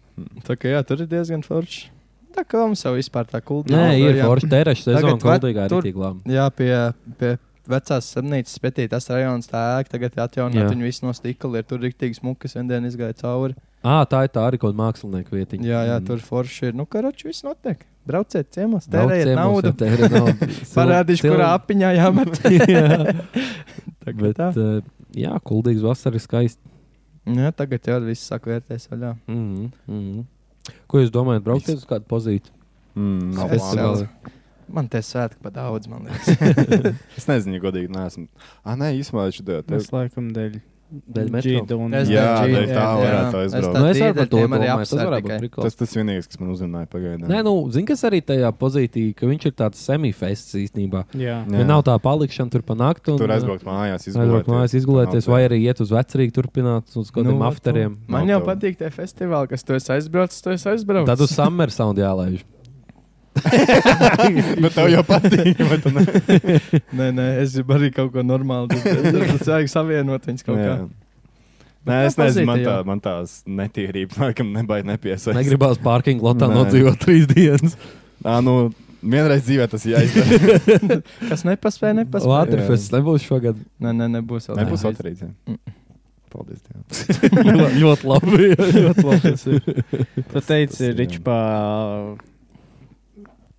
Speaker 9: Tā kā jā, tur ir diezgan forši. Tā kā mums jau vispār tā kuldīga.
Speaker 1: Nē, ir forši terēša sezona,
Speaker 9: nu, Tagad vai-
Speaker 1: kuldīgā ir
Speaker 9: tur-
Speaker 1: tik laba.
Speaker 9: Jā, pie, pie vecās slimnīcas pētī tas rajonus tā ēka tagad ir
Speaker 1: Jā.
Speaker 9: atjaunot. Viņi visi no stikla ir tur rīktīgi smukas, un diena izgāja cauri.
Speaker 1: Ā, tā ir tā arī kaut kāda mākslinieka vietiņa.
Speaker 9: Jā, jā,
Speaker 1: Mm.
Speaker 9: tur forši ir. Nu, karači, viss notiek. Brauciet ciemos,
Speaker 1: Brauc
Speaker 9: tērējiet
Speaker 1: ciemos
Speaker 9: naudu.
Speaker 1: un Tērē
Speaker 9: (laughs)
Speaker 1: naudu.
Speaker 9: Parādīšu,
Speaker 1: Cil-
Speaker 9: kurā apiņā jāmet.
Speaker 1: (laughs) Jā.
Speaker 9: Tā kā
Speaker 1: Bet,
Speaker 9: tā.
Speaker 1: uh, jā, kuldīgs vasarā ir skaisti.
Speaker 9: eh, nu Jā, tagad jau viss sāk vērtēties vaļā.
Speaker 1: Mm -hmm.
Speaker 9: mhm.
Speaker 1: Ko jūs domājat? Brauciet uz kādu pozīciju?
Speaker 2: Mm, nav
Speaker 9: Es
Speaker 2: plānota.
Speaker 9: vēl- Man te svētki pa daudz, man liekas.
Speaker 2: Es nezinu, ja godīgi, neesmu. Ah, nē, īstenībā viņš to
Speaker 3: tas laikam dēļ.
Speaker 1: Dēļ metro.
Speaker 3: Džida un
Speaker 2: Es
Speaker 9: nezinu,
Speaker 2: Jā,
Speaker 9: G,
Speaker 2: dēļ tā varētu
Speaker 9: jā.
Speaker 2: aizbraukt.
Speaker 9: Es
Speaker 1: Nu,
Speaker 9: tā
Speaker 1: es varu par
Speaker 9: tīdēļ
Speaker 1: to
Speaker 9: tiem arī
Speaker 1: domāt. Tas
Speaker 9: apsver
Speaker 1: varētu būt
Speaker 2: Tas
Speaker 9: tikai.
Speaker 1: prikals.
Speaker 2: tas vienīgais, kas man uzrunāja pagaidām.
Speaker 1: Nē, nu, zini, kas arī tajā pozīcijā, ka viņš ir tāds semifests īstenībā.
Speaker 3: Jā,
Speaker 1: (laughs)
Speaker 2: Jā.
Speaker 1: Ja nav tā palikšana tur pa nakti. un,
Speaker 2: tur
Speaker 1: uh,
Speaker 2: aizbraukt mājās,
Speaker 1: Aizbraukt mājās, izgulēties, vai arī iet uz vecrīgu, turpināt uz kaut kādiem
Speaker 9: Nu,
Speaker 1: nu,
Speaker 9: tu-
Speaker 1: afteriem.
Speaker 9: Man jau
Speaker 2: Nav tev.
Speaker 9: patīk tie festivāli, kas tu esi aizbraucis, tu esi aizbraucis.
Speaker 1: Tad uz summer sound jālaiž.
Speaker 2: Bet tev jau patīk. vai tu ne?
Speaker 9: Nē, nē, es gribu arī kaut ko
Speaker 1: (laughs)
Speaker 9: normālu. Tas vajag savienot viņus kaut kā.
Speaker 2: Jā. Nē,
Speaker 9: tā
Speaker 2: es nezinu, man,
Speaker 9: pozīcija,
Speaker 2: tā,
Speaker 9: jā.
Speaker 2: man tās netīrības, laikam, nebaidās nepiesaistīt.
Speaker 1: Negribās parking lotā
Speaker 2: Nē.
Speaker 1: nodzīvot trīs dienas.
Speaker 2: Tā, nu, vienreiz dzīvē tas jāizdara.
Speaker 1: (laughs)
Speaker 9: Kas nepaspēja, nepaspēja.
Speaker 1: Latvijas nebūs šogad. (laughs)
Speaker 9: Nē, (laughs) nē, nebūs vēl.
Speaker 2: Nebūs otrīt. jā. Paldies. Dievam.
Speaker 1: ļoti labi.
Speaker 9: Ļoti labi tas ir.
Speaker 3: tu teici,
Speaker 2: ir, jā.
Speaker 3: Ričpā,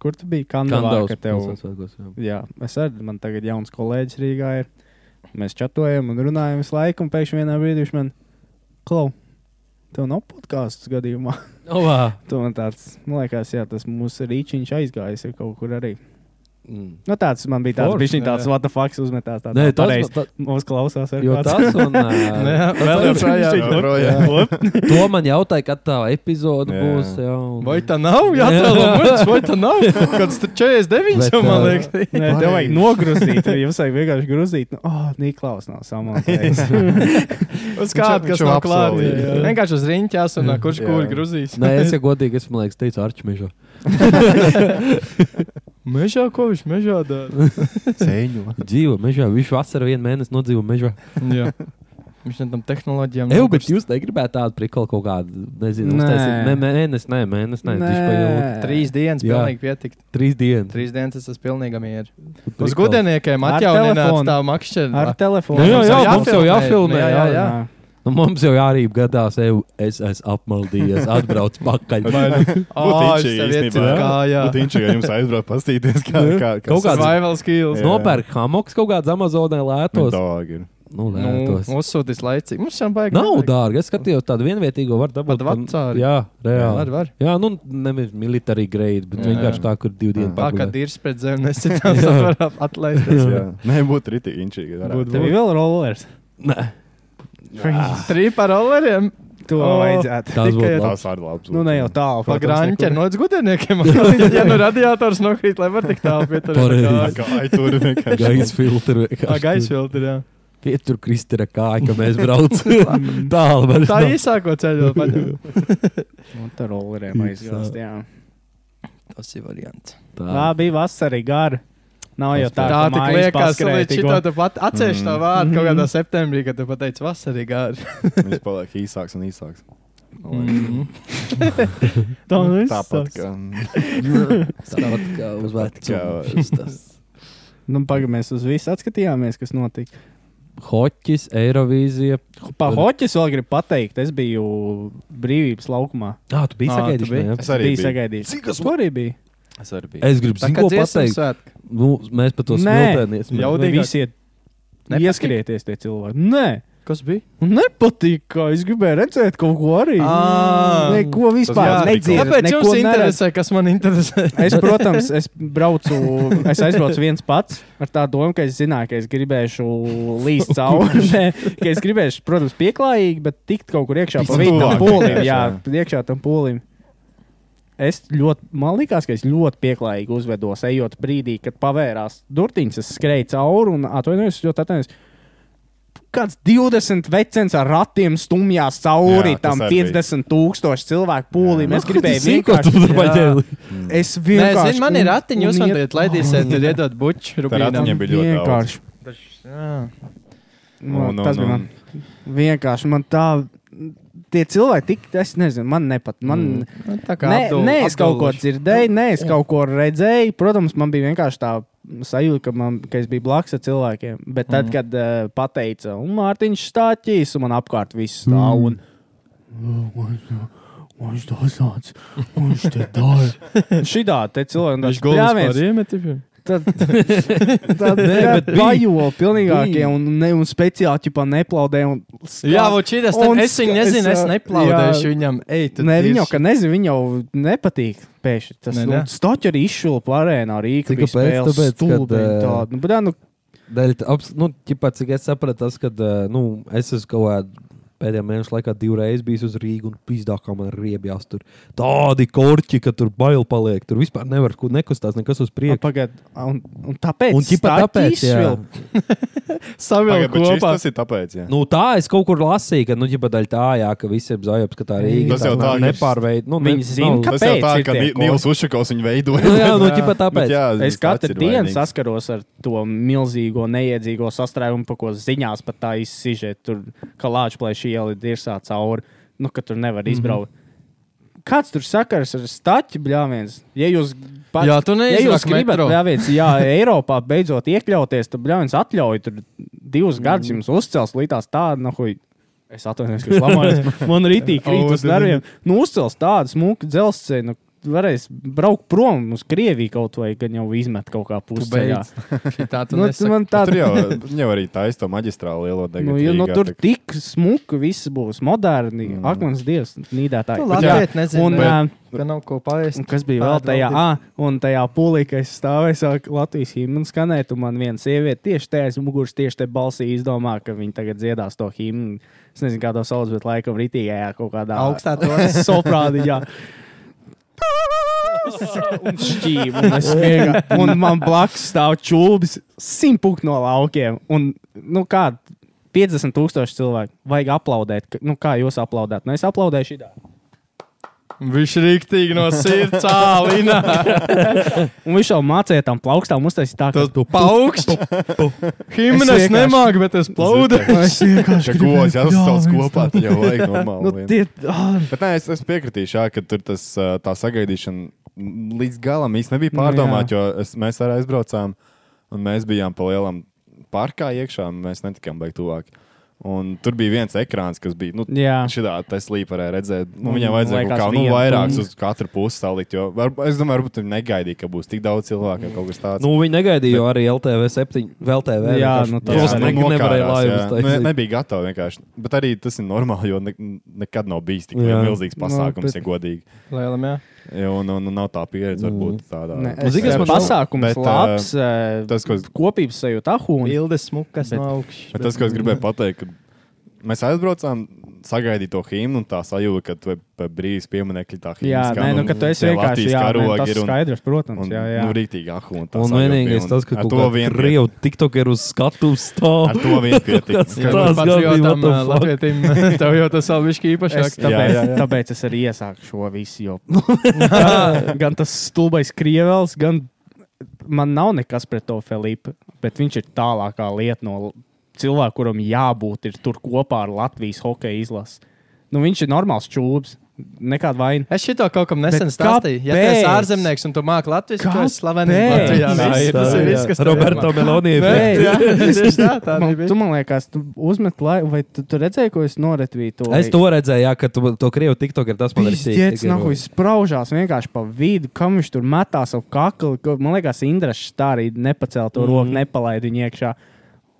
Speaker 3: kur tu biji? Kandavā,
Speaker 1: Kandavs.
Speaker 3: ka tev
Speaker 1: pilsētvētkos, jā.
Speaker 3: Jā, es arī man tagad jauns kolēģis Rīgā ir. Mēs čatojam un runājam visu laiku, un pēkšņi vienā brīdī viņš man klau. Tev nav podkāstu gadījumā. (laughs)
Speaker 1: Ovā.
Speaker 3: Tu man tāds, man liekas, jā, tas mūsu rīčiņš aizgājis ir kaut kur arī.
Speaker 1: Mm.
Speaker 3: Nu, tāds man bija tāds,
Speaker 1: Forši,
Speaker 3: viņš
Speaker 9: jā,
Speaker 3: bija tāds,
Speaker 9: jā.
Speaker 3: what the fuck, uzmetās tāds. "Nu,
Speaker 1: Nē, tas
Speaker 3: pareizi.
Speaker 1: tas-
Speaker 3: Mums klausās arī.
Speaker 9: (laughs)
Speaker 1: Jo
Speaker 3: (laughs)
Speaker 1: tas un
Speaker 9: Nē,
Speaker 1: ā,
Speaker 9: vēl jau (laughs) šajā.
Speaker 2: Jā, projām.
Speaker 1: to man jautāja, kad tā epizode
Speaker 2: Jā.
Speaker 1: būs. Jā, un...
Speaker 9: Vai tā nav? Jā, tā nav. Vai tā nav? Kāds tur 49
Speaker 1: Bet,
Speaker 9: jau
Speaker 1: ā,
Speaker 9: man liekas.
Speaker 3: Nē, tev vajag nogrūzīt. Jums vajag vienkārši grūzīt. Nu, oh, Niklaus nav samantojis.
Speaker 9: Uz
Speaker 2: Viņš
Speaker 9: kādu, kas
Speaker 2: jau
Speaker 9: nav klāts.
Speaker 2: apsolīja, jā.
Speaker 9: Vienkārši uz riņķās un ā, kurš
Speaker 2: Jā.
Speaker 9: kūri
Speaker 1: (laughs)
Speaker 9: grūzīs.
Speaker 1: Nē, es ja godīgi, es man liekas, teicu Arčmīžu.
Speaker 9: (laughs) Mežā ko viņš mežā dara?
Speaker 2: Ceļu.
Speaker 1: Dzīvo mežā, viņš vasarā vienu mēnesi nodzīvo mežā.
Speaker 9: Jā. Viņš no tam tehnoloģijām.
Speaker 1: Eju,
Speaker 9: nav
Speaker 1: bet
Speaker 9: kurš-
Speaker 1: jūs negribat tādu prikolu kaut kādu, nezinu,
Speaker 3: Nē.
Speaker 1: uztaisīt. Nē, mēnesis, nē, mēnesis, (laughs) nē, viņš pa ilgi.
Speaker 9: Trīs dienas
Speaker 1: Jā.
Speaker 9: pilnīgi pietikt.
Speaker 1: Trīs dienas.
Speaker 9: Trīs dienas tas tas pilnīgi mieru.
Speaker 1: Prikoli.
Speaker 9: Uz gudrniekiem
Speaker 3: Ar
Speaker 9: atjaunināt
Speaker 3: telefonu.
Speaker 9: tā makšķerē.
Speaker 3: Ar telefonu.
Speaker 1: Nu, jā, jā,
Speaker 9: Mums jau
Speaker 1: mums jau
Speaker 9: jāfilmē,
Speaker 1: jāfilmē.
Speaker 9: jā,
Speaker 1: Jā, jā.
Speaker 9: jā.
Speaker 1: Nu, mums jau arī gadās, eju, es esmu apmaldījies, atbrauc
Speaker 9: (laughs)
Speaker 1: pakaļ.
Speaker 9: nu? Ā,
Speaker 2: Būtu
Speaker 9: es tev
Speaker 2: īņķīgi,
Speaker 9: ieceru kājā.
Speaker 2: Būtu īņķīgi, Nu, ja jums aizbraukt pastīties, kā,
Speaker 1: Nu,
Speaker 2: kā, kā
Speaker 1: kaut kāds-
Speaker 9: Survival skills.
Speaker 2: Jā.
Speaker 1: Nopērk hamoks kaut kāds Amazonē lētos.
Speaker 2: Dāgi ir.
Speaker 1: Nu,
Speaker 9: Nu,
Speaker 1: lētos.
Speaker 9: uzsūtīs laicīgi. Mums jau baigi.
Speaker 1: Nav
Speaker 9: nevajag.
Speaker 1: dārgi. Es skatījos tādu vienvietīgo, var dabūt.
Speaker 9: Pat vecāri.
Speaker 1: Jā, reāli.
Speaker 9: Var, var.
Speaker 1: Jā, nu, nevis militārī grade, bet
Speaker 9: Jā, jā.
Speaker 1: vienkārši tā, kur divi dienu
Speaker 9: Tā kā
Speaker 1: pagulēt.
Speaker 9: dīrs pret zemi nesitām, tad var atlaisties.
Speaker 2: Jā. Nē, būtu rītīgi īņķīgi. varētu.
Speaker 3: Tev ir vēl rollers.
Speaker 9: Trīs par rolleriem.
Speaker 3: To
Speaker 9: O.
Speaker 3: vajadzētu.
Speaker 1: Oh. Tas būtu
Speaker 9: Tikai-
Speaker 1: labi.
Speaker 2: Tās arī labs.
Speaker 3: Nu, ne jau nu, tālu.
Speaker 9: Pa
Speaker 3: protams,
Speaker 9: grāņķi
Speaker 3: nekur.
Speaker 9: no (laughs) gudrniekiem. Ja nu radiators nokrīt, lai var tik tālu
Speaker 1: Pareizi.
Speaker 9: pieturēt.
Speaker 2: Kā ai, tur vienkārši.
Speaker 1: (laughs) Gaisa filtri.
Speaker 9: Tā gaisa filtra, jā.
Speaker 1: Pietur Kristera kāja, ka mēs
Speaker 9: (laughs)
Speaker 1: braucam tālu. bet
Speaker 9: Tā
Speaker 1: nav.
Speaker 9: īsāko ceļu vēl paņem.
Speaker 3: Un tā
Speaker 9: Hm.
Speaker 3: rolleriem aizgāzt. Jā.
Speaker 9: Tas ir variants.
Speaker 1: Tā.
Speaker 3: Tā bija vasara gara. Nav jau tā,
Speaker 9: Tā
Speaker 3: ka
Speaker 9: tik Mm.
Speaker 3: mājas
Speaker 9: liekas, ka
Speaker 3: paskrēja
Speaker 9: līdz
Speaker 3: tikko.
Speaker 9: šitā tu pat atceries tā vārdu kaut kādā septembrī, kad tu pateici vasarīgā.
Speaker 2: Viņš paliek īsāks un īsāks. Mm.
Speaker 3: Tā Nu, viss
Speaker 2: Tāpat
Speaker 3: tas.
Speaker 2: kā
Speaker 6: Tāpat kā uz
Speaker 2: kā-
Speaker 6: vecumu.
Speaker 3: Nu, Pagaidām, mēs uz visu atskatījāmies, kas notika.
Speaker 6: Hoķis, Eirovīzija.
Speaker 3: Par hoķis vēl gribu pateikt, es biju brīvības laukumā.
Speaker 6: Jā, tu biji
Speaker 9: Ā, tu
Speaker 6: sagaidījis.
Speaker 9: biji?
Speaker 6: ne, jā?
Speaker 2: es arī
Speaker 3: biju sagaidījis. Cik tas arī bija?
Speaker 2: Es arī biju.
Speaker 6: Es gribu zināt, ko pateikt. Nu, mēs par to
Speaker 3: Nē.
Speaker 6: smiltēmies.
Speaker 9: Jā.
Speaker 3: Jau
Speaker 9: Jaudīgāk?
Speaker 3: Nu, visi iet,
Speaker 9: Nepatīk?
Speaker 3: ieskrieties tie cilvēki. Nē,
Speaker 9: Kas bija?
Speaker 3: un nepatīk, kā es gribēju redzēt kaut ko arī.
Speaker 9: Ā.
Speaker 3: Neko vispār
Speaker 2: Tas bija
Speaker 3: nedzirdu.
Speaker 9: Kāpēc
Speaker 3: neko
Speaker 9: jums
Speaker 3: neredzu.
Speaker 9: interesē, kas man interesē?
Speaker 3: (laughs) Es, protams, es braucu, es aizbraucu viens pats ar tā domu, ka es zināju, ka es gribēšu
Speaker 2: (laughs)
Speaker 3: līst cauri. (laughs) Nē, ka es gribēšu, protams, pieklājīgi, bet tikt kaut kur iekšā pa
Speaker 2: Tikt
Speaker 3: vidu tam
Speaker 2: tuvāk
Speaker 3: pūlim.
Speaker 2: vienkārši,
Speaker 3: Jā,
Speaker 2: jā.
Speaker 3: iekšā tam pūlim. Es ļoti, man liekas, ka es ļoti pieklājīgi uzvedos, ejot brīdī, kad pavērās durtiņas, es skrēju cauri un atvainojos, es ļoti atvainojos. Kāds 20 vecens ar ratiem stumjās cauri
Speaker 2: Jā,
Speaker 3: jā,
Speaker 2: tas
Speaker 3: tam
Speaker 2: arī bija.
Speaker 3: 50 tūkstošu cilvēku pūlim. Es gribēju
Speaker 6: ko tu
Speaker 3: vienkārši
Speaker 6: tur paģēli.
Speaker 2: Mm.
Speaker 3: Es
Speaker 9: Nē,
Speaker 3: vienkārši.
Speaker 9: zinu, man ir ratiņi, jūs man
Speaker 3: iet-
Speaker 9: tagad laidīsiet, tad iedod buču
Speaker 2: Tā
Speaker 9: rubīnam.
Speaker 2: ratiņiem bija ļoti
Speaker 3: vienkārši.
Speaker 9: Jā.
Speaker 3: No,
Speaker 2: Un, un,
Speaker 3: nu, tas bija man.
Speaker 2: un-
Speaker 3: Vienkārši man tā. Tie cilvēki, tik, es nezinu, man nepatīk. Man... Mm.
Speaker 9: Nu, Tā kā
Speaker 3: Nē,
Speaker 9: Abdul-
Speaker 3: nē, es kaut ko
Speaker 9: Abdulluši.
Speaker 3: dzirdēju, nē, es kaut ko redzēju. Protams, man bija vienkārši tā sajūta, ka, man, ka es biju blakus cilvēkiem. Bet tad, mm. kad uh, pateica, un Mārtiņš stāstīs, un man apkārt viss
Speaker 9: Mm.
Speaker 3: stāv. Un... Viņš to sācis. Viņš to dara. Šidā te cilvēkam
Speaker 9: Viņš gulēja viens. Iemetī,
Speaker 6: (laughs)
Speaker 3: Tad, tad nē, bet bajo pilnīgākie un, ne, un speciāli ķipā neplaudē. Un,
Speaker 9: jā, vot šī tas,
Speaker 3: Un
Speaker 9: es viņu
Speaker 3: ska-
Speaker 9: nezinu, es
Speaker 3: es, ā,
Speaker 9: neplaudēšu
Speaker 3: jā.
Speaker 9: viņam. Ej, tu
Speaker 3: Nē, viņa jau,
Speaker 9: tīrs.
Speaker 3: ka nezinu, viņa jau nepatīk pēkšņi. Tas nu,
Speaker 9: Nē, nē.
Speaker 3: stoķi arī izšūpa arēnā ar īku.
Speaker 6: Cik kāpēc? Tāpēc, kad, eh,
Speaker 3: tādu. Nu, bet, jā, nu,
Speaker 6: Daļa, tā aps, nu, ķipā, cik es sapratu, tas, ka nu, es esmu kaut kādā pēdējā mēneša laikā divreiz bijis uz Rīgas un pizdā, kā man riebjās tur. Tādi korķi, ka tur bail paliek. Tur vispār nevar ku- nekustās nekas uz
Speaker 3: a,
Speaker 6: priekšu.
Speaker 3: pagad, nu, un, un tāpēc.
Speaker 6: Un ķipa tāpēc, jā.
Speaker 3: izšvilp.
Speaker 9: savilk
Speaker 2: Pagaid, bet šis
Speaker 9: kopā.
Speaker 2: Tas ir tāpēc, jā.
Speaker 6: Nu, tā es kaut kur lasīju, ka, nu, ķipa, daļa tā, jā, ka visiem zvaigznājiem, ka tā Rīga
Speaker 2: Tas jau tā, ka-
Speaker 6: nepārveid. Nu,
Speaker 3: Viņi zina,
Speaker 6: nav-
Speaker 3: ka-
Speaker 2: Tas jau
Speaker 3: kāpēc
Speaker 2: tā,
Speaker 3: ir
Speaker 2: ka
Speaker 3: tie
Speaker 2: Ni-
Speaker 3: ko-
Speaker 2: Nils Ušakovs viņu veidoja.
Speaker 6: Nu, jā, nu, ķipa, tāpēc.
Speaker 2: (laughs) Bet jā,
Speaker 3: Es
Speaker 2: tas
Speaker 3: katru
Speaker 2: ir
Speaker 3: dienu
Speaker 2: vainīgs.
Speaker 3: saskaros ar to milzīgo, neiedzīgo sastrēgumu, pa ko ziņās pat tā izsižē. Tur kā lāčplēša iela ir dirsā cauri, nu, ka tur
Speaker 2: Mhm.
Speaker 3: nevar izbraukt. Mm -hmm. Kāds tur sakars ar staķu bļāviens? Ja jūs pat,
Speaker 9: Jā, tu
Speaker 3: ja jūs
Speaker 9: neizrāk
Speaker 3: gribat
Speaker 9: metro.
Speaker 3: bļāviens, jā, Eiropā beidzot iekļauties, tad bļāviens atļauj tur divus
Speaker 2: Mhm.
Speaker 3: gadus jums uzcels līdās tādu, nu, hui. Es atvainojos, ka es
Speaker 2: (laughs)
Speaker 3: lamājos. Man rītī krīt uz nerviem. Nu, uzcels tādu smuku dzelzceļu. Nu, varēs braukt prom uz Krieviju kaut vai gan jau izmet kaut kā
Speaker 9: Tu
Speaker 3: pusceļā.
Speaker 9: beidz. Šitā tu
Speaker 3: Nu,
Speaker 9: nesaki.
Speaker 3: man
Speaker 2: Nu, (laughs) Tur
Speaker 3: tāda
Speaker 2: jau, jau arī taisa to maģistrālu lielo degunu.
Speaker 3: Nu, ja, nu, tur tik smuka, viss būs moderni, mm. akmens dievs, nīdētāji.
Speaker 9: Tu
Speaker 3: Bet
Speaker 9: labi,
Speaker 3: jā,
Speaker 9: bet nezinu,
Speaker 3: un,
Speaker 9: bet-
Speaker 3: ā,
Speaker 9: Ka nav ko paēst.
Speaker 3: Un kas bija vēl tajā, ah, un tajā pūlī, ka es stāvēju, sāku Latvijas himnu skanēt, un man viena sieviete tieši tajā aiz muguras, tieši tajā balsī izdomā, ka viņa tagad dziedās to himnu. Es nezinu, kā to sauc, bet laikam rītīgajā kaut kādā (laughs)
Speaker 9: Augstā tonā.
Speaker 3: tonā. Soprādi, jā. (laughs) un šķīvi, un es vienkārši, un man blakus stāv čūlis simtpunktu no laukiem, un, nu, kā 50 tūkstoši cilvēku vajag aplaudēt, Ka- nu, kā jūs aplaudēt, nu, es aplaudēju šī tādā.
Speaker 9: Viņš rīktīgi
Speaker 3: (laughs)
Speaker 9: no sirds ālina.
Speaker 3: Un viņš jau mācīja tam plaukstām uztaisīt tā, ka
Speaker 9: Tas tu paukst. Himnes
Speaker 3: Es vienkārši-
Speaker 9: nemāk, bet es plaudu.
Speaker 2: Es vienkārši gribēju, ka tas kopā tad jau vajag normāli.
Speaker 3: nu,
Speaker 2: vienu.
Speaker 3: tie, ah,
Speaker 2: Bet nē, es, es piekritīšu, jā, ka tur tas, ā, tā sagaidīšana m, līdz galam īsti
Speaker 3: Nu,
Speaker 2: nebija pārdomāta, jo es, mēs arī aizbraucām un mēs bijām pa lielam parkā iekšā, un mēs netikām beigt tuvāk. Un tur bija viens ekrāns, kas bija nu,
Speaker 3: Jā.
Speaker 2: šitā tā slīpa, varēja redzēt. Nu,
Speaker 3: Un
Speaker 2: viņam vajadzēja
Speaker 3: liekas
Speaker 2: kaut kā nu,
Speaker 3: vienu
Speaker 2: vairākus
Speaker 3: bumbu.
Speaker 2: uz katru pusi salikt. Jo, var, es domāju, varbūt viņi negaidīja, ka būs tik daudz cilvēku vai kaut kas tāds.
Speaker 6: Nu, viņi negaidīja jo arī LTV 7, VLTV.
Speaker 3: Jā, nu, tas-
Speaker 6: tas
Speaker 3: Jā,
Speaker 2: nu,
Speaker 6: nevarēja
Speaker 2: nokārās, jā.
Speaker 6: laivas.
Speaker 2: Nu, ne, nebija gatava vienkārši. Bet arī tas ir normāli, jo ne, nekad nav bijis tik
Speaker 6: Jā.
Speaker 2: milzīgs
Speaker 3: Nu,
Speaker 2: pasākums,
Speaker 3: bet-
Speaker 2: ja godīgi.
Speaker 9: Lielam, jā.
Speaker 2: Jā, un, un, un nav tā pieredze, varbūt tādā.
Speaker 3: ne,
Speaker 2: Nu,
Speaker 3: es, Zinu,
Speaker 2: zini, kas man-
Speaker 3: pasākums
Speaker 2: Bet,
Speaker 3: bet,
Speaker 2: ā,
Speaker 3: labs, uh,
Speaker 2: Tas, ko es,
Speaker 3: kopības sajūta, ahūna.
Speaker 9: Ildes smukas
Speaker 3: Bet-
Speaker 9: no augšas.
Speaker 2: bet tas, ko es gribēju pateikt, kad mēs aizbraucām, sagaidīju to himnu, un tā sajūta, ka tu brīvs pieminekļi tā himna.
Speaker 3: Jā,
Speaker 2: skan,
Speaker 3: nē, nu,
Speaker 2: un
Speaker 3: ka tu esi
Speaker 2: tie
Speaker 3: vienkārši
Speaker 2: Latvijas
Speaker 3: jā, nē,
Speaker 2: karogi
Speaker 3: tas
Speaker 2: ir un-
Speaker 3: skaidrs, protams,
Speaker 2: Un,
Speaker 3: jā, jā.
Speaker 2: nu, rīktīgi, ah, un tā
Speaker 6: Un
Speaker 2: sajūta bija,
Speaker 6: vienīgais
Speaker 2: un
Speaker 6: tas, ka
Speaker 2: ar
Speaker 6: kaut
Speaker 2: to
Speaker 6: kāda
Speaker 2: vien
Speaker 6: krievu tiktokeru uz skatuves
Speaker 2: Ar
Speaker 6: stāv.
Speaker 2: to vien pietika.
Speaker 6: Tas
Speaker 9: Kā
Speaker 6: tās gan
Speaker 9: par
Speaker 6: bija,
Speaker 9: patriotam,
Speaker 6: what the
Speaker 9: ā,
Speaker 6: fuck?
Speaker 9: Latvietim, (laughs) tev jau tas vēl bišķi
Speaker 3: Es,
Speaker 9: īpašāk.
Speaker 2: tā-
Speaker 3: tāpēc, jā,
Speaker 2: jā,
Speaker 3: jā.
Speaker 2: jā.
Speaker 3: tāpēc es arī (laughs) iesāku šo visu. Jo... gan, gan tas stulbais krievels, gan man nav nekas pret to Filipu, bet viņš ir tālākā lieta no cilvēka, kuram jābūt ir tur kopā ar Latvijas hokeja izlasi. Nu, viņš ir normāls čūlis, nekāda vaina.
Speaker 9: Es šito kaut kam nesen
Speaker 3: Bet
Speaker 9: stāstīju. Ja tu esi
Speaker 3: kāpēc?
Speaker 9: ārzemnieks un tu māki latviešu, tad esi slavenīgs
Speaker 3: Kāpēc?
Speaker 9: Latvijā.
Speaker 3: Jā,
Speaker 9: Viss,
Speaker 3: ir
Speaker 9: Tas
Speaker 3: tā,
Speaker 9: ir viss, kas tev jāmāk.
Speaker 1: Melonija.
Speaker 9: Nē, jā, tieši tā, tā
Speaker 3: Man,
Speaker 9: arī bija.
Speaker 3: Nu, tu man liekas, tu uzmet laiku, vai tu, tu redzēji, ko es noretvīju to?
Speaker 1: Es to redzēju, jā, ka tu to krievu tiktok ir tas, man ir
Speaker 3: Pīķis
Speaker 1: nu.
Speaker 3: nav viņš spraužās vienkārši pa vidu, kam viņš tur metās ap kaklu. Ko- Man liekas, Indrašs tā arī nepacēla to mm.
Speaker 1: Mhm.
Speaker 3: roku, nepalaida viņu iekšā.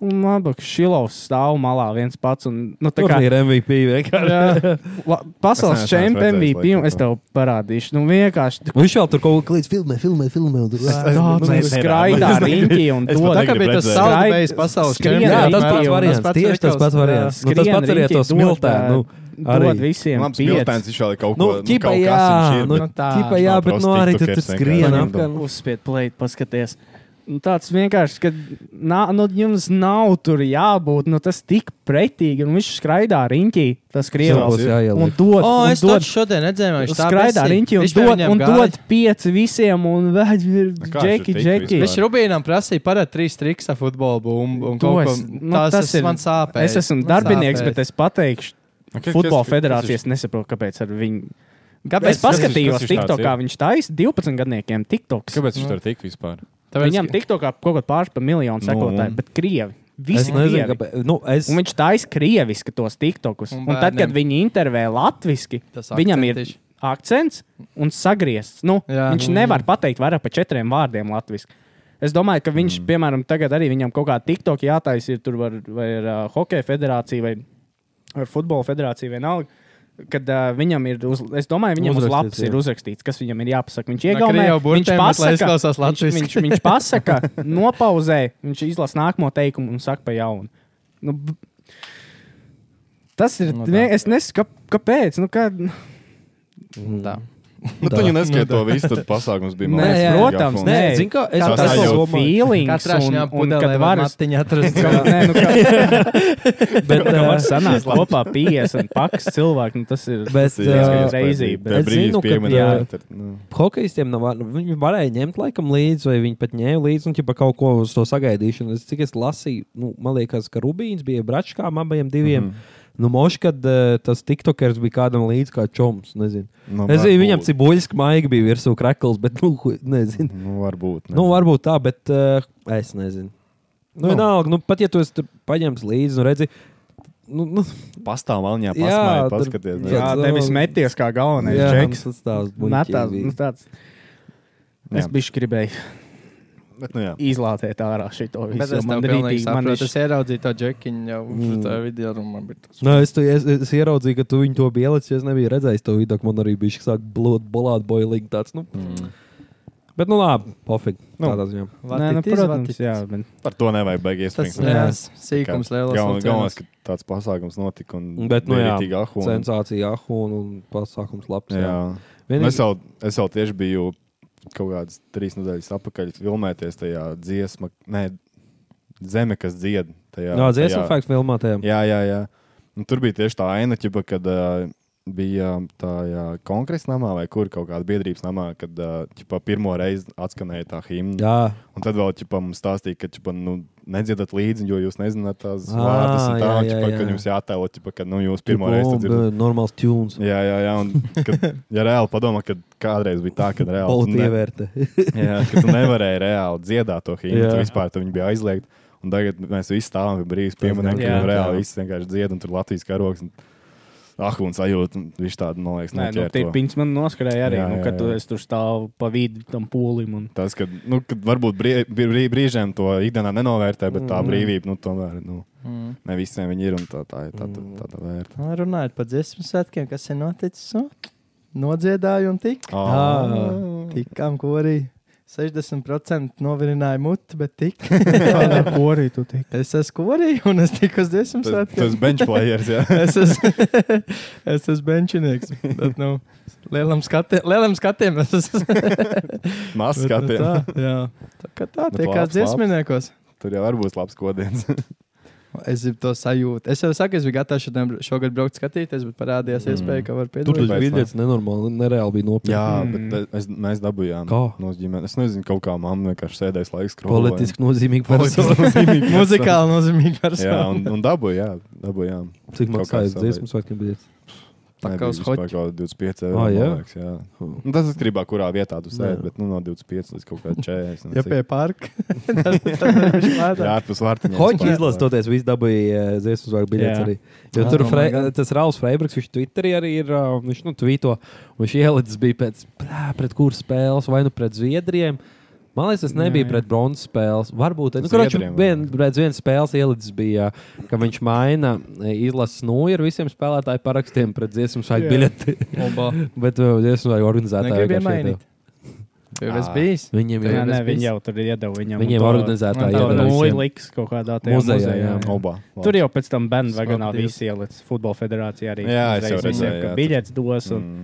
Speaker 3: Un labi, ka Šilovs stāv malā viens pats. Un, nu, tā
Speaker 1: Tur
Speaker 3: kā
Speaker 1: ir MVP vienkārši.
Speaker 3: (laughs) jā, la, pasaules
Speaker 2: Es neesmu
Speaker 3: čempions
Speaker 2: redzējis,
Speaker 3: MVP, un
Speaker 2: laikam,
Speaker 3: es tev parādīšu. Nu, vienkārši
Speaker 1: Un Viņš vēl tur kaut ko līdz filmē, filmē, filmē. un tur-
Speaker 3: tāds
Speaker 2: nu,
Speaker 3: nu,
Speaker 2: es
Speaker 3: skraidā
Speaker 2: nevaru.
Speaker 3: riņķī un
Speaker 2: Es pat
Speaker 3: to.
Speaker 9: Tā kā
Speaker 2: Negribu
Speaker 9: bija tas
Speaker 2: redzēt.
Speaker 9: saldējis pasaules
Speaker 3: Skrien
Speaker 9: čempions.
Speaker 1: Jā,
Speaker 3: Jā,
Speaker 1: tas pats
Speaker 3: jā,
Speaker 1: variants. Tieši tas pats variants. Nu, tas pats arī ar to smiltē. Nu,
Speaker 3: arī
Speaker 1: arī.
Speaker 3: visiem.
Speaker 2: Labs
Speaker 3: pieci.
Speaker 2: miltēns viņš vēl ir kaut
Speaker 1: Nu,
Speaker 2: ko nu,
Speaker 1: ķipa,
Speaker 2: kaut
Speaker 1: jā,
Speaker 2: kas viņš ir,
Speaker 1: nu,
Speaker 2: bet-
Speaker 9: tā,
Speaker 1: ķipa,
Speaker 2: nav
Speaker 1: jā, bet
Speaker 2: prosti
Speaker 1: no arī tur
Speaker 2: tiktokeris
Speaker 1: tur
Speaker 2: vienkārši.
Speaker 1: skrien apkārt.
Speaker 3: Uzspied plēti, paskaties. Nu, tāds vienkārši, ka nā, nu, jums nav tur jābūt. Nu, tas tik pretīgi. Un viņš skraidā riņķī, tas
Speaker 1: Zilpos
Speaker 3: krievs. Un
Speaker 1: jāieliek.
Speaker 3: dod,
Speaker 9: O,
Speaker 3: un
Speaker 9: es to
Speaker 3: dod
Speaker 9: šodien redzēju, viņš tā
Speaker 3: skraidā riņķī un dod, un dod pieci visiem. Un vēdz ir
Speaker 2: kā viņš
Speaker 3: džeki,
Speaker 2: tur tik
Speaker 3: džeki.
Speaker 2: vispār?
Speaker 9: Viņš Rubīnam prasīja parād trīs triks ar futbolu bumbu un
Speaker 3: To
Speaker 9: kaut ko.
Speaker 3: es- nu,
Speaker 9: Tās
Speaker 3: tas
Speaker 9: tas
Speaker 3: ir-
Speaker 9: man
Speaker 3: Es
Speaker 9: sāpēs.
Speaker 3: esmu
Speaker 9: Man
Speaker 3: darbinieks,
Speaker 9: sāpēs.
Speaker 3: bet es pateikšu,
Speaker 2: Nu, kas-
Speaker 3: futbola
Speaker 2: kas- kas
Speaker 3: federācijas
Speaker 2: viņš-
Speaker 3: nesaprotu, kāpēc ar viņu.
Speaker 9: Kāpēc
Speaker 3: Es
Speaker 9: tas-
Speaker 3: paskatījos
Speaker 2: kas viņš tāds
Speaker 3: TikTokā,
Speaker 2: ir?
Speaker 3: viņš taisa 12 gadniekiem TikToks.
Speaker 2: Kāpēc viņš tur tik vispār?
Speaker 9: tāpēc,
Speaker 3: Viņam
Speaker 9: ka-
Speaker 3: TikTokā kaut kāda pārspēja miljonu
Speaker 2: Nu.
Speaker 3: sekotāju, bet krievi.
Speaker 1: Es
Speaker 3: Visi
Speaker 1: nezinu,
Speaker 3: krievi.
Speaker 1: kāpēc. Nu, es...
Speaker 3: Un viņš taisa krieviski tos tiktokus.
Speaker 9: Un
Speaker 3: Un, un tad,
Speaker 9: bērniem.
Speaker 3: kad viņi intervē latviešu,
Speaker 9: Tas
Speaker 3: viņam ir
Speaker 9: akcentiši.
Speaker 3: akcents un sagriezts. Nu,
Speaker 9: Jā.
Speaker 3: viņš
Speaker 9: Mm.
Speaker 3: nevar pateikt vairāk par četriem vārdiem latviešu. Es domāju, ka viņš, mm. piemēram, tagad arī viņam kaut kāda tiktoka jātaisa, ir tur var, vai ar uh, Hokeja federāciju, vai ar Futbola federāciju, vienalga. Kad uh, viņam ir, uz, es domāju, viņam uz
Speaker 1: Uzrakstīts,
Speaker 3: lapas
Speaker 1: jā.
Speaker 3: ir uzrakstīts, kas viņam ir jāpasaka. Viņš
Speaker 9: Na,
Speaker 3: iegaumē,
Speaker 9: krievu
Speaker 3: viņš
Speaker 9: burtēm, bet lai
Speaker 3: pasaka,
Speaker 9: izklausās
Speaker 3: viņš,
Speaker 9: latviski.
Speaker 3: viņš,
Speaker 9: (laughs)
Speaker 3: viņš pasaka, nopauzē, viņš izlasa nākamo teikumu un saka pa jaunu. Nu, b- tas ir,
Speaker 9: Nu
Speaker 3: no
Speaker 9: tā.
Speaker 3: es nesaku, kā, kāpēc. Nu, kā,
Speaker 1: Mm.
Speaker 9: Tā.
Speaker 2: Nu,
Speaker 1: Tā.
Speaker 2: tu jau neskaidro to visu, tad pasākums bija.
Speaker 3: Nē,
Speaker 2: man liekas,
Speaker 1: jā,
Speaker 2: mega
Speaker 3: protams,
Speaker 2: fun.
Speaker 1: Nē,
Speaker 3: Nē,
Speaker 1: zini, kā es
Speaker 2: kā
Speaker 1: tā
Speaker 3: tas ir
Speaker 2: jau-
Speaker 1: domāju.
Speaker 3: feelings,
Speaker 9: Katrā
Speaker 3: un,
Speaker 9: šņā
Speaker 3: un kad
Speaker 9: pudelē var
Speaker 3: varas,
Speaker 9: matiņu atrast.
Speaker 3: (laughs) ka, nē, nu, kā, (laughs)
Speaker 1: Bet,
Speaker 3: ka var
Speaker 1: eh,
Speaker 3: sanākt kopā 50 pakas cilvēku, nu, tas ir
Speaker 1: Bet,
Speaker 2: Tas ir iespējams,
Speaker 1: eh,
Speaker 3: reizi,
Speaker 2: pēc-
Speaker 3: bet-
Speaker 2: pēc
Speaker 1: Es
Speaker 2: brīža
Speaker 1: zinu, ka,
Speaker 2: pieminēt,
Speaker 1: jā.
Speaker 2: tad, nu.
Speaker 1: Hokejistiem nav, viņi varēja ņemt laikam līdzi, vai viņi pat ņēma līdzi, un ja kaut ko uz to sagaidīšanu. Es, cik es lasīju, nu, man liekas, ka Rubīns bija bračkām abiem diviem. Mm -hmm. Nu, mož, kad uh, tas tiktokers bija kādam līdzi kā čoms, nezinu.
Speaker 2: Nu,
Speaker 1: es zinu,
Speaker 2: varbūt.
Speaker 1: viņam cibuļiski maigi bija virsū krekls, bet, nu, ko- nezinu.
Speaker 2: Nu, varbūt.
Speaker 1: Nu, varbūt tā, bet uh, es nezinu. Nu,
Speaker 2: Nu.
Speaker 1: vienalga, nu, pat ja tu esi tur paņemts līdzi, nu, redzi, nu, nu,
Speaker 2: Pastāv malņā,
Speaker 1: Jā,
Speaker 2: pasmaiņā,
Speaker 1: tur-
Speaker 2: paskaties. nu,
Speaker 1: Jā,
Speaker 3: jā,
Speaker 2: nezinu.
Speaker 3: nevis meties kā galvenais
Speaker 1: jā, nu,
Speaker 3: džeks.
Speaker 1: tas tāds
Speaker 3: Nē, tā,
Speaker 1: buļķīgi bija.
Speaker 3: nu, tāds. Es
Speaker 2: Jā.
Speaker 3: biju gribējis
Speaker 2: Bet, nu, jā.
Speaker 3: izlātēt ārā šo to
Speaker 9: Bet
Speaker 3: visu.
Speaker 9: es
Speaker 3: Man
Speaker 9: tam
Speaker 3: rītīgi, Mm. man
Speaker 9: saprotu,
Speaker 3: viņš
Speaker 9: es ieraudzīju to džekiņu jau tajā video, un man bija tas.
Speaker 1: Nē, Nu, es, tu, es, es ieraudzīju, ka tu viņu to pielici. jo Es nebiju redzējis to video, man arī bija šis blūzi, boilīgi tāds. Nu. Mm. Bet, nu, labi, pofīgi.
Speaker 2: Nu.
Speaker 1: Nu. Tādā ziņā.
Speaker 3: Nē, nu, protams, jā, bet
Speaker 2: Par to nevajag baigies.
Speaker 9: Tas ir sīkums lielos.
Speaker 2: Galvenais, ka tāds pasākums notika un
Speaker 1: Bet, nu, jā,
Speaker 2: tīk ahu. un-
Speaker 1: Sensācija, ah, un, un pasākums labs. Jā.
Speaker 2: Jā. Nu, Es
Speaker 1: Vienīgi,
Speaker 2: jau, es jau tieši biju kaut kādas trīs nedēļas atpakaļ filmēties tajā dziesma, nē, zeme, kas dzied. Tajā,
Speaker 1: jā, dziesmu
Speaker 2: tajā-
Speaker 1: faktu filmā tajā.
Speaker 2: Jā, jā, jā. Un tur bija tieši tā aina, ķipa, kad uh, bija tajā kongresa namā vai kur kaut kādā biedrības namā, kad uh, ķipa, pirmo reizi atskanēja tā himna.
Speaker 1: Jā,
Speaker 2: Un tad vēl ķipa, mums stāstīja, ka ķipa, nu, nedziedat līdzi, jo jūs nezināt tās
Speaker 1: Ā,
Speaker 2: vārdas. un Tā,
Speaker 1: jā,
Speaker 2: un,
Speaker 1: jā,
Speaker 2: ķipa,
Speaker 1: jā.
Speaker 2: ka jums jāatēlo, ķipa, ka nu, jūs pirmo reizi to dzirdat.
Speaker 1: normāls tunes.
Speaker 2: Jā, jā, jā. Un, kad, ja reāli padomā, kad kādreiz bija tā, ka reāli tu
Speaker 1: Politi
Speaker 2: ne-
Speaker 1: ievērta.
Speaker 2: Jā, ka tu nevarēji reāli dziedāt to himnu.
Speaker 1: Jā.
Speaker 2: tu Vispār tu viņi bija aizliegti. Un tagad mēs visi stāvam pie brīvības pieminām,
Speaker 1: gan,
Speaker 2: ka
Speaker 1: jā. Jā.
Speaker 2: reāli viss vienkārši dzied, un tur Latvijas karoks. Un... Ah, un sajūta, un viņš tādu, man liekas,
Speaker 3: Nē, nu,
Speaker 2: noķēra
Speaker 3: tie
Speaker 2: to.
Speaker 3: piņas man noskrēja arī,
Speaker 2: Jā,
Speaker 3: nu,
Speaker 2: jā,
Speaker 3: kad
Speaker 2: jā.
Speaker 3: tu, es tur stāvu pa vidu tam pūlim. Un...
Speaker 2: Tas, ka, nu, kad varbūt brī, brī, brīžiem to ikdienā nenovērtē, bet tā brīvība, nu, tomēr, nu,
Speaker 9: Mm.
Speaker 2: ne visiem viņi ir, un tā, tā ir tā, tā, tā, tā vērta.
Speaker 9: Runājot par dziesmu svētkiem, kas ir noticis. nu, Nodziedāju un tik.
Speaker 1: Ah. (laughs)
Speaker 2: Oh.
Speaker 9: Tikām, ko arī 60% novirināja muti, bet tik.
Speaker 2: (laughs)
Speaker 3: Ko arī tu tiki?
Speaker 9: Es esmu korī un es tiku uz dziesmu
Speaker 2: Tas,
Speaker 9: svētkiem.
Speaker 2: tas bench players, jā.
Speaker 9: Es (laughs) esmu, es esmu benčinieks. Bet, nu, lielam, skati, lielam skatiem es esmu. (laughs)
Speaker 2: Mazs
Speaker 9: Bet, nu,
Speaker 2: skatījums.
Speaker 9: tā, jā. tā kā tā,
Speaker 2: Bet
Speaker 9: tie kā
Speaker 2: labs, labs.
Speaker 9: dziesminiekos.
Speaker 2: Tur jau var būt labs kodiens.
Speaker 9: Es zinu to sajūtu. Es jau saku, es biju gatavs šodien, šogad braukt skatīties, bet parādījās mm. iespēja, ka var
Speaker 1: Tur
Speaker 9: piedalīties.
Speaker 1: tas biļets nenormāli, nereāli bija nopietni.
Speaker 2: Jā,
Speaker 3: Mm.
Speaker 2: bet e- es, mēs dabūjām
Speaker 1: Kā?
Speaker 2: no ģimenes. Es nezinu, kaut kā mamma vienkārši sēdēs laiks skrolēja.
Speaker 1: Politiski nozīmīgi
Speaker 2: (laughs) Politiski
Speaker 1: persona.
Speaker 2: nozīmīgi persona. (laughs)
Speaker 9: Muzikāli nozīmīgi
Speaker 2: Jā,
Speaker 9: persona.
Speaker 2: un, un dabūjām. dabūjām.
Speaker 1: Cik
Speaker 2: Kaut
Speaker 1: maksāja
Speaker 2: kāds
Speaker 1: dziesmu svētkiem biļets?
Speaker 9: Tā kā
Speaker 2: Nebija
Speaker 9: uz
Speaker 2: vispār
Speaker 9: hoķi.
Speaker 2: kaut 25 eiro.
Speaker 1: Ah, jā?
Speaker 2: man liekas, jā. Nu, Tas atkarībā, kurā vietā tu
Speaker 1: Jā.
Speaker 2: sēdi, bet nu, no 25 līdz kaut kā 40.
Speaker 9: Ja pie parka, tad viņš lētāk.
Speaker 2: Jā, pus vārtiņiem.
Speaker 1: Hoņķis
Speaker 2: spēlē.
Speaker 1: izlastoties, viss dabūja eh, dziesmu svētku biļets
Speaker 3: Jā.
Speaker 1: arī. Jo
Speaker 9: Ah,
Speaker 1: tur
Speaker 9: oh my
Speaker 1: Fre-
Speaker 9: God.
Speaker 1: tas Rauls Freibriks, viņš Twitterī arī ir, eh, viņš nu tvīto, un viņš ielicis bija pēc, blā, pret kur spēles, vai nu pret Zviedriem. Man liekas, tas nebija
Speaker 3: Jā, jā.
Speaker 1: pret bronzas spēles. Varbūt, nu, kurš
Speaker 2: Zviedriem,
Speaker 1: vien, pret vienu spēles ielicis bija, ka viņš maina eh, izlases nūju ar visiem spēlētāju parakstiem pret dziesmu svētku
Speaker 3: Jā.
Speaker 1: biļeti.
Speaker 9: Oba.
Speaker 1: (laughs) Bet eh, dziesmu svētku organizētāji
Speaker 9: Negribu
Speaker 1: vienkārši
Speaker 9: iemainīt.
Speaker 1: iedeva.
Speaker 9: Tev es
Speaker 2: Ā.
Speaker 9: bijis.
Speaker 1: Viņiem
Speaker 9: Jā,
Speaker 3: Jā,
Speaker 1: jau
Speaker 3: nē,
Speaker 9: tas
Speaker 3: viņi
Speaker 9: viss.
Speaker 3: jau tur iedeva viņam.
Speaker 1: Viņiem
Speaker 3: Tā
Speaker 1: organizētāji
Speaker 9: tā
Speaker 1: iedeva
Speaker 3: jau
Speaker 1: visiem.
Speaker 3: liks kaut kādā tajā
Speaker 1: Muzejā,
Speaker 3: muzejā.
Speaker 1: jā.
Speaker 3: jā.
Speaker 2: Oba.
Speaker 3: Tur jau pēc tam bandvagonā
Speaker 9: Smaku
Speaker 3: visi ielicis Futbola federācijā arī.
Speaker 2: Jā, es jau
Speaker 3: uzreiz visiem,
Speaker 2: redzēju,
Speaker 3: ka
Speaker 2: jā,
Speaker 3: biļets dos. Un...
Speaker 2: Mm.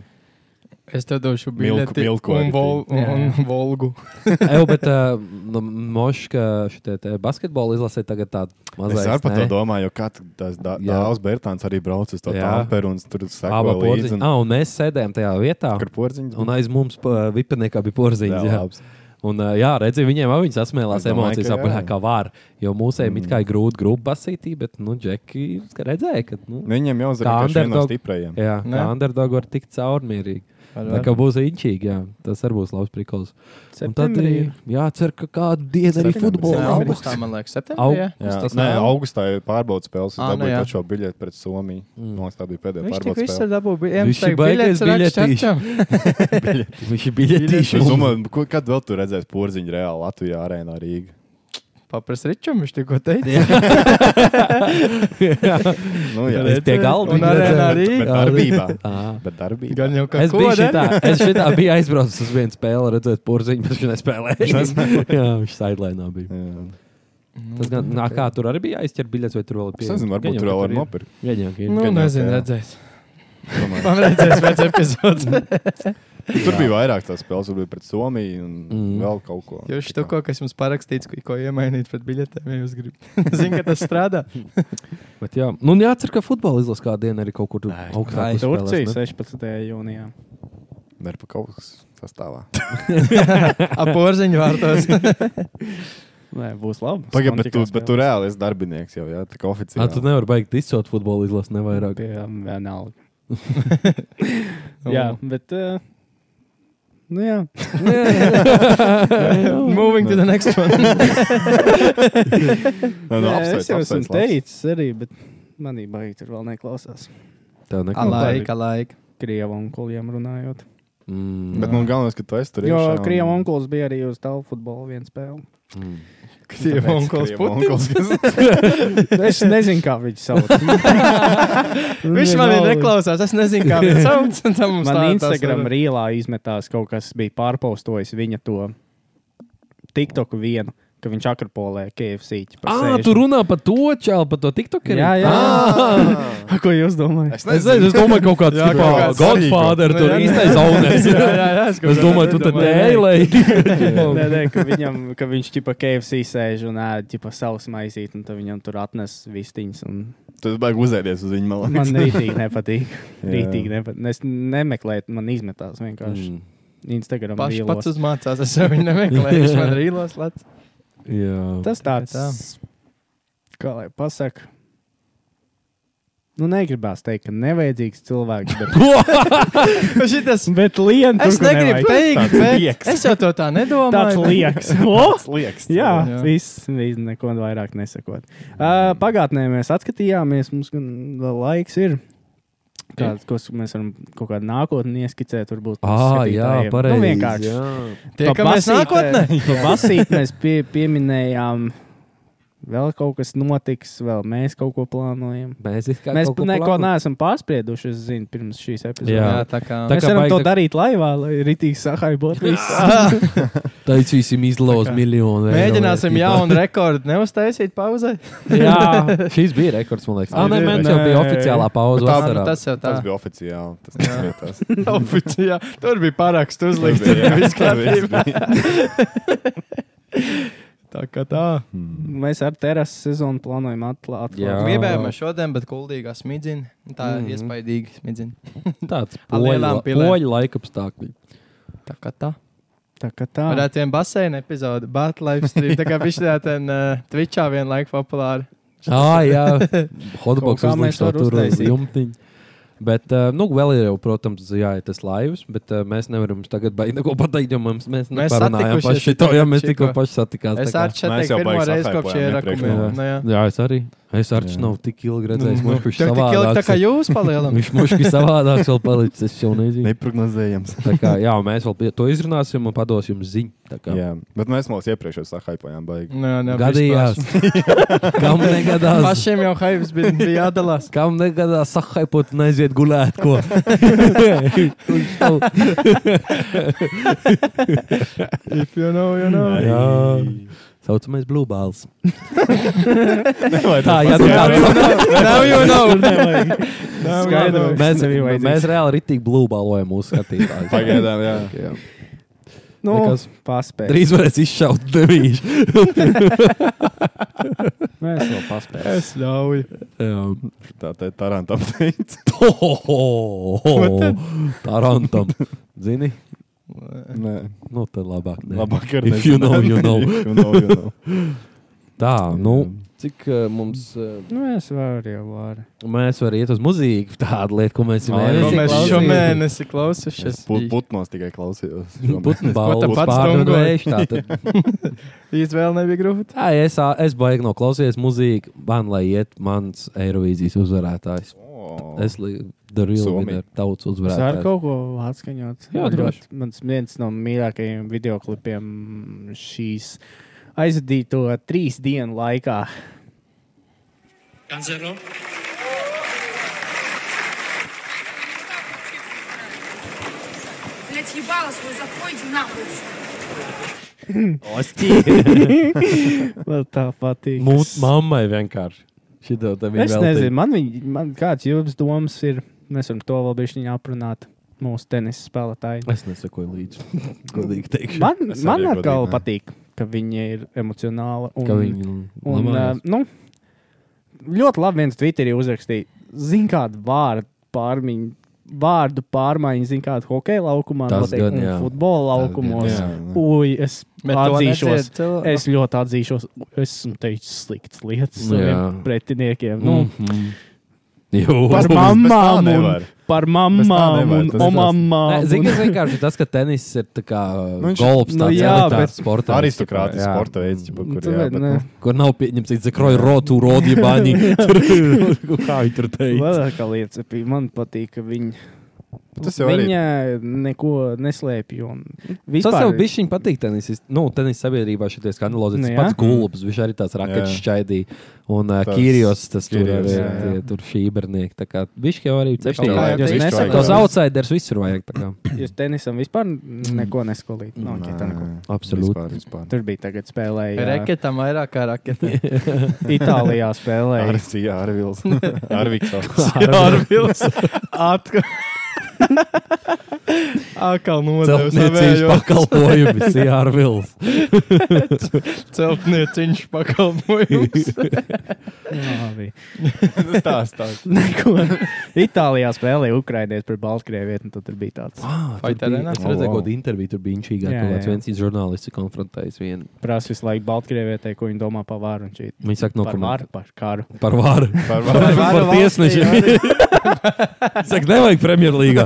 Speaker 9: Es tev došu
Speaker 2: Milku-
Speaker 9: biļeti
Speaker 2: milku
Speaker 9: un,
Speaker 2: arī
Speaker 9: vol,
Speaker 3: tīri.
Speaker 9: un
Speaker 3: Jā.
Speaker 9: volgu.
Speaker 1: Evo, bet uh, nu, Moška šitie te basketbolu izlasīja tagad tādu
Speaker 2: Es arī
Speaker 1: mazliet
Speaker 2: par to domāju, jo katrs
Speaker 1: Jā.
Speaker 2: dāvāns Bērtāns arī brauc uz to
Speaker 1: Jā.
Speaker 2: tāmperu un tur sako
Speaker 1: Abā
Speaker 2: līdzi.
Speaker 1: porziņā.
Speaker 2: un-
Speaker 1: Ah, un mēs sēdējām tajā vietā.
Speaker 2: Kur porziņš?
Speaker 1: Un aiz mums pa- vipeniekā bija porziņš. Jā,
Speaker 2: labs.
Speaker 1: un, uh, jā redzi, viņiem abi sasmēlās
Speaker 2: Es domāju,
Speaker 1: emocijas,
Speaker 2: ka
Speaker 1: apgājā,
Speaker 2: jā.
Speaker 1: kā var. Jo mūsējiem mm. it kā ir grūti grupu basītī, bet, nu, Džeki ka redzēja, ka, nu,
Speaker 2: Nu, Viņiem jau
Speaker 1: Kā
Speaker 2: zina, ka viņš ir no
Speaker 1: underdog.
Speaker 2: stiprajiem.
Speaker 1: jā,
Speaker 9: Ne?
Speaker 1: kā underdog var tikt caurmierīgi. Tā kā būs inčīgi, jā, tas arī būs labs prikals. Un tad arī jācer, ka kādu dienu arī
Speaker 2: Septembrī.
Speaker 1: futbolā būs.
Speaker 2: Septembrī.
Speaker 9: augustā, man liekas,
Speaker 1: Au-
Speaker 9: septembrī. jā?
Speaker 2: Jā,
Speaker 9: Tas
Speaker 2: nē,
Speaker 9: nav.
Speaker 2: augustā ir pārbaudas spēle. Es
Speaker 9: Ā, nu
Speaker 2: dabūju
Speaker 9: jā.
Speaker 2: to šo biļeti pret Somiju.
Speaker 1: Mm.
Speaker 2: Man liekas, tā bija pēdējā
Speaker 9: Viņš tik
Speaker 2: pārbaudas
Speaker 9: visur
Speaker 2: spēle.
Speaker 9: dabū biļeti.
Speaker 1: Viņš ir baigais biļetīši. Viņš ir biļetīši.
Speaker 2: Es (laughs) domāju, ko- kad vēl tur redzēs porziņu reāli Latvijā, arēnā Rīgā.
Speaker 9: Papras Ričam, viņš tikko teica.
Speaker 2: Nu, jā,
Speaker 1: Es pie galda
Speaker 9: Un
Speaker 1: viņu
Speaker 9: arēnā
Speaker 1: redzēju.
Speaker 9: arī.
Speaker 2: Bet darbībā.
Speaker 1: Ā.
Speaker 2: Bet darbībā.
Speaker 9: Gan jau kā
Speaker 1: Es biju šitā, es šitā biju aizbraucis uz vienu spēli, redzēt, porziņš, bet viņš nespēlēja. (laughs) Jā, viņš sidelēnā bija.
Speaker 2: Jā.
Speaker 9: Nu,
Speaker 1: Tas gan, nā, kā tur arī bija aizķert biļets, vai tur vēl bija
Speaker 2: Es nezinu, varbūt tur vēl var nopirkt.
Speaker 1: nopirkt.
Speaker 9: Nu,
Speaker 2: Gan jau
Speaker 9: nezinu,
Speaker 2: kā.
Speaker 9: redzēs.
Speaker 2: Domāju.
Speaker 9: (laughs) Man redzēs (laughs) pēc epizodes.
Speaker 2: Tur bija vairāk tās spēles, tur bija pret Somiju un
Speaker 1: Mm.
Speaker 2: mm. vēl kaut ko.
Speaker 9: Jūs to, ko, kas mums parakstīts, ko, ko iemainīt pret biļetēm, ja jūs gribat. (laughs) Zinu, ka tas strādā.
Speaker 1: Bet jā, nu un jācer, ka futbola izlases kādu dienu arī kaut kur tur augstāk.
Speaker 3: Turcija
Speaker 1: uzspēlēs, ne?
Speaker 3: 16. jūnijā.
Speaker 2: Nerpa kaut kas sastāvā.
Speaker 9: Ap porziņu vārtos. (laughs)
Speaker 3: Nē, būs labi.
Speaker 2: Pagaid, bet, tu, bet tu reāli esi darbinieks jau, jā, tā kā
Speaker 1: Ā,
Speaker 2: oficiāli.
Speaker 1: Tu nevari baigt izcelt futbola izlases nevairāk.
Speaker 2: (laughs)
Speaker 3: Vienalga. um, jā, bet. eh, Nu
Speaker 2: (laughs)
Speaker 3: jā,
Speaker 1: (laughs)
Speaker 9: Moving to the next
Speaker 2: (laughs)
Speaker 3: (laughs)
Speaker 9: one.
Speaker 2: Nē, nu,
Speaker 3: Nē,
Speaker 2: apsveic,
Speaker 3: es jau esmu
Speaker 2: apsveic, labs.
Speaker 3: teicis arī, bet manī baigi tur vēl neklausās.
Speaker 1: Tev
Speaker 9: A
Speaker 1: nekā.
Speaker 9: laika, laika.
Speaker 3: Krievu onkuliem runājot.
Speaker 1: Mm,
Speaker 2: Bet man galvenais, ka tu esi tur.
Speaker 3: Jo
Speaker 2: iekšā un-
Speaker 3: Krievu onkulis bija arī uz tālu futbolu vienu spēli.
Speaker 1: mm.
Speaker 9: Krievu
Speaker 2: Tāpēc
Speaker 9: onkulis
Speaker 2: Krievu
Speaker 9: Putins.
Speaker 2: onkulis, kas-
Speaker 3: Es nezinu, kā viņš sauc.
Speaker 9: Viņš man ir neklausās. Es nezinu, kā
Speaker 3: (laughs)
Speaker 9: viņš sauc. un tā mums
Speaker 3: Man
Speaker 9: tā- tā
Speaker 3: Instagram
Speaker 9: saruna.
Speaker 3: rīlā izmetās kaut kas, bija pārpostojis viņa to TikToku vienu, ka viņš akrapolē KFC. par
Speaker 1: Ā,
Speaker 3: 60.
Speaker 1: tu (laughs) runā par to čālu, par to tiktoku.
Speaker 3: Jā, jā. Ko jūs domājat?
Speaker 2: Ah.
Speaker 1: Es
Speaker 2: Es
Speaker 1: nezinu, es domāju, kaut kāds
Speaker 9: Jā,
Speaker 1: tipā
Speaker 9: kaut kāds
Speaker 1: Godfather
Speaker 9: Nu,
Speaker 1: tur
Speaker 9: jā, jā.
Speaker 1: īstais zaunēs.
Speaker 9: (laughs) Jā, jā, jā, es kaut
Speaker 1: Es
Speaker 9: kā
Speaker 1: domāju, tu tad
Speaker 9: nedomāju.
Speaker 3: Nē,
Speaker 1: dēlēji.
Speaker 3: (laughs) nē, ka, viņam, ka viņš tipā KFC sēž un ēd tipā savus maisīt, un tad viņam tur atnes vistiņas. un
Speaker 2: Tu baigi uzēdies uz viņu malā.
Speaker 3: Man rītīgi nepatīk.
Speaker 2: Jā. Mm.
Speaker 3: rītīgi nepatīk. Es nemeklēju, man izmetās vienkārši Instagram.
Speaker 9: Paši
Speaker 3: reelos.
Speaker 9: pats uzmācās, es jau viņu nemeklēju. Viņš man rīlos
Speaker 3: (laughs)
Speaker 9: lats.
Speaker 1: (laughs) Jā.
Speaker 3: Tas tāds, kā lai pasakā. Nu, negribās teikt, ka nevajadzīgs cilvēks. Bet,
Speaker 9: Šitas,
Speaker 3: bet lien,
Speaker 9: es negribu teikt, bet
Speaker 3: liekas.
Speaker 9: es jau to tā nedomāju.
Speaker 3: Tāds
Speaker 9: (laughs)
Speaker 3: liekas. O!
Speaker 2: Slieks.
Speaker 3: Jā,
Speaker 9: Jā.
Speaker 3: viss, viss neko vairāk nesakot. Uh, pagātnē mēs atskatījāmies, mums gan vēl laiks ir. Kāds, ko mēs varam kaut kādā nākotnē ieskicēt, varbūt
Speaker 1: Ah, jā,
Speaker 3: skatītājiem.
Speaker 1: pareizi.
Speaker 3: Nu, vienkārši.
Speaker 1: jā.
Speaker 9: Tiekamies
Speaker 3: (laughs)
Speaker 9: nākotnē.
Speaker 3: Basīt mēs pie, pieminējām, vēl kaut kas notiks, vēl mēs kaut ko plānojam.
Speaker 1: Mēs, it kā
Speaker 3: Mēs
Speaker 1: kaut ko
Speaker 3: neko
Speaker 1: plānojam.
Speaker 3: neesam pārsprieduši, es zinu, pirms šīs epizodes.
Speaker 1: Jā.
Speaker 9: Jā, tā kā.
Speaker 1: Tā
Speaker 3: Mēs
Speaker 1: kā
Speaker 3: varam
Speaker 1: baigi
Speaker 3: to
Speaker 1: tā-
Speaker 3: darīt laivā, lai rītīgi sahaibot visu.
Speaker 1: Taisīsim izlauzt miljonu. eiro
Speaker 9: Mēģināsim
Speaker 1: vērtībā.
Speaker 9: jaunu rekordu neuztaisīt pauzē.
Speaker 1: (laughs) jā, šis bija rekords, man liekas. Ah, nē,
Speaker 2: Nē.
Speaker 1: mēs jau bija oficiālā pauze.
Speaker 9: Tā, nu,
Speaker 1: vasarā.
Speaker 9: tas jau tā (laughs)
Speaker 2: Tas bija oficiāli. Tas nesmietās.
Speaker 9: oficiāli. Tur bija paraksts uzlikts.
Speaker 2: Tas bija, jā, tas bija.
Speaker 9: Tā kā tā.
Speaker 2: Mm.
Speaker 3: Mēs ar terasu sezonu plānojam atla- atklāt.
Speaker 1: Jā. Mhm.
Speaker 9: Gribējām ar šodien, bet kuldīgā smidzina. Tā ir iespaidīga smidzina.
Speaker 1: Tāds
Speaker 9: Ar
Speaker 1: poļu
Speaker 9: lielām
Speaker 1: la-
Speaker 9: pilēm.
Speaker 1: poļu laika apstākļi.
Speaker 9: Tā kā tā.
Speaker 3: Tā kā tā.
Speaker 9: Varētu vien basēna epizode, bet live stream. Tā kā viņš tā ten uh, Twitchā vienlaik populāra.
Speaker 1: Ah, jā, hotbox
Speaker 3: Kaut kā mēs
Speaker 1: uzliks to
Speaker 3: varam
Speaker 1: tur uz
Speaker 3: uztaisīt.
Speaker 1: jumtiņa. Bet, eh, nu, vēl ir jau, protams, jā, ir tas laivas, bet eh, mēs nevaram jums tagad baigi neko pateikt, jo mums, mēs
Speaker 9: Mēs
Speaker 1: neparunājām par
Speaker 9: satikušies
Speaker 1: šito, jo mēs
Speaker 9: tikko.
Speaker 1: tikko paši satikās.
Speaker 9: Es
Speaker 1: tā kā-
Speaker 9: ar šeit
Speaker 2: Mēs
Speaker 9: teiktu
Speaker 2: jau
Speaker 9: pirmo
Speaker 2: baigs
Speaker 9: reizi
Speaker 2: athaipojam
Speaker 9: kopš ierakumiem.
Speaker 2: iepriekš,
Speaker 9: Nu, jā.
Speaker 1: Jā, es arī. Es ar
Speaker 2: Jā.
Speaker 1: šo nav tik ilgi redzējis, nu, viņš
Speaker 9: Tā kā tik ilgi, tā kā
Speaker 1: savādāk.
Speaker 9: jūs palielināt.
Speaker 1: Viņš mums bija savādāks, vēl palicis. Es jau nezinu.
Speaker 2: Neprognozējams.
Speaker 1: Tā kā, jā, mēs vēl pie- to izrunāsim un padosim jums ziņu. tā kā.
Speaker 2: Jā, bet mēs mūs iepriekš jau sahaipojām baigi.
Speaker 9: Nē, nē,
Speaker 1: Gadījās. (laughs) Kam
Speaker 9: vispār.
Speaker 1: negadās?
Speaker 9: (laughs) Pašiem jau haivs bija, bija jādalās.
Speaker 1: Kam negadās sahaipot un aiziet gulēt?
Speaker 9: (laughs)
Speaker 1: Ko? Viņš nav-
Speaker 9: If you know, you know.
Speaker 1: jā. Saucamais blūbāls.
Speaker 2: Nevajag
Speaker 1: Tā, jā,
Speaker 2: tas
Speaker 1: nu
Speaker 2: pats.
Speaker 1: tā.
Speaker 9: Nav jau nav.
Speaker 3: Skaidro,
Speaker 1: Mēs,
Speaker 3: nebija vajadzīgs.
Speaker 1: mēs reāli ritīgi blūbālojam mūsu skatītājus.
Speaker 2: Pagaidām, jā.
Speaker 1: Jā.
Speaker 3: Nu,
Speaker 1: Nekas.
Speaker 3: paspēj.
Speaker 1: Drīz varēs izšaut devīšu.
Speaker 3: Mēs vēl paspējam.
Speaker 9: Es ļauju.
Speaker 1: Jā.
Speaker 2: Tā te tarantam teica.
Speaker 1: Tarantam. Zini,
Speaker 2: Nē,
Speaker 1: nu tad labāk. ne.
Speaker 2: labāk ar
Speaker 1: If you
Speaker 2: nezinu.
Speaker 1: know, you know.
Speaker 2: If you know, you
Speaker 1: (laughs)
Speaker 2: know.
Speaker 1: Tā, nu, cik uh, mums, uh,
Speaker 3: Nu, es varu jau varu.
Speaker 1: mēs varam iet uz muziku, tādu lietu, ko mēs
Speaker 2: Ai,
Speaker 9: Ko
Speaker 2: Esi
Speaker 9: mēs
Speaker 2: klausies?
Speaker 9: šo mēnesi klausušies?
Speaker 2: Es put, putnos tikai klausījos.
Speaker 1: Nu,
Speaker 9: Ko tu
Speaker 1: Putnbalvu
Speaker 9: pats
Speaker 1: pārdevējuši. tā tad-
Speaker 9: Izvēle nebija grūta.
Speaker 1: Tā, es, ā, es baigi no klausies muziku, man lai iet mans Eirovīzijas uzvarētājs.
Speaker 2: Oh,
Speaker 1: Es li- daru
Speaker 2: Somija.
Speaker 1: ilgi ar tautas
Speaker 3: Es varu
Speaker 1: uzvarētāju.
Speaker 3: kaut ko atskaņot.
Speaker 1: Jā,
Speaker 3: Man
Speaker 1: droši.
Speaker 3: ļoti- Mans viens no mīļākajiem videoklipiem šīs aizvadīto trīs dienu laikā.
Speaker 8: Блять, ебало свой, заходите нахуй.
Speaker 1: (laughs)
Speaker 3: Man tā patīk.
Speaker 1: Mūsu mammai vienkārši. Šito te viņa
Speaker 3: Es
Speaker 1: veltīja.
Speaker 3: nezinu, man viņa, man kāds jums domas ir. Mēs varam to vēl bišķiņā aprunāt mūsu tenisa spēlētāji.
Speaker 1: Es nesakoju līdzi. (laughs) Godīgi teikšu.
Speaker 3: Man,
Speaker 2: Es arī
Speaker 3: man
Speaker 2: godīgi,
Speaker 3: atkal
Speaker 2: nē.
Speaker 3: patīk, ka viņa ir emocionāla. Un,
Speaker 1: Ka viņi
Speaker 3: un, uh,
Speaker 1: labājas.
Speaker 3: nu, ļoti labi viens Twitterī uzrakstīja, zin kādu vārdu pārmaiņu. Vārdu pārmaiņu, zina, kāda hokeja laukumā,
Speaker 1: Tas
Speaker 3: notiek,
Speaker 1: gan,
Speaker 3: un
Speaker 1: jā.
Speaker 3: futbola
Speaker 1: Tas
Speaker 3: laukumos.
Speaker 2: Jā,
Speaker 3: Ui, es atzīšos,
Speaker 9: Es
Speaker 3: es ļoti atzīšos, es esmu teicis sliktas lietas
Speaker 1: Jā.
Speaker 3: saviem pretiniekiem. Nu,
Speaker 1: Mhm. Jū.
Speaker 3: Par
Speaker 2: Bez- bez tā
Speaker 3: mammām un-
Speaker 2: nevar.
Speaker 3: par
Speaker 2: Bez tā
Speaker 3: mamām
Speaker 2: nevar,
Speaker 3: un
Speaker 2: tas-
Speaker 1: Nē,
Speaker 3: omamām.
Speaker 1: Zini, kas vienkārši tas, ka tenis ir tā kā
Speaker 2: Nu, viņš-
Speaker 1: golfs,
Speaker 3: nu,
Speaker 1: tāds
Speaker 3: jā, bet-
Speaker 1: elitārs sports.
Speaker 2: Aristokrātis sporta veids, ķipa, kur jā, bet, nu,
Speaker 1: Kur nav pieņemts, ka zakroja rotu, rodi
Speaker 3: (laughs)
Speaker 1: baņi. Kā viņi tur teica?
Speaker 3: Lielākā lieta bija, man patīk, ka viņi.
Speaker 2: Nu, tas jau arī-
Speaker 3: Viņa neko neslēpj. un
Speaker 1: Tas
Speaker 3: vispār-
Speaker 1: jau bija viņa patīk. Tenis, nu, tenis sabiedrībā šitie skandalozi.
Speaker 3: Nu,
Speaker 1: Tas
Speaker 3: jā.
Speaker 1: pats gulbs, viņš arī tās raketas
Speaker 2: Jā.
Speaker 1: šķaidīja. Un uh,
Speaker 2: Tas-
Speaker 1: Kīrijos, tas tur ir
Speaker 2: Kirijos, jā,
Speaker 1: tie-
Speaker 2: jā.
Speaker 1: tur šī ībernieki. Tā kā viņš jau arī
Speaker 9: Viņš
Speaker 1: cepīja.
Speaker 9: tā kā-
Speaker 3: Jā, jūs
Speaker 2: Viņš
Speaker 3: nesakāt,
Speaker 1: Tos
Speaker 2: Tos
Speaker 1: outsiders visur vajag. (laughs) tā kā.
Speaker 3: Jūs tenisam vispār
Speaker 9: Mm.
Speaker 3: neko neskolījāt.
Speaker 9: Nu,
Speaker 3: No, okay, tā neko.
Speaker 2: Nē,
Speaker 1: Absolūti.
Speaker 2: Vispār, vispār.
Speaker 3: Tur bija tagad spēlēja. Reke.
Speaker 9: Reketam vairāk kā
Speaker 1: (laughs)
Speaker 9: raketē.
Speaker 3: Itālijā spēlēja.
Speaker 2: Ar Sija,
Speaker 3: (laughs)
Speaker 2: ar Vils. Ar Viksovs.
Speaker 1: (laughs)
Speaker 9: Jārvils. Atkal. Atkal nodevis.
Speaker 1: Celtniecības
Speaker 9: savējo.
Speaker 1: pakalpojumi, CR (laughs) Vils.
Speaker 9: Celtnieciņš pakalpojums.
Speaker 3: Jā,
Speaker 2: (laughs)
Speaker 3: bija.
Speaker 2: Nu, Stāst, stāst.
Speaker 3: (laughs) Neko. Itālijā spēlēja Ukrainieši pret Baltkrievietu, un tad tur bija tāds
Speaker 1: Vai
Speaker 9: Fight
Speaker 1: tā ir?
Speaker 9: arēnā?
Speaker 1: Es redzēju,
Speaker 2: Oh, wow.
Speaker 1: kāda intervija tur bija inčīgā.
Speaker 3: Jā,
Speaker 1: Kaut
Speaker 3: jā,
Speaker 1: kāds
Speaker 3: jā.
Speaker 1: viens žurnālists konfrontējis vienu.
Speaker 3: prasīs visu laiku Baltkrievietai, ko viņi domā par vāru un šī.
Speaker 1: Viņi
Speaker 9: Nu,
Speaker 1: saka, no
Speaker 3: Par
Speaker 1: kurienes
Speaker 3: vāru, par karu.
Speaker 1: par vāru.
Speaker 2: Par
Speaker 1: (laughs) Par,
Speaker 2: var-
Speaker 1: par tiesnešiem. (laughs) Saka, nevajag
Speaker 9: (laughs)
Speaker 1: Premjerlīgā.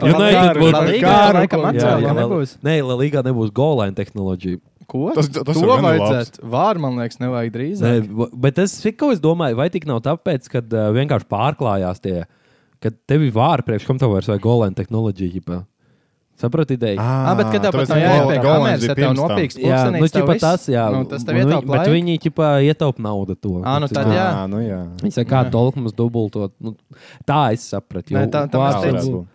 Speaker 1: United
Speaker 9: Labāk,
Speaker 1: būtu.
Speaker 9: labāk. Līgā laikam
Speaker 1: Jā,
Speaker 9: atcēla,
Speaker 1: jā,
Speaker 9: nebūs.
Speaker 1: Nē, La Ligā nebūs goalaina tehnoloģija.
Speaker 9: Ko?
Speaker 2: Tas- tas
Speaker 9: to
Speaker 2: jau gan ir
Speaker 9: vajadzētu. Vār, man liekas, nevajag
Speaker 1: Nē,
Speaker 9: drīzāk.
Speaker 1: va- bet es tikai domāju, vai tik nav tāpēc, ka uh, vienkārši pārklājās tie, kad tev ir vāri priekš, kam tev vairs vajag goalaina tehnoloģija. Saprati, ideja?
Speaker 9: Ah, bet kad tev pat nav jāiepērk kameras, ja tev nopīkst
Speaker 1: Jā, nu,
Speaker 9: pulkstenīts,
Speaker 1: ķipa tas, jā,
Speaker 9: nu, tas tev
Speaker 1: un
Speaker 9: ietaupa
Speaker 1: viņi- Bet
Speaker 9: laiku.
Speaker 1: viņi ķipa ietaupa naudu to.
Speaker 9: Ā, nu
Speaker 1: Tas
Speaker 9: tad
Speaker 1: ir-
Speaker 9: jā.
Speaker 2: Jā, nu jā.
Speaker 1: Viņi saka, kā tolka mums dubultot. Nu, tā es sapratu.
Speaker 9: Nē, tā- tā
Speaker 2: Tā
Speaker 9: mēs
Speaker 2: varētu
Speaker 1: vārds.
Speaker 9: teicām.
Speaker 2: būt.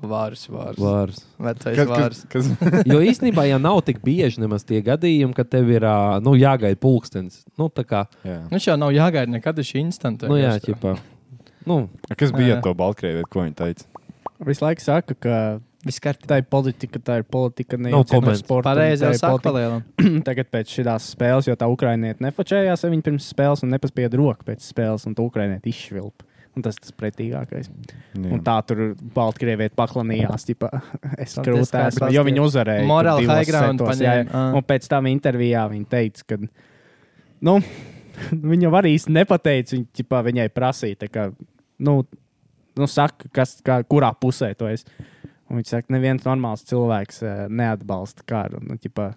Speaker 9: Vārs, vārs.
Speaker 1: vārds.
Speaker 9: Vecais
Speaker 2: Kad-
Speaker 9: vārs.
Speaker 2: kad- kas-
Speaker 1: Jo īstenībā, ja nav tik bieži nemaz tie gadījumi, ka tev ir ā, nu, jāgaida pulkstenis. Nu, tā kā,
Speaker 2: (laughs) jā.
Speaker 9: Nu, šā nav jāgaida nekad, tas ir instants.
Speaker 1: nu, jā, ķipā. Nu,
Speaker 2: Kas bija
Speaker 9: Jā.
Speaker 2: ar to Baltkrievietu, ko viņi teica?
Speaker 3: Visu laiku saka, ka
Speaker 9: Viss kārtībā.
Speaker 3: Tā ir politika, tā ir politika. Ne
Speaker 1: Nav
Speaker 3: jau no
Speaker 1: komentu.
Speaker 3: sporta.
Speaker 9: Pareizi
Speaker 3: tā ir
Speaker 9: jau sāk
Speaker 3: politika.
Speaker 9: palielināt.
Speaker 3: Tagad pēc šīs spēles, jo tā ukrainieta nefočējās ar viņu pirms spēles un nepaspieda roku pēc spēles, un tā ukrainieta izšvilpa. Un tas tas pretīgākais.
Speaker 2: Jā.
Speaker 3: Un tā tur Baltkrievieti paklanījās, ķipa, (laughs) es
Speaker 9: Tas
Speaker 3: krūtēs,
Speaker 9: kā tas
Speaker 3: jo
Speaker 9: tie
Speaker 3: viņi uzvarēja. tur
Speaker 9: moral
Speaker 3: divos
Speaker 9: high ground Ah.
Speaker 3: setos, jā, jā.
Speaker 9: paņēma, ā.
Speaker 3: Un pēc tam intervijā viņa teica, ka, nu, (laughs) viņa jau arī īsti nepateica, viņa ķipā, viņai prasīja, tā kā, nu, nu saka, kas, kā, kurā pusē to es. Un viņa saka, neviens normāls cilvēks eh, neatbalsta karu. Nu, ķipā,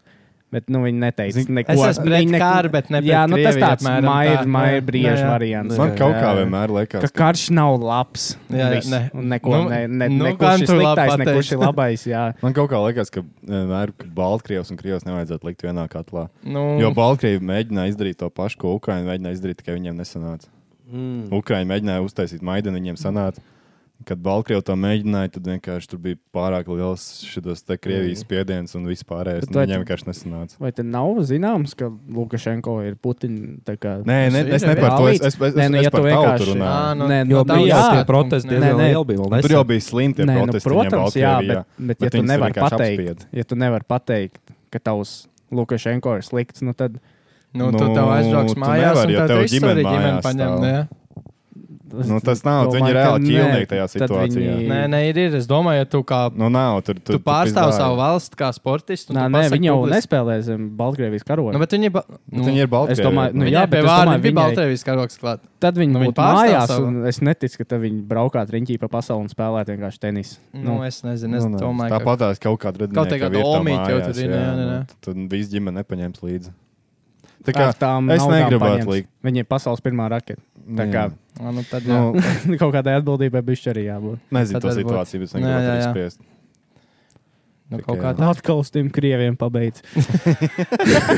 Speaker 3: Bet nu, viņi neteica,
Speaker 2: Zini,
Speaker 3: ka
Speaker 9: es esmu pret karu, bet ne pret
Speaker 3: Jā, nu, tas
Speaker 9: Krieviju,
Speaker 3: tāds
Speaker 9: apmēram tā.
Speaker 3: maija
Speaker 9: Jā,
Speaker 3: brīža
Speaker 9: jā.
Speaker 3: variants.
Speaker 2: Man kaut kā
Speaker 3: Jā.
Speaker 2: vienmēr liekas,
Speaker 3: Ka karš nav labs.
Speaker 9: Jā, jā,
Speaker 3: Viss.
Speaker 9: ne.
Speaker 3: Un Neko,
Speaker 9: Nu,
Speaker 3: nu, ne, ne,
Speaker 9: nu,
Speaker 3: nu, neko
Speaker 9: gan
Speaker 3: šis
Speaker 9: tu labi
Speaker 3: sliktais, neko
Speaker 9: pateici.
Speaker 3: šis labais.
Speaker 9: (laughs)
Speaker 3: Jā.
Speaker 2: Man kaut kā liekas, ka eh, vienmēr ka Baltkrievs un Krievs nevajadzētu likt vienā katlā.
Speaker 9: Nu,
Speaker 3: Mm.
Speaker 2: Jo Baltkrievi mēģināja izdarīt to pašu, ko Ukraiņa mēģināja izdarīt, tikai viņiem nesanāca. Mm. Ukraiņa mēģināja uztaisīt maideni, viņiem sanāca. Kad Baltkrievi to mēģināja, tad vienkārši tur bija pārāk liels šis te Krievijas spiediens un viss pārējais.
Speaker 3: Bet
Speaker 2: un
Speaker 3: vai
Speaker 2: Viņiem
Speaker 3: tu-
Speaker 2: vienkārši nesanāca.
Speaker 3: Vai te nav zināms, ka Lukašenko ir Putina?
Speaker 2: Nē, ne,
Speaker 3: nu,
Speaker 9: Tas
Speaker 2: es
Speaker 9: ir
Speaker 2: ne par to. Es,
Speaker 3: reālīts.
Speaker 2: es, es,
Speaker 3: Nē, nu,
Speaker 2: es
Speaker 3: ja
Speaker 2: par
Speaker 3: tu
Speaker 2: tautu
Speaker 3: vienkārši-
Speaker 2: runāju.
Speaker 9: Ā, nu,
Speaker 3: Nē,
Speaker 9: no
Speaker 3: nu,
Speaker 9: tā
Speaker 1: bija
Speaker 9: jau
Speaker 3: jā.
Speaker 1: jau
Speaker 9: tā
Speaker 1: tie protesti
Speaker 9: punkti, nē.
Speaker 1: diezgan
Speaker 3: nē.
Speaker 1: lieli. bija vēl
Speaker 2: Tur
Speaker 1: nesen.
Speaker 2: jau bija slimti tie
Speaker 3: Nē, nu,
Speaker 2: protesti. viņiem
Speaker 3: protams, jā,
Speaker 2: Baltkrievijā.
Speaker 3: bet, bet, bet ja tu
Speaker 2: viņus
Speaker 3: nevari
Speaker 2: vienkārši
Speaker 3: pateikt,
Speaker 2: apspieda.
Speaker 3: ja tu nevar pateikt, ka tavs Lukašenko ir slikts, nu tad
Speaker 9: Nu, tu
Speaker 2: Nu,
Speaker 9: tev aizbrauks
Speaker 2: tu
Speaker 9: mājās,
Speaker 2: nevari,
Speaker 9: un
Speaker 2: jo
Speaker 9: tad
Speaker 2: tev
Speaker 9: visu
Speaker 2: ģimene
Speaker 9: arī ģimene
Speaker 2: mājās
Speaker 9: paņem.
Speaker 2: stāv.
Speaker 9: Nē,
Speaker 2: Nu, tas nav,
Speaker 3: domāju,
Speaker 2: viņi ir
Speaker 3: ka
Speaker 2: reāli
Speaker 3: nē.
Speaker 2: ķīlnieki tajā
Speaker 3: Tad
Speaker 2: situācijā.
Speaker 3: viņi-
Speaker 9: nē, nē ir, ir. Es domāju, ja tu kā.
Speaker 2: Nu, nav, tur,
Speaker 9: Tu,
Speaker 2: tur,
Speaker 9: tu pārstāv
Speaker 2: pizdāja.
Speaker 9: savu valsti kā sportists. un
Speaker 3: Nē,
Speaker 9: Nu, tu
Speaker 3: nē,
Speaker 9: pasaki
Speaker 3: viņi jau
Speaker 9: publiski-
Speaker 3: nespēlē zem Baltkrievijas karoga.
Speaker 9: Nu, bet viņi, ba...
Speaker 2: Bet Viņi ir
Speaker 3: es
Speaker 2: Baltkrievi.
Speaker 3: domāju, nu,
Speaker 9: Nu,
Speaker 3: jā,
Speaker 9: jā,
Speaker 3: bet
Speaker 9: pie
Speaker 3: es
Speaker 9: vārda
Speaker 3: domāju,
Speaker 9: bija
Speaker 3: viņai-
Speaker 9: Baltkrievijas karoks klāt.
Speaker 3: Tad viņi
Speaker 9: Nu, viņi
Speaker 3: būtu
Speaker 9: pārstāv
Speaker 3: mājās,
Speaker 9: savu-
Speaker 3: un es neticu, ka tad viņi braukātu riņķī pa pasauli un spēlētu vienkārši tenisu.
Speaker 9: Nu, es nezinu, es
Speaker 2: Nu, nē,
Speaker 9: domāju, ka.
Speaker 2: Tāpat tās kaut kāda
Speaker 9: Kaut kāda olmīte jau tur ir, jā, jā,
Speaker 2: nu,
Speaker 9: jā.
Speaker 2: Tad viss ģimene nepaņems līdzi. Tā kā
Speaker 3: Ar tām
Speaker 2: es
Speaker 3: naudām
Speaker 2: negribētu
Speaker 3: paņems.
Speaker 2: likt.
Speaker 3: Viņa ir pasaules pirmā raketa. (laughs) Tā kā
Speaker 2: Jā.
Speaker 9: Ā, Nu, tad, jā.
Speaker 2: Nu,
Speaker 3: kaut kādai atbildībai bija arī jābūt.
Speaker 2: nezinu
Speaker 9: Tad
Speaker 2: to
Speaker 9: varbūt-
Speaker 2: situāciju, bet es
Speaker 9: Jā,
Speaker 2: negribu
Speaker 9: jā,
Speaker 2: to
Speaker 9: jā.
Speaker 2: spriest.
Speaker 9: Nu,
Speaker 2: tikai-
Speaker 9: kaut
Speaker 2: (laughs)
Speaker 9: kā tā.
Speaker 3: Atkal uz tiem krieviem pabeigts.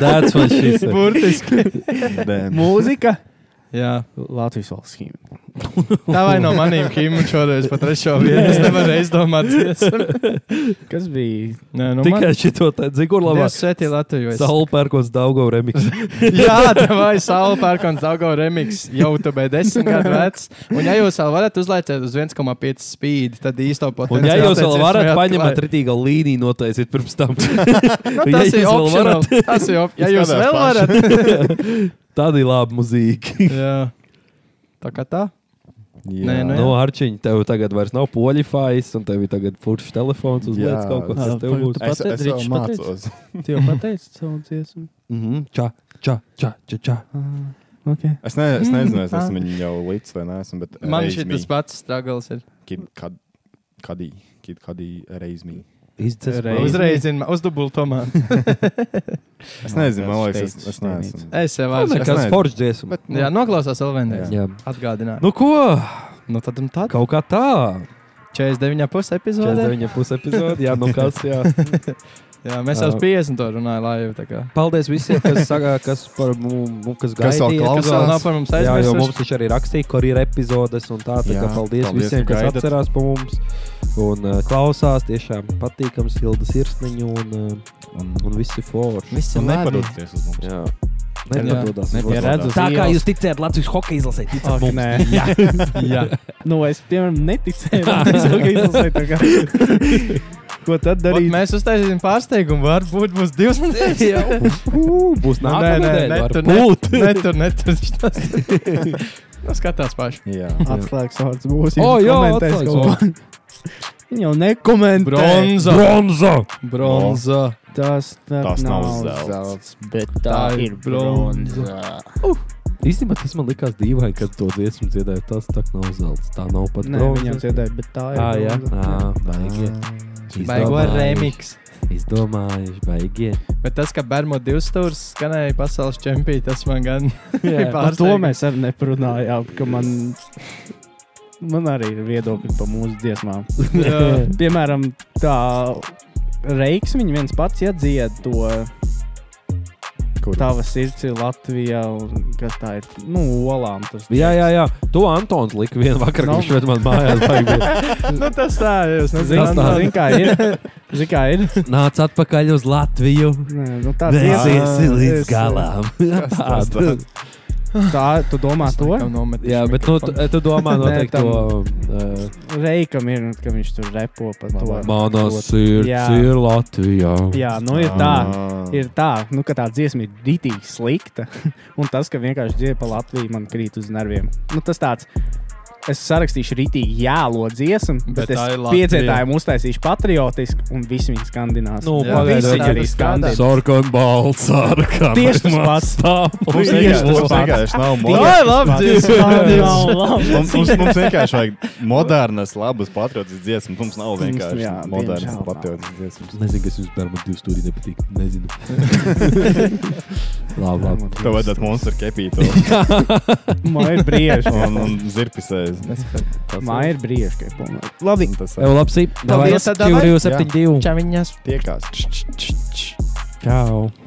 Speaker 1: That's what she said.
Speaker 9: Burtiski.
Speaker 2: Damn.
Speaker 3: Mūzika.
Speaker 9: Jā.
Speaker 3: Latvijas valsts himna.
Speaker 9: Tā vai no maniem himniem šoreiz pat trešo vietu. Es nevaru
Speaker 3: (laughs)
Speaker 9: izdomāt. dziesmu.
Speaker 3: Kas bija?
Speaker 9: Nē, nu,
Speaker 1: Tikai šito dzigurlabā.
Speaker 9: Dievs svētī Latviju. es-
Speaker 1: Saula pērkons Daugov remix.
Speaker 9: (laughs) Jā, tā vai Saula Pērkons Daugau remix YouTube 10 gadu vecs. Un ja jūs vēl varat uzlaicēt uz 1,5 speed, tad īsto
Speaker 1: Un
Speaker 9: potenciālu.
Speaker 1: ja jūs vēl varat paņemt
Speaker 9: paņemt
Speaker 1: ritīgo līniju, noteiciet pirms tam.
Speaker 9: Nu, tas,
Speaker 1: ja jūs
Speaker 9: ir
Speaker 1: vēl
Speaker 9: optional, (laughs) tas ir opcionāli. Ja jūs
Speaker 2: Izskatās
Speaker 9: vēl
Speaker 1: (laughs)
Speaker 2: paši.
Speaker 9: varat.
Speaker 1: Tad ir laba mūzika.
Speaker 9: Jā. Tā kā tā. Nē, nu, jā.
Speaker 1: No Arčiņa, tev tagad vairs nav poļifājs, un tev ir tagad furčs telefons uz
Speaker 2: Jā.
Speaker 1: lietas kaut ko, kas
Speaker 3: Jā,
Speaker 1: tev būs.
Speaker 3: tu
Speaker 2: Es,
Speaker 3: pateici,
Speaker 2: es jau
Speaker 3: Ričs, pateici?
Speaker 2: mācos.
Speaker 3: Tu jau pateici savu dziesmu.
Speaker 1: Mhm, Ča, ča, ča, ča, ča.
Speaker 3: Okay.
Speaker 2: Es, ne, es nezinu, es
Speaker 9: tā.
Speaker 2: esmu viņu jau līdz vai neesmu, bet
Speaker 9: Man
Speaker 2: raise
Speaker 9: šī
Speaker 2: me.
Speaker 9: tas pats struggles ir.
Speaker 2: Kid- kad- Kadī. Kid Kadī reiz mī.
Speaker 1: Izdzēs
Speaker 3: Reiz.
Speaker 1: man.
Speaker 9: Uzreiz zina, uzdubulto man.
Speaker 1: (laughs)
Speaker 2: Es nezinu, man liekas,
Speaker 3: teicu,
Speaker 2: es, es neesmu.
Speaker 9: Es jau
Speaker 1: Tas
Speaker 9: varu.
Speaker 1: nekas
Speaker 2: nezinu.
Speaker 1: foršs dziesma.
Speaker 2: Bet, nu,
Speaker 9: Jā, noklausās vēl vienreiz.
Speaker 1: Jā.
Speaker 9: Atgādināju.
Speaker 1: Nu ko,
Speaker 9: Nu, tad un tad.
Speaker 1: kaut kā tā.
Speaker 9: 49,5 epizode.
Speaker 1: 49 pus epizode, jā, nu kas, jā.
Speaker 9: Jā, mēs jau uz 50 to runājām laivu. tā kā.
Speaker 1: (laughs) Paldies visiem, kas saka, kas par mums, kas
Speaker 2: Kas vēl
Speaker 1: gaidīja,
Speaker 9: Kas vēl nav par mums
Speaker 1: Jā, jo mums
Speaker 9: aizmirsts?
Speaker 1: viņš arī rakstīja, kur ir epizodes un tā. tā
Speaker 2: Jā,
Speaker 1: kā paldies,
Speaker 2: paldies,
Speaker 1: paldies visiem,
Speaker 2: ka
Speaker 1: kas
Speaker 2: gaidat.
Speaker 1: atcerās par mums un uh, klausās. Tiešām patīkams, Hilda sirsniņa un, uh,
Speaker 2: Un,
Speaker 1: un visi forši.
Speaker 9: Viss ir
Speaker 2: un
Speaker 9: labi.
Speaker 2: nepadoties uz mums.
Speaker 1: Jā,
Speaker 9: Nepadodas.
Speaker 1: nepadodas.
Speaker 3: Ja redzu,
Speaker 1: Tā kā
Speaker 3: ielas-
Speaker 1: jūs ticējat Latvijas hokeja izlasē, ticat
Speaker 3: Ak,
Speaker 1: mums.
Speaker 3: nē.
Speaker 1: (laughs) Jā,
Speaker 9: Jā.
Speaker 3: (laughs) Nu, es piemēram neticēju.
Speaker 1: (laughs)
Speaker 3: Es jau kā izlasēju tā kā. Ko tad
Speaker 9: Ot,
Speaker 3: darīt?
Speaker 9: Mēs uztaisīsim pārsteigumu. Varbūt būs divas nedēļas.
Speaker 1: būs
Speaker 9: Nu, Nē,
Speaker 1: nākamā
Speaker 9: nē, nē, tur
Speaker 1: nedēļa.
Speaker 9: nebūs. Nē, tur nebūs. Nu, skatās paši.
Speaker 2: Jā.
Speaker 3: Atslēgas vārds būs.
Speaker 1: O, jā, atslēgas
Speaker 3: (laughs) Viņa jau nekomentē.
Speaker 9: Bronza.
Speaker 1: Bronza!
Speaker 9: Bronza.
Speaker 3: Tas,
Speaker 2: Tas nav zelts.
Speaker 3: zelts, bet
Speaker 9: Tā ir bronza.
Speaker 1: Īstenībā tas man likās dīvaini, kad to dziesmu dziedāja. Tas tā nav zelts. Tā nav pat
Speaker 3: Nē,
Speaker 1: bronza.
Speaker 3: viņam dziedāja, bet tā ir.
Speaker 1: Ā, jā,
Speaker 3: bronza.
Speaker 1: Ā, baigi.
Speaker 9: Baigo
Speaker 1: Izdomājuši.
Speaker 9: remix.
Speaker 1: Izdomājuši, baigi.
Speaker 9: Bet tas, ka Bermuda divstūrs skanēja pasaules čempionā, tas man gan
Speaker 1: Jā.
Speaker 9: (laughs) bija
Speaker 3: Par to mēs arī neprunājām, ka man, man arī ir viedokļi par mūsu dziesmām.
Speaker 9: Jā.
Speaker 3: (laughs) Piemēram, tā reiks viņa viens pats iedzied to.
Speaker 2: Kur?
Speaker 3: Tava sirds ir Latvijā, un kas tā ir? Nu, olām tas
Speaker 1: Jā, jā, jā. To Antons lika vienā vakarā, no.
Speaker 3: Nu.
Speaker 1: kurš šeit man mājās bija.
Speaker 3: (laughs)
Speaker 9: nu, tas tā, jūs
Speaker 1: Tas
Speaker 3: Zini,
Speaker 1: tā.
Speaker 3: zini, kā
Speaker 9: (laughs)
Speaker 3: ir. Zini, kā ir.
Speaker 1: Nāc atpakaļ uz Latviju.
Speaker 3: Nē, nu, tāds
Speaker 1: Vēzies
Speaker 3: ir.
Speaker 1: līdz (laughs)
Speaker 3: Es-
Speaker 1: galam.
Speaker 2: tas
Speaker 1: Tā,
Speaker 3: Tā, tu domā
Speaker 9: Es
Speaker 3: to?
Speaker 9: laikam nometīšu
Speaker 1: Jā, bet nu, tu,
Speaker 9: mikrofonu.
Speaker 1: tu domā,
Speaker 3: (laughs) Nē,
Speaker 1: noteikti
Speaker 3: tam-
Speaker 1: to. Uh,
Speaker 3: Reikam ir, ka viņš tur repo par to.
Speaker 1: Manā
Speaker 3: to-
Speaker 1: sirds
Speaker 3: Jā.
Speaker 1: ir Latvijā.
Speaker 3: Jā, nu ir
Speaker 1: Ah.
Speaker 3: tā.
Speaker 2: Ah.
Speaker 3: Ir tā, nu, ka tā dziesma ir rītīgi slikta. (laughs) Un tas, ka vienkārši dziesma pa Latviju man krīt uz nerviem. Nu, tas tāds, es sarakstīšu rītīgi jēlo dziesmu, bet,
Speaker 9: Bet
Speaker 3: bet es
Speaker 9: tā ir Latvija.
Speaker 3: piedzētājiem uztaisīšu patriotisku, un visi viņi skandinās.
Speaker 1: Nu,
Speaker 9: Jā,
Speaker 1: pagaidiet,
Speaker 3: visi
Speaker 1: vai
Speaker 3: arī
Speaker 1: tu-
Speaker 3: skandē.
Speaker 1: Sarkan balts, sarkan.
Speaker 3: Tieši tas
Speaker 1: (laughs)
Speaker 3: pats.
Speaker 2: Mums
Speaker 3: Tieši
Speaker 2: vienkārši-
Speaker 3: tas
Speaker 2: mums
Speaker 3: pats.
Speaker 2: vienkārši nav
Speaker 3: Tieši
Speaker 2: modernas.
Speaker 3: tas
Speaker 9: labi,
Speaker 3: pats.
Speaker 9: dziesma,
Speaker 3: Tā
Speaker 9: labi.
Speaker 3: nav laba
Speaker 2: Mums, mums, mums vienkārši vajag modernas, labas patriotiskas dziesmas. Mums nav
Speaker 3: Mums,
Speaker 2: vienkārši
Speaker 3: jā,
Speaker 2: modernas,
Speaker 3: diemžēl nav.
Speaker 2: patriotiskas dziesmas.
Speaker 1: Nezinu, kas jums par divu stūri nepatīk. (laughs) Nezinu. labi, labi.
Speaker 2: Tev vajadzētu monstru kepītu
Speaker 3: Man ir
Speaker 2: (laughs)
Speaker 3: brieži.
Speaker 2: un, un zirpisēs.
Speaker 3: Man ir brieži, ka ir pilnīgi. Labi.
Speaker 2: Nu, Tas
Speaker 1: Evo, labi, sīk.
Speaker 3: Paldies,
Speaker 1: Davai,
Speaker 3: davai.
Speaker 1: 272.
Speaker 9: Čau viņas!
Speaker 2: tiekās.
Speaker 1: Čau.